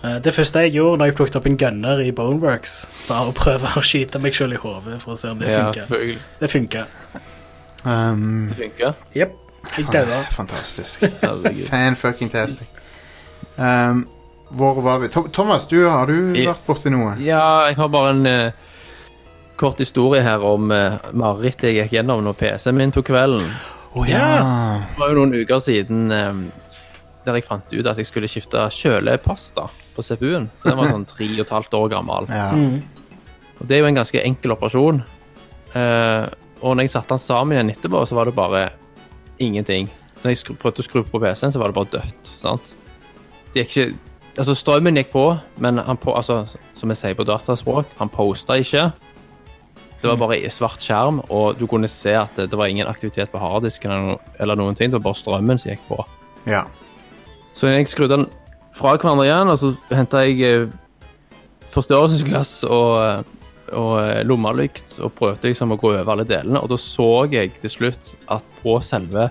S2: Eh, Det første jeg gjorde når jeg plukket opp en gunner i Boneworks, var å prøve å skyte meg selv i hodet for å se om det
S4: Ja,
S2: funker.
S4: selvfølgelig.
S2: Det funker.
S1: Um,
S4: Det funker.
S2: Jep. Jeg daua.
S1: fan- fantastisk.
S4: Herregud.
S1: Fan-fucking-tastic. Um, hvor var vi? Tom Thomas, du, har du
S4: I-
S1: vært borti noe?
S4: Ja, jeg har bare en eh, kort historie her om uh, marerittet jeg gikk gjennom når PC-en min på kvelden.
S1: Å ja.
S4: Det var jo noen uker siden eh, der jeg fant ut at jeg skulle skifte kjølepasta på CPU-en. Den var sånn tre og et halvt år gammel.
S1: ja.
S4: Og det er jo en ganske enkel operasjon. Eh, og når jeg satte den sammen igjen etterpå, så var det bare ingenting. Når jeg skru- prøvde å skru på PC-en, så var det bare dødt. sant? Det gikk ikke... Altså, strømmen gikk på, men han på, altså, som jeg sier på dataspråk, han posta ikke. Det var bare i svart skjerm, og du kunne se at det, det var ingen aktivitet på harddisken eller, no, eller noen ting. Det var bare strømmen som gikk på.
S1: Ja.
S4: Så jeg skrudde den fra hverandre igjen, og så henta jeg eh, forstørrelsesglass og, og eh, lommelykt og prøvde liksom å gå over alle delene. Og da så jeg til slutt at på selve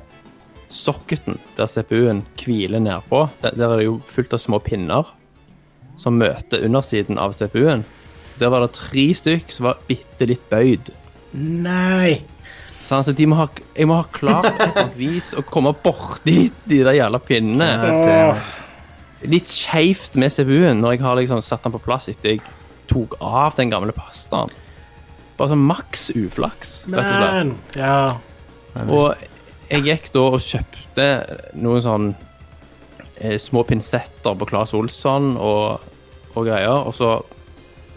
S4: socketen der CPU-en hviler nedpå, der, der er det jo fullt av små pinner som møter undersiden av CPU-en. Der var det tre stykk som var bitte litt bøyd. Sånn,
S2: Nei.
S4: Så han sa, de må ha, jeg må ha klart på et eller annet vis å komme borti de der jævla pinnene
S1: Det,
S4: litt skeivt med CPU-en når jeg har liksom satt den på plass etter jeg tok av den gamle pastaen. Bare sånn maks uflaks, rett og slett.
S2: Men Ja.
S4: Og jeg gikk da og kjøpte noen sånn eh, små pinsetter på Claes Olsson og, og greier, og så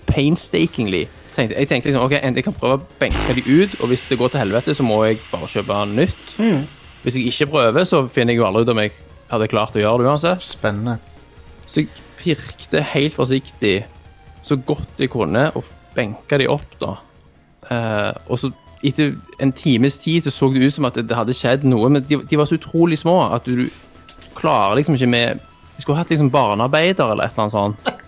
S4: painstakingly tenkte, Jeg tenkte liksom, ok, jeg kan prøve å benke de ut, og hvis det går til helvete, så må jeg bare kjøpe nytt. Hvis jeg ikke prøver, så finner jeg jo aldri ut om jeg hadde klart å gjøre det uansett.
S1: Spennende.
S4: Så jeg pirkte helt forsiktig så godt jeg kunne, og benka de opp, da. Eh, og så etter en times tid så så det ut som at det hadde skjedd noe, men de, de var så utrolig små at du, du klarer liksom ikke med Jeg skulle hatt liksom barnearbeider eller et eller annet sånt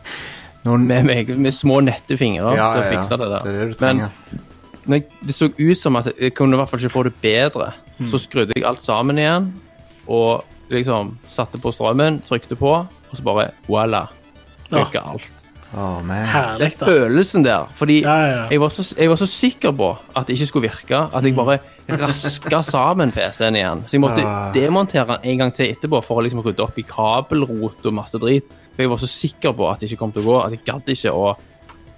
S1: Noen,
S4: med, meg, med små, nette fingre
S1: Ja, ja,
S4: til å
S1: ja.
S4: fikse det der.
S1: Det er det du
S4: men
S1: trenger.
S4: når jeg, det så ut som at jeg kunne i hvert fall ikke få det bedre. Så skrudde jeg alt sammen igjen, og liksom satte på strømmen, trykte på, og så bare voila. Funka alt.
S1: Å, man.
S2: Herlig,
S4: Det er
S2: da.
S4: følelsen der. Fordi
S2: Ja, ja, Mm. ja.
S4: Jeg, var så, jeg var så sikker på at det ikke skulle virke, at jeg bare raska sammen PC-en igjen. Så jeg måtte
S1: Ah.
S4: demontere den en gang til etterpå for å liksom rydde opp i kabelrot og masse drit. For jeg var så sikker på at det ikke kom til å gå, at jeg gadd ikke å,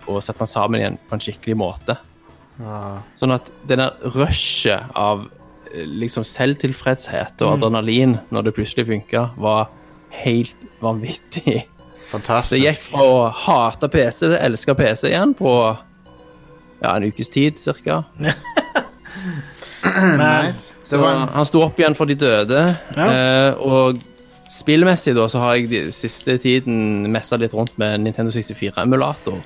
S4: å sette den sammen igjen på en skikkelig måte. Sånn at det der rushet av eh, liksom selvtilfredshet
S2: Mm.
S4: og adrenalin når det plutselig funka, var helt vanvittig. Så
S1: Fantastisk.
S4: jeg gikk fra å hate PC til å elske PC igjen på ja, en ukes tid, cirka.
S2: Men
S1: Det
S4: Så
S1: var en,
S4: han sto opp igjen for de døde.
S2: Ja.
S4: Eh, og spillmessig da, så har jeg de siste tiden messa litt rundt med Nintendo 64-emulator.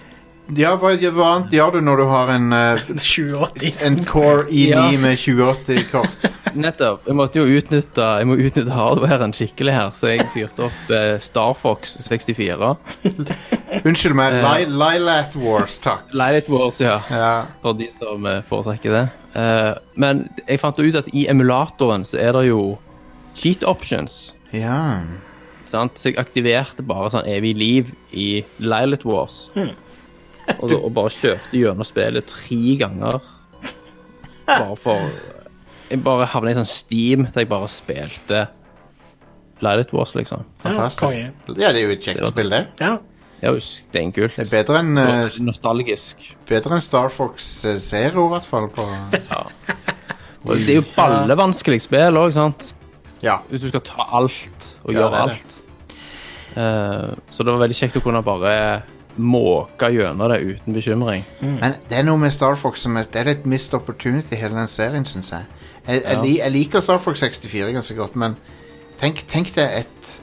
S1: ja, hva, hva annet gjør du når du har en, eh,
S2: 2080.
S1: en Core i9
S4: Ja.
S1: med 2080-kort?
S4: Nettopp. Jeg måtte jo utnytte, jeg må utnytte hardwaren skikkelig her, så jeg fyrte opp eh, Star Fox 64.
S1: Unnskyld meg.
S4: Ja.
S1: Li Lilat Wars, takk.
S4: Light Wars, ja.
S1: Ja.
S4: for de som eh, foretrekker det. Eh, men jeg fant ut at i emulatoren så er det jo cheat options.
S1: ja.
S4: Sant? Så jeg aktiverte bare sånn evig liv i Lilith Wars. Og, da- og bare kjørte gjennom spillet tre ganger. Bare for eh, Jeg bare havna i sånn steam der jeg bare spilte Lilith Wars, liksom.
S1: Fantastisk.
S2: Ja,
S1: Ja, det er jo et kjekt spill, det.
S2: ja.
S4: Det er jo steinkult.
S1: Det er bedre enn eh,
S4: Og Nostalgisk.
S1: bedre enn Star Fox eh, Zero, i hvert fall. På,
S4: Og det er jo ballevanskelig spill òg, sant?
S1: ja.
S4: Hvis du skal ta alt
S1: Ja,
S4: og
S1: det
S4: gjøre
S1: er det.
S4: alt. Eh, så det var veldig kjekt å kunne bare måke gjennom det uten bekymring.
S1: Men det er noe med Star Fox som er, det er litt missed opportunity, hele den serien, syns jeg. Jeg, jeg,
S4: Ja.
S1: li- jeg liker Star Fox 64 ganske godt, men tenk, tenk deg et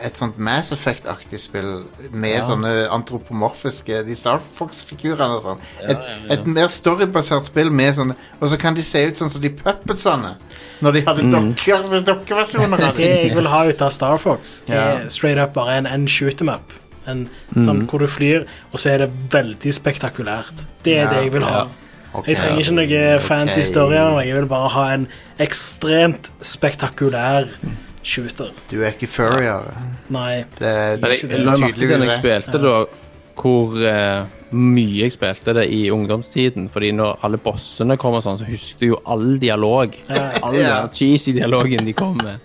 S1: et sånt Mass Effect-aktig spill med
S4: Ja.
S1: sånne antropomorfiske De Star Fox-figurene og sånn. Et, et mer storybasert spill med sånne Og så kan de se ut sånn som de puppetsene når de hadde dokker, dokkeversjoner av
S2: Det
S1: dem.
S2: Mm. jeg vil ha ut av Star Fox, det
S1: Ja.
S2: er straight up bare en, en shoot 'em up. En,
S4: Mm.
S2: sånn, Hvor du flyr, og så er det veldig spektakulært. Det er
S1: Ja.
S2: det jeg vil ha.
S4: Ja.
S1: Ok.
S2: Jeg trenger ikke noe fancy
S1: Ok.
S2: historier. Jeg vil bare ha en ekstremt spektakulær
S4: Mm.
S2: shooter.
S1: Du er ikke furrier.
S2: Nei.
S1: Det er
S4: Men jeg, jeg la merke til da jeg
S1: tydeligvis det.
S4: spilte da, hvor eh, mye jeg spilte det i ungdomstiden. Fordi når alle bossene kom og sånn, så husker du jo all dialog. All den
S1: Ja.
S4: cheesy dialogen de kom med.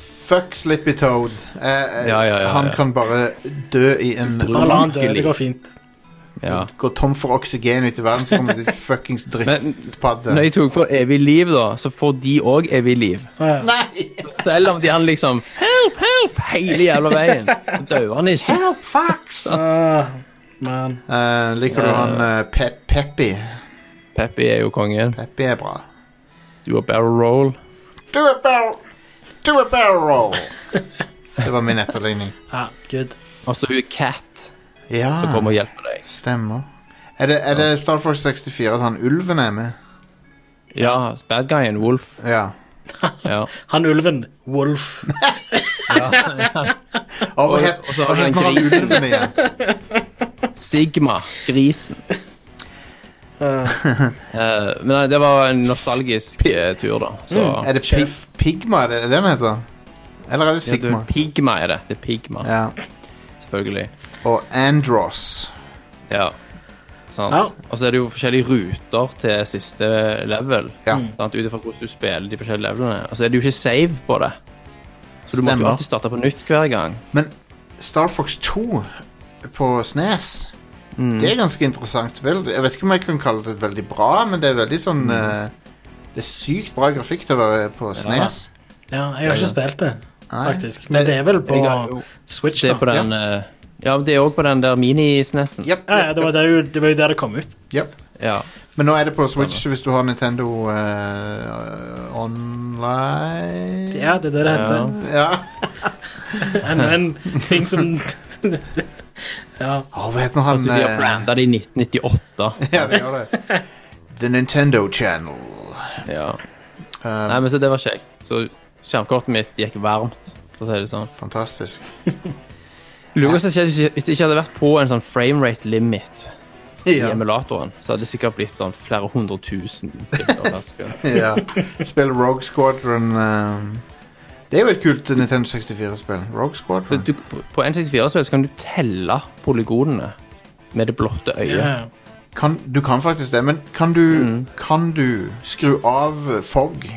S1: Fuck Slippy Toad. Eh, eh,
S4: Ja, ja, ja,
S1: han
S4: ja.
S1: kan bare dø i en
S2: Bare la han dø.
S4: Ulykkelig.
S2: Det går fint.
S4: Ja.
S1: Gå tom for oksygen ut i verdensrommet, de fuckings
S4: Når
S1: drittpadde.
S4: jeg tok på Evig liv, da, så får de òg evig liv.
S2: Ja.
S1: Nei!
S4: Selv om de han liksom Help, help! Hele jævla veien. Så dør han ikke.
S2: Ah, Man.
S1: Eh, liker du
S4: Ja.
S1: han eh, Pe Peppy?
S4: Peppy er jo kongen.
S1: Peppy er bra.
S4: Du har barrel roll.
S1: Do a barrel, do a barrel roll. Det var min etterligning.
S2: Ja, good.
S4: Og så hun er Cat,
S1: Ja,
S4: som kommer og hjelper deg.
S1: stemmer. Er det, er det Star Force 64 at han ulven er med?
S4: Ja, bad guyen, Wolf.
S1: Ja.
S4: Ja.
S2: Han ulven, Wolf.
S1: Og, og,
S4: og så har vi den
S1: heter han
S4: grisen.
S1: ulven igjen.
S4: Sigma, grisen.
S1: Ah.
S4: Eh, men nei, det var en nostalgisk eh, tur, da. Så
S1: Er det pig, Pigma? Er det er det den heter? Eller er det
S4: Ja, du,
S1: Sigma?
S4: Pigma er det. Det er Pigma,
S1: Ja.
S4: selvfølgelig.
S1: Og Andros.
S4: Ja. Sant.
S2: Ja.
S4: Og så er det jo forskjellige ruter til siste level.
S1: Ja.
S2: Mm.
S4: Sant? Ut ifra hvordan du spiller de forskjellige levelene. Og så er det jo ikke save på det. Så du måtte
S1: Stemmer.
S4: jo alltid starte på nytt hver gang.
S1: Star Fox 2 på SNES.
S2: Mm.
S1: Det er ganske interessant spill. Jeg vet ikke om jeg kan kalle det veldig bra, men det er veldig
S2: Mm.
S1: sånn eh, Det er sykt bra grafikk til å være på SNES.
S2: Ja, jeg har ikke spilt det,
S1: Nei.
S2: faktisk. Men det er vel på
S4: Jeg har jo-
S2: Switch,
S4: Det er på
S2: da.
S4: den eh, Ja, men det er òg på den der mini-snessen.
S1: Japp,
S2: Ja, ja, det var
S1: japp,
S2: det jo det var jo der det kom ut.
S1: japp.
S4: Ja.
S1: Men nå er det på Switch hvis du har Nintendo eh, online
S2: Ja, det er det det heter.
S1: ja.
S2: En, en ting som Ja.
S1: Å, hva heter han
S2: Altså,
S4: Så Altså, de har
S1: eh,
S4: branda det i 1998.
S1: Ja, det gjør det. The Nintendo Channel.
S4: Ja.
S1: Eh,
S4: Nei, men så det var kjekt. Så skjermkortet mitt gikk varmt, for å si det sånn.
S1: Fantastisk.
S4: Lurer på hva som skjedde hvis jeg- hvis det ikke hadde vært på en sånn framerate limit i
S1: Ja.
S4: emulatoren, så hadde det sikkert blitt sånn flere hundre tusen. bilder per sekund.
S1: ja. Spill Rogue Squadron. eh, det er jo et kult Nintendo 64-spill. Rogue
S4: Så
S1: Squadron.
S4: du, på N64-spill så kan du telle polygonene med det blotte øyet.
S2: ja.
S1: Kan, du kan faktisk det, men kan du,
S4: Mm.
S1: kan du skru av eh, fog?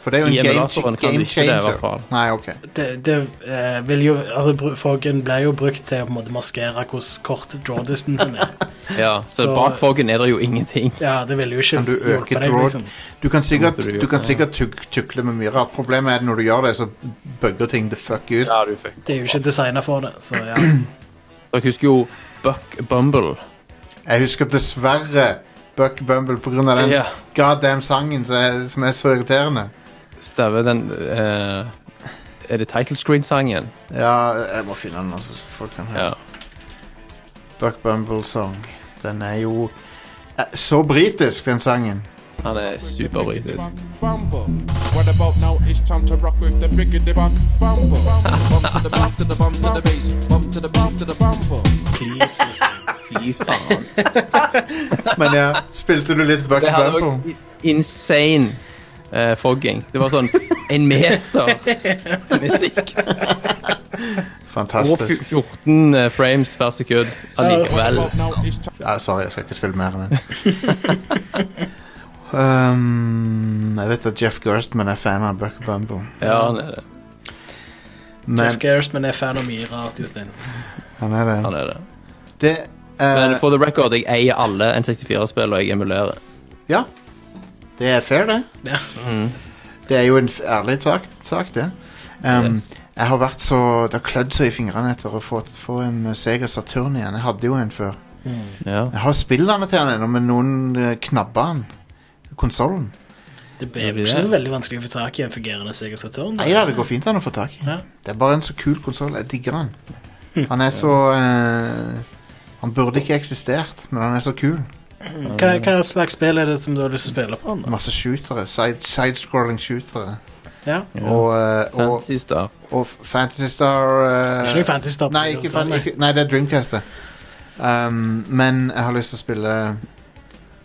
S1: For det er jo
S4: I
S1: en game,
S4: emulatoren kan du
S1: game
S4: ikke det, i
S1: changer.
S4: hvert fall.
S1: Nei, ok.
S2: Det, det eh, vil jo Altså, bru- foggen ble jo brukt til å på en måte maskere hvor kort draw distancen er.
S4: Ja, så,
S2: Så-
S4: bak foggen er det jo ingenting.
S2: Ja, det ville jo ikke
S1: Kan du øke
S2: hjulpet deg,
S1: draw-
S2: liksom.
S1: Du kan sikkert,
S4: måtte du gjøre
S1: du kan
S4: det,
S1: sikkert tuk tukle med mye rart. Problemet er at når du gjør det, så bugger ting the fuck ut.
S4: Ja, du fikk.
S2: Det er jo ikke designa for det, så ja.
S4: Dere husker jo Buck Bumble.
S1: Jeg husker dessverre Buck Bumble pga. den
S4: Ja.
S1: goddamn sangen som er, som er så irriterende.
S4: Stave den eh, Er det title screen-sangen?
S1: Ja, jeg må finne den, altså, så folk kan høre.
S4: Ja.
S1: Buck Bumble Song. Den er jo eh, så britisk, den sangen.
S4: Han er superbritisk.
S10: Bumble. What about now? It's time to rock with the biggity bump. Bumble. Bump to the bump to the bump to the bass. Bump to the bump to the bumble.
S2: Please.
S4: Fy faen.
S1: Men ja, spilte du litt Buck
S4: Det hadde
S1: Bumble?
S4: òg insane eh, fogging. Det var sånn en meter musikk. Og
S1: Fantastisk.
S4: fj- 14 eh, frames per sekund
S10: What
S4: allikevel.
S10: about now? It's time.
S1: Ja, sorry, jeg skal ikke spille mer enn den. um, jeg vet at Jeff Gerstman er fan av Buck Bumble.
S4: Ja, han er det.
S1: Men
S2: Jeff Gerstmann er fan av mye rart, Jostein.
S1: han er det.
S4: Han er det.
S1: det eh,
S4: Men for the record, jeg eier alle N64-spill, og jeg emulerer.
S1: ja, det er fair, det.
S2: Ja.
S1: Mm. Det er jo en f- ærlig sak, sak det. Um,
S4: Yes.
S1: Jeg har vært så Det har klødd seg i fingrene etter å få, få en eh, Sega Saturn igjen. Jeg hadde jo en før.
S2: Mm.
S4: Ja.
S1: Jeg har spillene til den ennå, men noen eh, knabba den. Konsollen.
S2: Det er jo ikke så veldig vanskelig å få tak i en fungerende Sega Saturn.
S1: Nei da, det går fint an å få tak i.
S2: Ja. Hm.
S1: Det er bare en så kul konsoll. Jeg digger den. Han er så eh, Han burde ikke eksistert, men han er så kul. Mm.
S2: Hva, hva slags spill er det som du har lyst til å spille på? Da?
S1: Masse shootere. Side, sidescrolling shootere.
S2: Ja.
S1: Og, eh, og,
S4: Fantasy Star.
S1: og Fantasy Star eh,
S2: Ikke noe Fantasy Star. på
S1: Nei,
S2: Sega
S1: ikke,
S2: Saturn,
S1: fan, ikke, nei, det er Dreamcast, det. Um, men jeg har lyst til å spille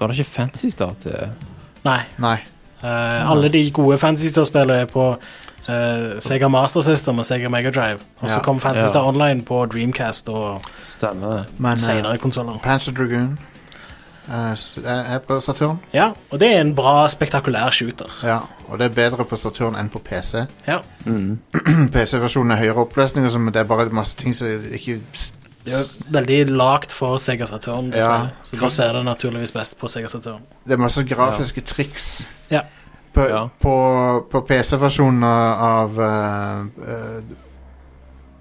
S4: Var det ikke Fantasy Star til
S2: Nei.
S1: Nei.
S2: Eh, alle de gode Fantasy Star-spillene er på eh, Sega Master System og Sega Mega Drive. Og så
S1: Ja.
S2: kom Fantasy
S4: Ja.
S2: Star Online på Dreamcast og
S4: Stemmer det.
S1: Men eh,
S2: senere konsoller.
S1: Panzer Dragoon eh, s- er er på Saturn.
S2: Ja, og det er en bra, spektakulær shooter.
S1: Ja, og det er bedre på Saturn enn på PC.
S2: Ja.
S4: Mm.
S1: PC-versjonen er høyere oppløsning, og så- men det er bare masse ting som ikke s-
S2: Det er jo veldig lagt for Sega Saturn, det
S1: Ja.
S2: spillet, så da ser det naturligvis best på Sega Saturn.
S1: Det er masse grafiske triks.
S2: Ja.
S1: På,
S4: Ja.
S1: på, på PC-versjonen av eh, eh,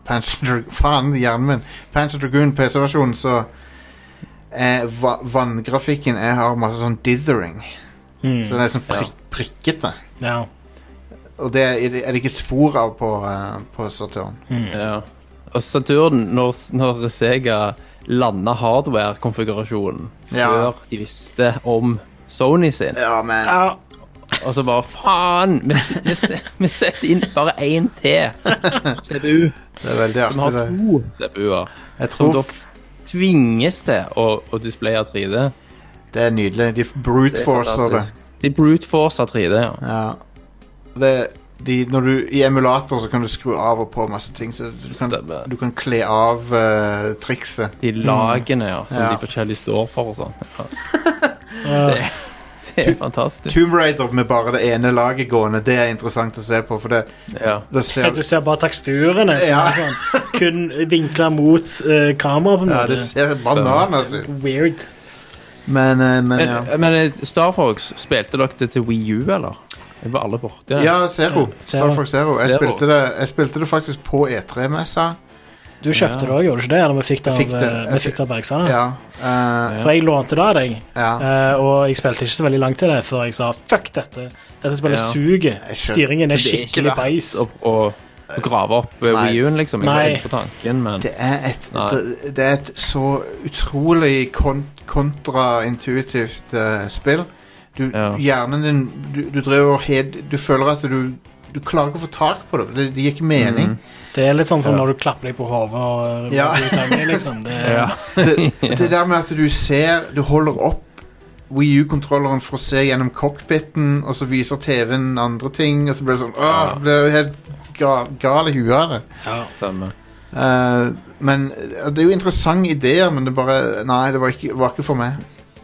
S1: Panzer Dra- Faen, hjernen min. Panzer Dragoon PC-versjonen, så eh, va Vanngrafikken jeg har masse sånn dithering.
S4: Hmm.
S2: Mm.
S1: Så den er sånn prik prikkete.
S2: Ja.
S1: Og det er det er det ikke spor av på, eh, på Saturn.
S4: Ja. Og Saturn, når, når Sega landa hardware-konfigurasjonen
S1: Ja.
S4: før de visste om Sony sin,
S1: Ja, men
S2: ja.
S4: og så bare faen! Vi, vi, se- vi setter inn bare én til CPU.
S1: Det er veldig
S4: Vi har
S1: artig. det.
S4: to CPU-er
S1: Jeg
S4: som
S1: tror
S4: da tvinges til å, å displaye 3D.
S1: det er nydelig. De
S4: Det er
S1: brute-forcer det.
S4: fantastisk. De brute forcer 3D. ja.
S1: Ja. Det, de, når du, I emulator så kan du skru av og på masse ting, så du kan,
S4: Stemmer.
S1: du kan kle av eh, trikset.
S4: De lagene ja, som
S1: Ja.
S4: de forskjellige står for og sånn. Ja,
S2: Uh,
S4: det er fantastisk.
S1: Tomb Raider med bare det ene laget gående, det er interessant å se på, for det,
S4: Ja.
S1: det
S2: Ja,
S1: ser
S2: Du ser bare teksturene. som
S1: Ja.
S2: er Sånn, kun vinkla mot eh, kamera på en
S1: Ja, det
S2: måte.
S1: ser bananas ut.
S2: Weird.
S1: Men, eh, men ja.
S4: Men, men eh, Star Fox, spilte dere det til Wii U, eller? Jeg var alle borti det.
S1: Ja, Zero. Star Fox Zero. Jeg
S4: Zero.
S1: spilte det, jeg spilte det faktisk på E3-messa.
S2: Du kjøpte
S4: Ja.
S2: det òg, gjorde du ikke det? Eller vi fikk det av,
S1: Jeg fikk det.
S2: eh,
S1: Jeg
S2: vi fikk det av Bergsala?
S1: Ja. eh,
S2: For jeg lånte det av deg,
S1: ja.
S2: eh, og jeg spilte ikke så veldig langt til det før jeg sa fuck dette. Dette spillet
S4: Ja.
S2: suger.
S1: Jeg skjønner.
S2: Styringen er
S4: Det er ikke
S2: skikkelig
S4: verdt
S2: beis.
S4: Å, å, å grave opp eh,
S1: Nei.
S4: Wii U-en, liksom. Jeg
S2: Nei.
S4: var inne på tanken, men
S1: Det er et,
S4: Nei.
S1: det, det er et så utrolig kont kontraintuitivt eh, spill. Du,
S4: Ja.
S1: Hjernen din Du, du driver og hed, Du føler at du Du klarer ikke å få tak på det. Det, det gir ikke
S4: Mm.
S1: mening.
S2: Det er litt sånn som
S4: Ja.
S2: når du klapper deg på hodet og
S1: Ja.
S2: blir utømmelig, liksom. Det,
S4: ja.
S1: Det, det der med at du ser Du holder opp Wii U-kontrolleren for å se gjennom cockpiten, og så viser TV-en andre ting, og så blir det sånn Åh,
S4: Ja.
S1: Blir helt gal, gal i huet av det.
S4: Stemmer.
S1: Eh, men eh, Det er jo interessante ideer, men det bare Nei, det var ikke, var ikke for meg.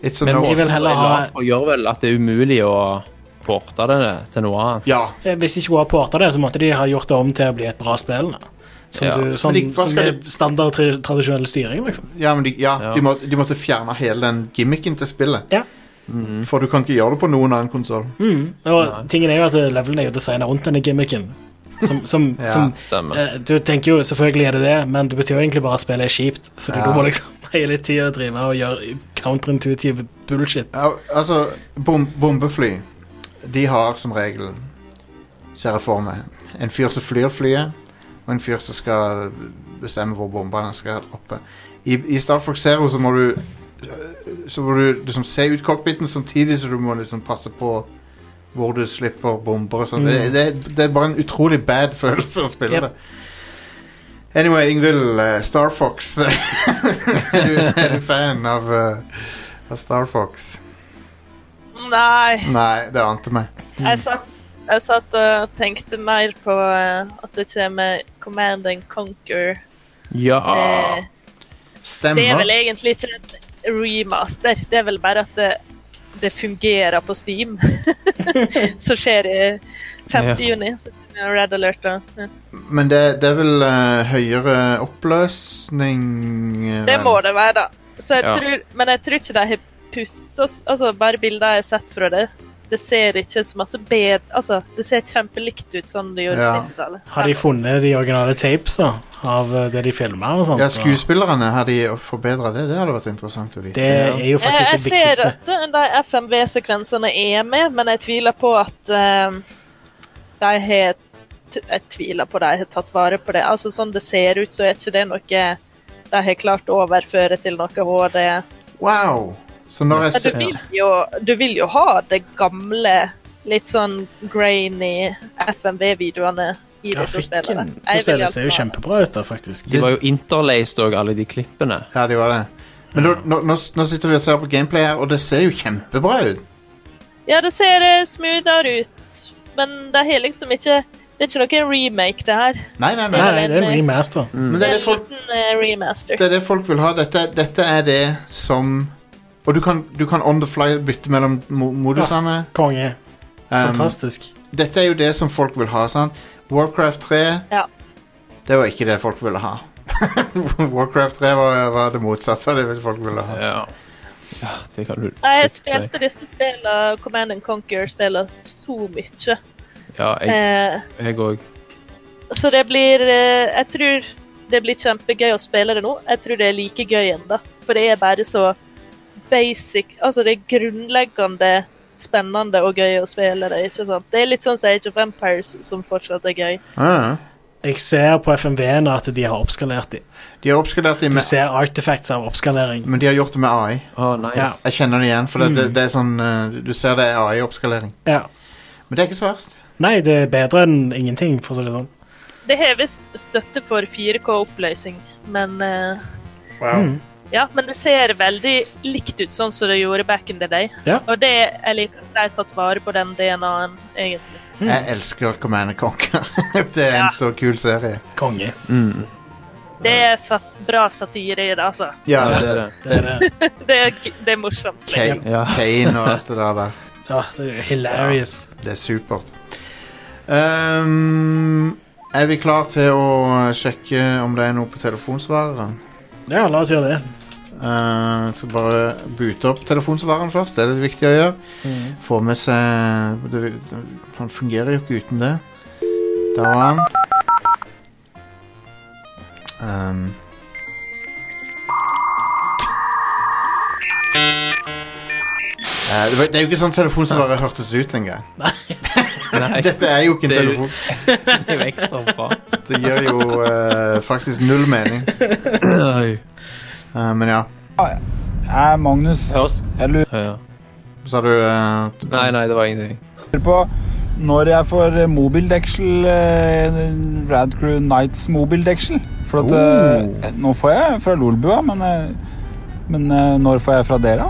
S1: It's a
S4: Men
S1: no.
S2: vi vil heller
S4: Det er
S2: ha-
S4: lavt, Og gjør vel at det er umulig å porte det til noe annet.
S1: Ja.
S2: Eh, Hvis de ikke hun har porta det, så måtte de ha gjort det om til å bli et bra spill. da. Som,
S4: Ja.
S2: du, sånn,
S1: Men de- hva
S2: som
S1: skal
S2: er
S1: de-
S2: standard tra tradisjonell styring, liksom.
S1: Ja, men de, ja,
S4: Ja.
S1: De, måtte, de måtte fjerne hele den gimmicken til spillet.
S2: Ja.
S4: Mm.
S1: For du kan ikke gjøre det på noen annen konsoll.
S2: Mm. Og
S4: Nei.
S2: tingen er jo at eh, levelen er jo designa rundt denne gimmicken. Som, som,
S1: Ja.
S2: som
S4: Stemmer.
S2: eh, Du tenker jo selvfølgelig er det det, men det betyr jo egentlig bare at spillet er kjipt. For
S1: Ja.
S2: du må liksom hele tida drive og gjøre counterintuitive bullshit.
S1: Al altså, bom bombefly De har som regel Ser jeg for meg En fyr som flyr flyet Og en fyr som skal bestemme hvor bombene skal droppe I, i Star Fox Zero så må du øh, Så må du liksom se ut cockpiten Samtidig så du må liksom passe på Hvor du slipper bomber og sånn.
S2: Mm.
S1: det, det, det er bare en utrolig bad følelse Å spille
S2: Yep.
S1: det Anyway, Ingvild, eh, Star Fox er, du, er du fan av, eh, av Star Fox?
S3: Nei,
S1: Nei, det ante meg.
S3: jeg satt, jeg satt og tenkte mer på eh, at det kommer Command and Conquer.
S4: Ja.
S3: Eh, det er
S1: Stemmer.
S3: vel egentlig ikke en remaster. Det er vel bare at det, det fungerer på Steam. Som skjer i 5.
S4: Ja.
S3: juni. Så kommer Red Alert og ja.
S1: Men det, det er vel eh, høyere oppløsning eh,
S3: Det
S1: vel?
S3: må det være, da. Så jeg
S4: Ja.
S3: tror, men jeg tror ikke de har pussa altså, Bare bilder jeg har sett fra det. Det ser ikke så masse bedre Altså, det ser kjempelikt ut sånn det gjorde
S1: Ja.
S3: på 90-tallet.
S2: Har de funnet de originale tapes da, av eh, det de filma og sånt?
S1: Ja,
S2: og-
S1: skuespillerne, har de forbedra det? Det hadde vært interessant å vite.
S2: Det er jo
S3: Jeg, Eh, jeg
S2: faktisk det
S3: ser
S2: viktigste.
S3: at de FMV-sekvensene er med, men jeg tviler på at eh, de har t- Jeg tviler på de har tatt vare på det. Altså Sånn det ser ut, så er ikke det noe de har klart å overføre til noe HD.
S1: Wow! Så når jeg
S3: Men du
S1: ser
S3: vil jo, du vil jo ha det gamle, litt sånn grainy FMV-videoene i disse spillene.
S2: Grafikken på spillet ser jo kjempebra ut, da, faktisk.
S4: De var jo interlaced òg, alle de klippene.
S1: Ja, det var det. Men nå- nå, nå, nå sitter vi og ser på gameplay her, og det ser jo kjempebra ut.
S3: Ja, det ser eh, smoothere ut, men det har liksom ikke Det er ikke noen remake, det her.
S1: Nei, nei, nei.
S2: Nei, nei, det er en remaster.
S1: Men
S3: Det
S1: det er
S3: er
S1: det
S3: en
S1: folk,
S3: liten eh, remaster.
S1: det er det folk vil ha. Dette, dette er det som Og du kan, du kan on the fly bytte mellom mo modusene.
S2: Konge.
S1: Um,
S2: Fantastisk.
S1: dette er jo det som folk vil ha, sant? Warcraft 3
S3: Ja.
S1: Det var ikke det folk ville ha. Warcraft 3 var, var det motsatte av det folk ville ha.
S4: Ja. ja det kan du
S3: Nei, Jeg
S4: trygt si.
S3: spilte disse spillene, Command and Conquer-spillene, så mye.
S4: Ja, jeg
S3: Eh,
S4: òg.
S3: så det blir eh, Jeg tror Det blir kjempegøy å spille det nå. Jeg tror det er like gøy ennå. For det er bare så basic Altså, det er grunnleggende spennende og gøy å spille det, ikke sant? Det er litt sånn som Age of Empires, som fortsatt er gøy.
S1: Ah,
S2: Jeg ser på FMV-en at de har oppskalert dem.
S1: De har oppskalert dem
S2: Du ser artifacts av oppskalering.
S1: Men de har gjort det med AI.
S2: Ja.
S1: Jeg kjenner det igjen, for det, det, det er sånn eh, Du ser det er AI-oppskalering.
S2: Ja.
S1: Men det er ikke så verst.
S2: Nei, det er bedre enn ingenting, for å si det sånn.
S3: Det har visst støtte for 4K-oppløsning, men eh,
S2: Mm.
S3: Ja, men det ser veldig likt ut sånn som det gjorde back in the day.
S2: Ja.
S3: Og det jeg liker at de har tatt vare på den DNA-en, egentlig.
S1: Jeg elsker Command Conquer. det er en så kul serie.
S2: Konge.
S3: Det er sat bra satire i det, altså.
S1: Ja,
S4: Ja,
S1: det,
S4: det er
S1: det,
S4: det.
S2: Det er det.
S3: Det er, g- det er morsomt.
S1: Kane,
S4: Ja.
S1: Kane og alt det der der.
S2: Ja, det er hilarious.
S1: Det er supert. Ehm, er vi klar til å sjekke om det er noe på telefonsvareren?
S2: Ja, la oss gjøre det.
S1: Uh, skal bare boote opp telefonsvareren først. Det er litt viktig å gjøre.
S4: Mm.
S1: Få med seg det, Han fungerer jo ikke uten det. Der var han. Um. Eh, det, var, det er jo ikke sånn telefonsvarer hørtes ut engang.
S4: Nei,
S1: Dette er jo ikke en
S4: Det er jo-
S1: telefon.
S4: det er jo ekstra bra.
S1: Det gir jo eh, faktisk null mening.
S4: Oi.
S1: Eh, men ja.
S11: Jeg er Magnus. Jeg lurer
S4: Ja.
S1: Så har du eh,
S4: Nei, nei, det var ingenting.
S11: på når jeg får eh, mobildeksel eh, Radcrew Nights mobildeksel. For at eh, Nå får jeg fra Lolbua, men, eh, men eh, når får jeg fra dere?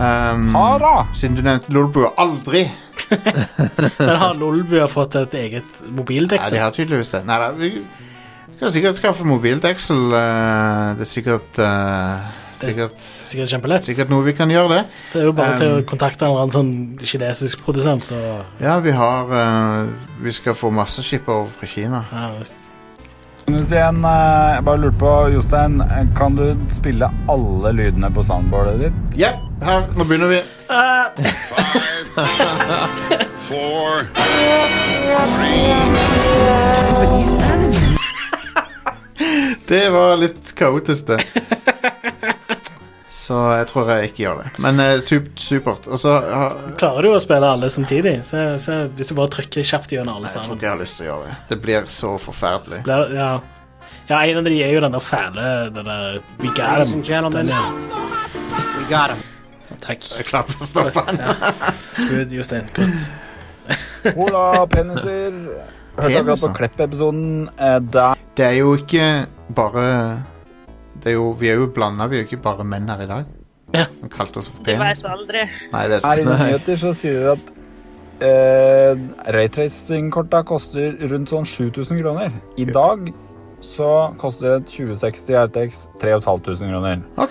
S1: ehm,
S11: Ha da!
S1: Siden du nevnte Lolbua. Aldri!
S2: Men har Lolbua fått et eget
S1: Nei, de
S2: mobildeksel?
S1: har tydeligvis det. Nei, da, vi vi kan sikkert skaffe mobildeksel. eh, det er sikkert eh,
S2: Det-
S1: Sikkert,
S2: Sikkert kjempelett.
S1: sikkert noe vi kan gjøre, det.
S2: Det er jo bare til å
S1: Um,
S2: kontakte en eller annen sånn kinesisk produsent og
S1: Ja, vi har eh, Vi skal få masse skip over fra Kina.
S2: ja, visst.
S11: Magnus igjen, eh, jeg bare lurte på, Jostein, eh, kan du spille alle lydene på soundboardet ditt?
S1: Ja, her. Nå begynner vi.
S5: Four.
S1: Det var litt kaotisk, det. Så jeg tror jeg ikke gjør det. Men eh, sup- supert. Og så har
S2: Klarer du å spille alle samtidig? Se, se, hvis du bare trykker kjapt gjennom alle
S1: Jeg tror
S2: sammen.
S1: ikke jeg har lyst til å gjøre det. Det blir så forferdelig.
S2: Blir- Ja. ja, en av de er jo den der fæle den der We got
S8: Ladies
S2: him.
S8: and gentlemen.
S2: Den, ja.
S8: We got him.
S2: Takk.
S1: Jeg klarte å stoppe den.
S2: Ja. Smooth, Jostein. Godt.
S11: Hola, peniser! Hørte akkurat på
S1: Peniser?
S11: Klepp-episoden. eh, Der
S1: Det er jo ikke bare det er jo, Vi er jo blanda, vi er jo ikke bare menn her i dag.
S2: Ja.
S1: Han kalte oss for
S3: Du
S1: penis.
S3: veit aldri.
S1: Nei, det er
S11: Her i
S1: sant.
S11: noen nyheter så sier dere at eh, raytracing-korta koster rundt sånn 7000 kroner. I dag så koster et 2060 RTX 3500 kroner.
S1: OK.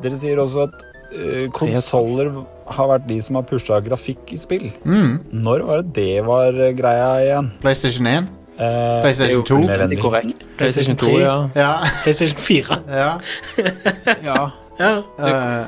S11: Dere sier også at uh, konsoller har vært de som har pusha grafikk i spill.
S1: Mm.
S11: Når var det det var eh, greia igjen?
S1: PlayStation 1.
S11: Eh,
S1: PlayStation 2.
S11: det
S4: Veldig
S11: er veldig.
S4: korrekt.
S2: PlayStation
S4: PlayStation 2,
S2: 3.
S4: ja.
S1: Ja.
S2: PlayStation 4.
S1: ja.
S4: ja.
S2: Ja.
S1: Eh,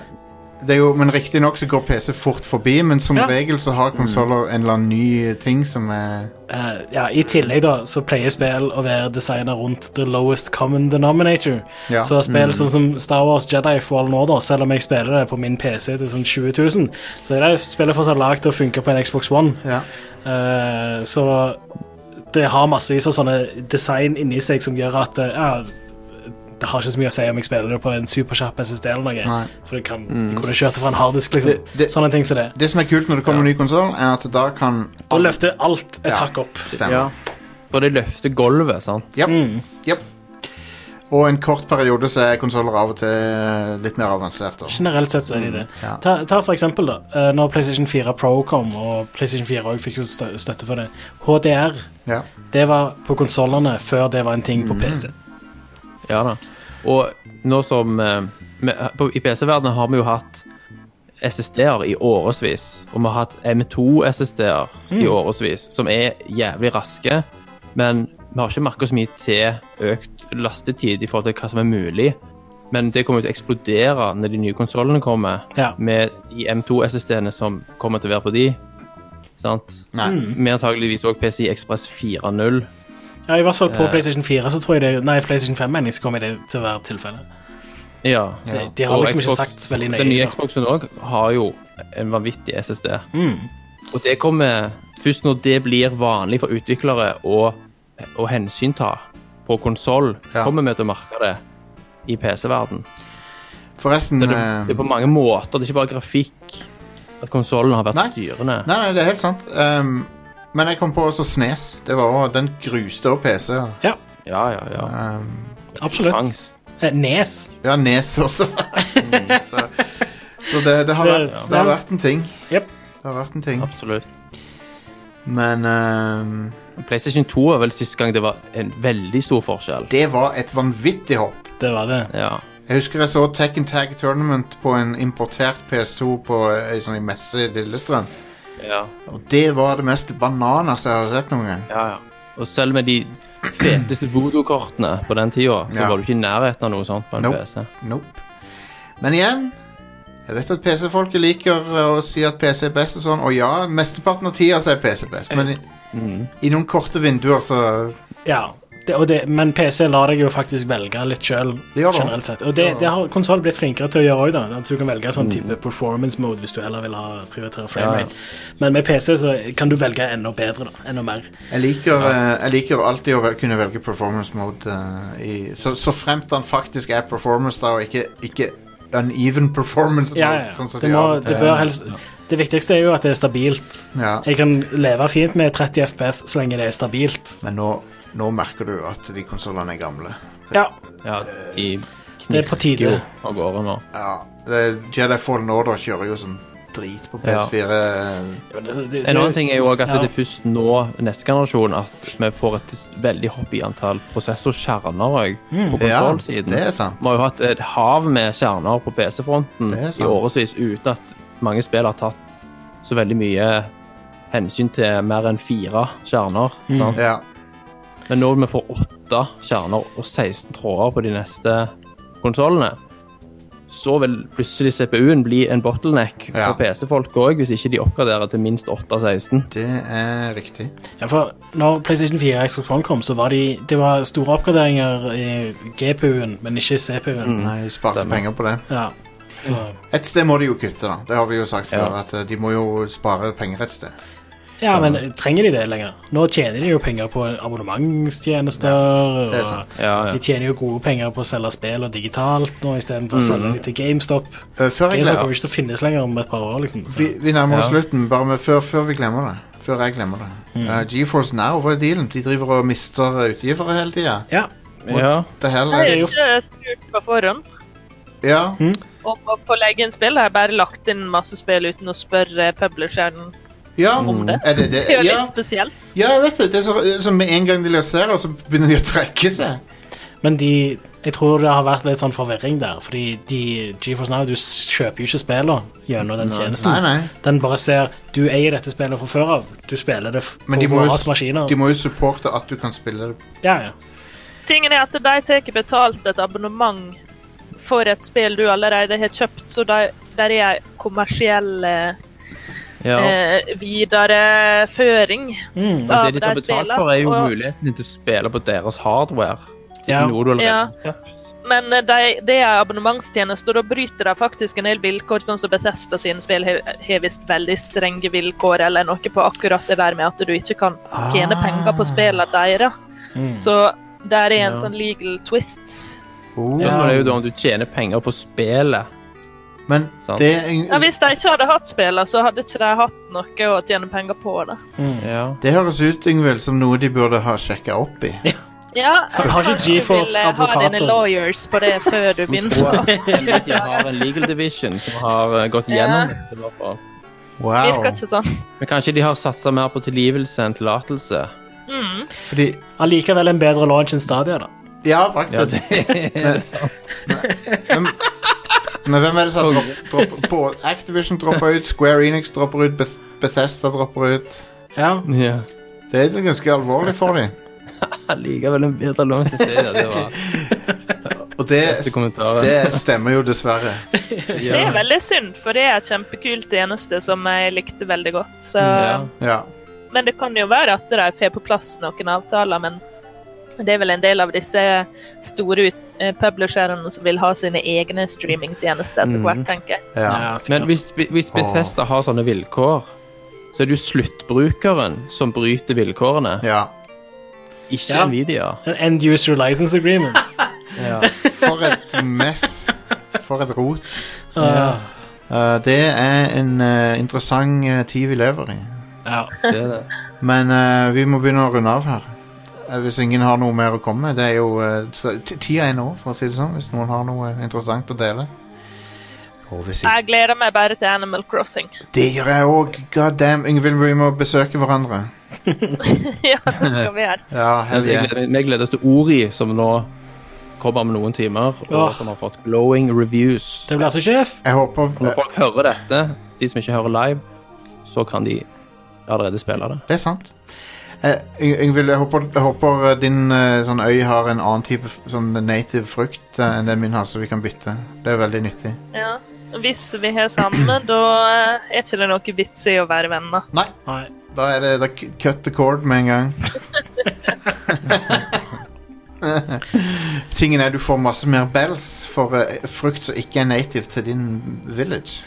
S1: det er jo, men Riktignok så går PC fort forbi, men som
S2: Ja.
S1: regel så har konsoller en eller annen ny ting som er
S2: Eh, ja, I tillegg da, så pleier spill å være designa rundt the lowest common denominator.
S1: Ja. Mm.
S2: Så spill sånn som Star Wars Jedi Fallen Order, selv om jeg spiller det på min PC til sånn 20 000, så er det spillet fortsatt lagd til å funke på en Xbox One.
S1: Ja.
S2: Eh, så det har massevis av sånne design inni seg som gjør at eh, ja, det har ikke så mye å si om jeg spiller det på en superkjapp SSD eller noe.
S1: Nei. Mm.
S2: For det kan, jeg kunne kjørt det fra en harddisk, liksom.
S1: Det- det-
S2: Sånne ting som det.
S1: Det som er kult når det kommer en ny konsoll, er at da kan
S2: Da løfter alt et
S1: Ja.
S2: hakk opp.
S1: stemme.
S4: ja. For det løfter gulvet, sant?
S1: Japp.
S2: Mm.
S1: Japp. Og en kort periode så er konsoller av og til eh, litt mer avansert. også.
S2: Generelt sett så er de det.
S1: Ja.
S2: Ta, ta for eksempel, da. eh, Når PlayStation 4 Pro kom, og PlayStation 4 også fikk jo stø- støtte for det, HDR
S1: Ja. Mm.
S2: det var på konsollene før det var en ting på PC.
S4: Ja da. Og nå som eh, med- på- I PC-verdenen har vi jo hatt SSD-er i årevis. Og vi har hatt M2-SSD-er i årevis, som er jævlig raske. Men vi har ikke merka så mye til økt lastetid i forhold til hva som er mulig. Men det kommer jo til å eksplodere når de nye konsollene kommer,
S2: Ja.
S4: med de M2-SSD-ene som kommer til å være på de. Sant?
S1: Nei.
S4: Vi antageligvis òg PCI Express 4.0.
S2: Ja, I hvert fall på
S4: Eh.
S2: PlayStation 4 så tror jeg det Nei, PlayStation 5 mener jeg så kommer det til å være tilfellet.
S4: Ja.
S2: De, de har
S4: Og
S2: liksom ikke
S4: Xbox-
S2: sagt så veldig nøye.
S4: Den nye
S2: da.
S4: Xboxen òg har jo en vanvittig SSD.
S2: Mm.
S4: Og det kommer først når det blir vanlig for utviklere å, å hensynta på konsoll. Kommer vi til å merke det i PC-verden.
S1: Forresten
S4: Det, er-
S1: eh,
S4: det er på mange måter. Det er ikke bare grafikk at konsollen har vært
S1: Nei.
S4: styrende.
S1: Nei, nei, det er helt sant. Ehm, men jeg kom på også Snes. Det var også, Den gruste også PC-er.
S2: Ja.
S4: Ja, ja, ja.
S2: Absolutt.
S4: Sjans.
S2: Eh, Nes.
S1: Ja, Nes også. Mm, så så det, det, har
S2: Det-
S1: vært, det har vært en ting.
S2: Jep.
S1: Det har vært en ting.
S4: Absolutt.
S1: Men ehm,
S4: PlayStation 2 er vel sist gang det var en veldig stor forskjell.
S1: det var et vanvittig hopp.
S2: Det var det.
S4: Ja.
S1: Jeg husker jeg så Tekken Tag Tournament på en importert PS2 på ei sånn messe i Lillestrøm.
S4: Ja.
S1: Og det var det mest bananas jeg har sett noen gang.
S4: Ja, ja. Og selv med de feteste voodoo-kortene på den tida, så
S1: Ja.
S4: var du ikke i nærheten av noe sånt på en
S1: Nope.
S4: PC.
S1: Nope. Men igjen Jeg vet at PC-folket liker eh, å si at PC er best og sånn, og ja, mesteparten av tida så er PC best, men i, i noen korte vinduer så
S2: Ja. Det, og det, men PC lar deg jo faktisk velge litt sjøl,
S1: gjør Mm. det.
S2: generelt sett. Og det, det har konsoll blitt flinkere til å gjøre òg, da. At du kan velge sånn type performance mode hvis du heller vil ha prioritere
S4: Ja,
S2: frame
S4: ja.
S2: rate. Men med PC så kan du velge enda bedre, da. Enda mer.
S1: Jeg liker, eh, jeg liker alltid å vel, kunne velge performance mode, eh, i, så, så fremt han faktisk er performance da, og ikke, ikke uneven performance mode.
S2: Ja, ja.
S1: Sånn som
S2: Det,
S1: de
S2: må,
S1: av og til
S2: det,
S1: er.
S2: bør helst, det viktigste er jo at det er stabilt.
S1: ja.
S2: Jeg kan leve fint med 30 FPS så lenge det er stabilt.
S1: Men nå, nå merker du at de konsollene er gamle.
S2: Ja,
S4: Ja, de
S2: det er på
S4: jo
S2: tide.
S4: av gårde nå.
S1: Ja, det- Jedi Fallen Order kjører jo som drit på
S4: Ja.
S1: PS4. eh,
S2: Ja, men det- det-
S4: En annen ting er jo også at
S2: Ja.
S4: det er først nå, neste generasjon, at vi får et veldig hopp i antall prosessorkjerner òg, på konsollsiden.
S1: Mm, det er sant.
S4: Vi har jo hatt et hav med kjerner på PC-fronten
S1: Det er sant.
S4: i årevis uten at mange spill har tatt så veldig mye hensyn til mer enn fire kjerner. Sant?
S1: Mm, Ja.
S4: Men når vi får åtte kjerner og 16 tråder på de neste konsollene, så vil plutselig CPU-en bli en bottleneck
S1: Ja.
S4: for PC-folk òg, hvis ikke de oppgraderer til minst 8 av 16.
S1: Det er riktig.
S2: Ja, for når PlayStation 4 og Xbox One kom, så var de, det var store oppgraderinger i GPU-en, men ikke i
S4: Mm.
S2: CPU-en.
S1: Nei, sparte
S4: Stemmer.
S1: penger på det.
S2: Ja. Så,
S1: Et sted må de jo kutte, da. Det har vi jo sagt før.
S4: Ja.
S1: At eh, de må jo spare penger et sted.
S2: ja, men trenger de det lenger? Nå tjener de jo penger på abonnementstjenester,
S1: det er
S2: og
S1: sant.
S4: Ja, ja.
S2: de tjener jo gode penger på å selge spill og digitalt nå,
S4: Mm.
S2: istedenfor å selge de til GameStop.
S1: Eh, før jeg
S2: GameStop
S1: glemmer
S2: kommer ikke til å finnes lenger om et par år, liksom. Så.
S1: Vi, vi nærmer oss
S4: sånn. Ja. Mm.
S1: slutten, bare med før, før vi glemmer det. Før jeg glemmer det. Eh, GeForce Now, hva er dealen? De driver og mister eh, utgivere hele tida.
S2: Ja.
S4: ja.
S1: Det
S3: Jeg har
S1: hele
S2: jo-
S3: ikke spurt på forhånd
S1: Ja.
S4: Mm.
S3: om å få legge inn spill. Jeg har bare lagt inn masse spill uten å spørre publisheren.
S1: ja.
S4: Mm.
S3: Om det.
S1: Er det, det?
S3: Det er jo
S1: Ja.
S3: litt spesielt.
S1: ja, jeg vet det. Det er så, så med en gang de lanserer, så begynner de å trekke seg.
S2: Men de, jeg tror det har vært litt sånn forvirring der, fordi de, GeForce Now, du s- kjøper jo ikke spillene gjennom den tjenesten.
S1: Nei, nei.
S2: Den bare ser, du eier dette spillet fra før av, du spiller det f- på
S1: Men de må,
S2: våre
S1: jo,
S2: maskiner.
S1: de må jo supporte at du kan spille det.
S2: Ja, ja.
S3: Tingen er at de tar betalt et abonnement for et spill du allerede har kjøpt, så de, der er en kommersiell eh,
S4: ja.
S3: eh, videreføring.
S2: Mm.
S4: Men
S3: av
S4: det de tar
S3: de
S4: betalt
S3: spillene,
S4: for, er jo
S3: og-
S4: muligheten til å spille på deres hardware. Det
S2: Ja.
S4: er noe du
S3: Ja.
S4: allerede har kjøpt.
S3: Men eh, de, det er abonnementstjeneste, og da bryter de faktisk en del vilkår, sånn som Bethesda sine spill har har visst veldig strenge vilkår, eller noe på akkurat det der med at du ikke kan tjene penger på spillene deres. Så der er en
S4: Ja.
S3: sånn legal twist.
S1: Oh.
S4: Spørsmålet er jo da om du tjener penger på spillet.
S1: Men
S4: Sant.
S1: det er en-
S3: Ja, hvis de ikke hadde hatt spillene, så hadde ikke de hatt noe å tjene penger på. da.
S4: Ja.
S1: Det høres ut Yngvild, som noe de burde ha sjekka opp i.
S3: Ja,
S2: Har ikke
S3: kanskje du
S2: GeForce
S3: ville Ha
S2: advokater?
S3: dine lawyers på det før du
S4: Vi
S3: begynner.
S4: tror at Nvidia har en legal division som har eh, gått
S3: Ja.
S4: gjennom dette. i hvert fall.
S1: Wow.
S3: Virker ikke sånn.
S4: Men kanskje de har satsa mer på tilgivelse enn tillatelse.
S3: Mm.
S1: Fordi
S2: Allikevel en bedre launch enn Stadia, da.
S1: Ja,
S4: Ja,
S1: faktisk.
S4: det er
S1: Hvem, men hvem er det som har dropp- dropp- på? Activision dropper ut, Square Enix dropper ut, Beth Bethesda dropper ut.
S2: Ja.
S4: ja.
S1: Det er ganske alvorlig for dem.
S4: Allikevel en bedre launch enn Stadia. Det var
S1: Og det,
S4: beste kommentaren.
S1: det stemmer jo dessverre.
S3: Det er
S4: Ja.
S3: veldig synd, for det er en kjempekul tjeneste som jeg likte veldig godt. Så...
S4: Ja.
S1: Ja.
S3: Men det kan jo være at de får på plass noen avtaler, men Det er vel en del av disse store ut- eh, publisherne som vil ha sine egne streamingtjenester etter
S4: Mhm.
S3: hvert, tenker jeg.
S4: Men hvis, hvis Bethesda har sånne vilkår, så er det jo sluttbrukeren som bryter vilkårene. Ikke
S2: Ja.
S4: Nvidia.
S2: En end user license agreement.
S1: For et mess. For et rot.
S2: Ja.
S1: Eh, det er en eh, interessant eh, tid vi lever i.
S2: Ja,
S4: det er det.
S1: Men eh, vi må begynne å runde av her. Eh, hvis ingen har noe mer å komme med. Det er jo eh, så- t- Tida er nå, for å si det sånn. Hvis noen har noe interessant å dele. Og hvis ikke
S3: Jeg gleder meg bare til Animal Crossing.
S1: Det gjør jeg òg. God damn, Yngvild, vi må besøke hverandre.
S3: ja, det skal vi gjøre.
S1: Ja, hell
S4: altså, jeg
S1: yeah.
S4: gleder, vi gleder oss til Ori, som nå kommer om noen timer, og
S1: Åh.
S4: som har fått glowing reviews.
S2: Det blir altså sjef.
S1: Jeg håper
S4: Og når folk hører dette, de som ikke hører live, så kan de allerede spille det.
S1: Det er sant. Eh, Yng- Yngvild, jeg håper, jeg håper eh, din eh, sånn øy har en annen type f- sånn native frukt eh, enn den min har, så vi kan bytte. Det er veldig nyttig.
S3: Ja. Hvis vi har sammen, da eh, er ikke det noe vits i å være venner.
S1: Nei. Da er det da k- cut the cord med en gang. Tingen er du får masse mer bells for eh, frukt som ikke er native til din village.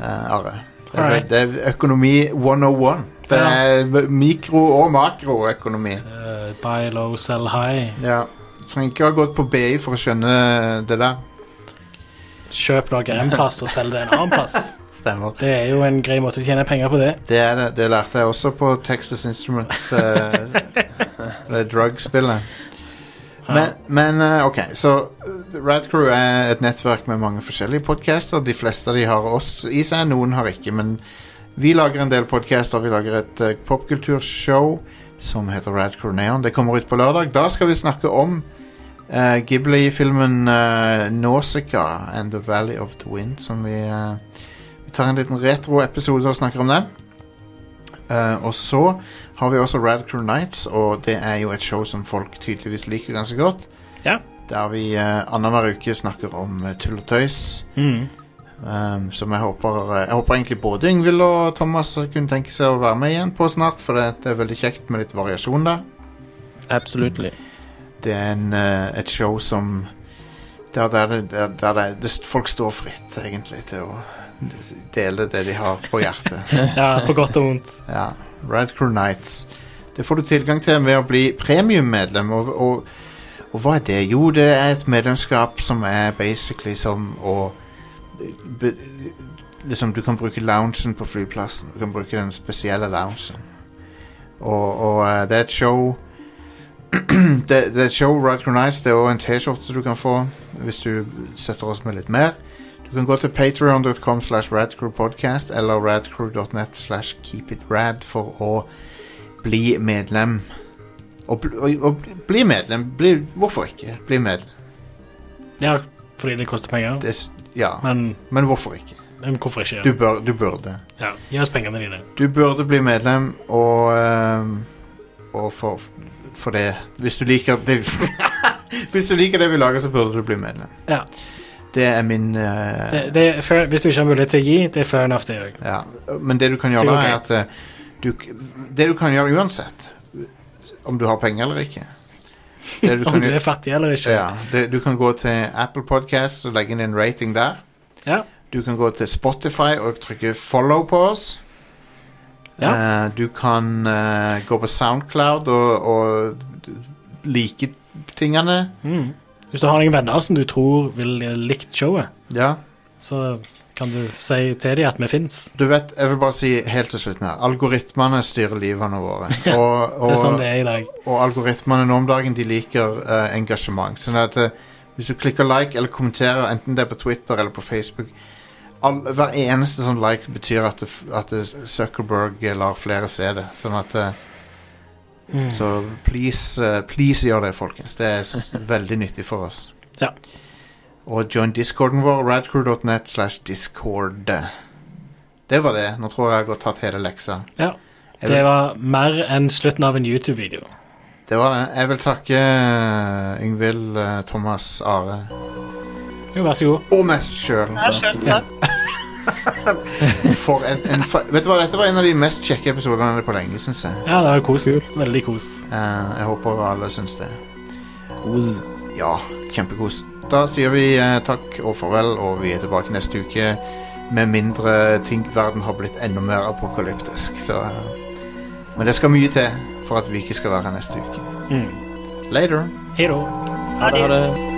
S1: Eh, Are. Det er, vel-
S2: Alright.
S1: det er økonomi 101. Det er b- mikro- og makroøkonomi.
S2: Eh, buy low, sell high.
S1: Ja. Trenger ikke ha gått på BI for å skjønne det der.
S2: Kjøp noe en plass og selg det en annen plass.
S1: Stemmer.
S2: Det er jo en grei måte å tjene penger på det.
S1: Det er det. Det lærte jeg også på Texas Instruments. eh, det drug-spillet. Men, men eh, OK, så eh, Rad Crew er et nettverk med mange forskjellige podcaster. De fleste av de har oss i seg, noen har ikke. Men vi lager en del podcaster. Vi lager et eh, popkulturshow som heter Rad Crew Neon. Det kommer ut på lørdag. Da skal vi snakke om eh, Ghibli-filmen eh, Nausicaa and the Valley of the Wind, som vi eh, vi tar en liten retro-episode og snakker om den. Eh, og så har vi også Rad Crew Nights, og det er jo et show som folk tydeligvis liker ganske godt.
S2: Ja.
S1: Der vi uh, annenhver uke snakker om eh, tull og tøys.
S2: Mm.
S1: ehm, som jeg håper eh, Jeg håper egentlig både Yngvild og Thomas kunne tenke seg å være med igjen på snart, for det, det er veldig kjekt med litt variasjon der.
S4: Absolutely.
S1: Det er en, eh, et show som Der, der, det- der, der det- det, folk står fritt, egentlig, til å dele det de har på hjertet.
S2: Ja, på godt og vondt.
S1: Ja, Rad Crew Nights. Det får du tilgang til ved å bli premiummedlem. Og, og, og hva er det? Jo, det er et medlemskap som er basically som å be, Liksom, du kan bruke loungen på flyplassen. Du kan bruke den spesielle loungen. Og, og eh, det er et show det, det er et show Rad Crew Nights. Det er også en T-skjorte du kan få hvis du støtter oss med litt mer. Du kan gå til patreon.com slash radcrewpodcast eller radcrew.net slash keepitrad for å bli medlem. Og, bl- og, og bli medlem. Bli, hvorfor ikke? Bli medlem.
S2: Ja, fordi det koster penger.
S1: Det, s- ja.
S2: Men,
S1: Men hvorfor ikke?
S2: men hvorfor ikke?
S1: Du, bør, du burde.
S2: Ja, Gi oss pengene dine.
S1: Du burde bli medlem, og, ehm, og for, for det Hvis du liker det Hvis du liker det vi lager, så burde du bli medlem.
S2: Ja.
S1: Det er min eh,
S2: Det, det er fair, hvis du ikke har mulighet til å gi, det er fair enough, det òg.
S1: Ja, men det du kan gjøre
S2: Det går
S1: da, er at eh, du, k- Det du kan gjøre uansett, om du har penger eller ikke det
S2: Om du er fattig eller ikke.
S1: Ja, det, du kan gå til Apple Podcast og legge inn en rating der.
S2: Ja.
S1: Du kan gå til Spotify og trykke 'follow' på oss.
S2: Ja.
S1: Eh, du kan eh, gå på Soundcloud og, og like tingene.
S2: Mm. Hvis du har noen venner som du tror vil eh, likt showet,
S1: Ja.
S2: så kan du si til dem at vi fins.
S1: Du vet, jeg vil bare si helt til slutten her Algoritmene styrer livene våre og, og,
S2: Det er sånn det er i dag.
S1: og algoritmene nå om dagen De liker eh, engasjement Sånn at eh, hvis du klikker like eller kommenterer Enten det er på Twitter eller på Facebook all, Hver eneste sånn like betyr at, det, f- at det Zuckerberg lar flere se det Sånn at eh,
S2: Mm.
S1: Så please, eh, please gjør det folkens Det er s- veldig nyttig for oss
S2: Ja.
S1: Og join discorden vår Radcrew.net slash discord Det var det Nå tror jeg jeg har tatt hele leksa
S2: Ja.
S1: Jeg
S2: Det
S1: vil-
S2: var mer enn slutten av en YouTube-video.
S1: Det var det. Jeg vil takke eh, Yngvild, eh, Thomas, Are
S2: Jo, vær så god.
S1: og meg sjøl.
S3: Ja, skjønt, takk.
S1: For en, en fa Vet du hva, dette var en av de mest kjekke episodene på lenge, syns jeg.
S2: Ja, det er kos. Veldig kos.
S1: Eh, jeg håper alle syns det. Kos. Ja, kjempekos. Da sier vi eh, takk og farvel, og vi er tilbake neste uke. Med mindre ting verden har blitt enda mer apokalyptisk. Så, eh, men det skal mye til for at vi ikke skal være her neste uke. Later.
S2: Hei da.
S3: Ha det.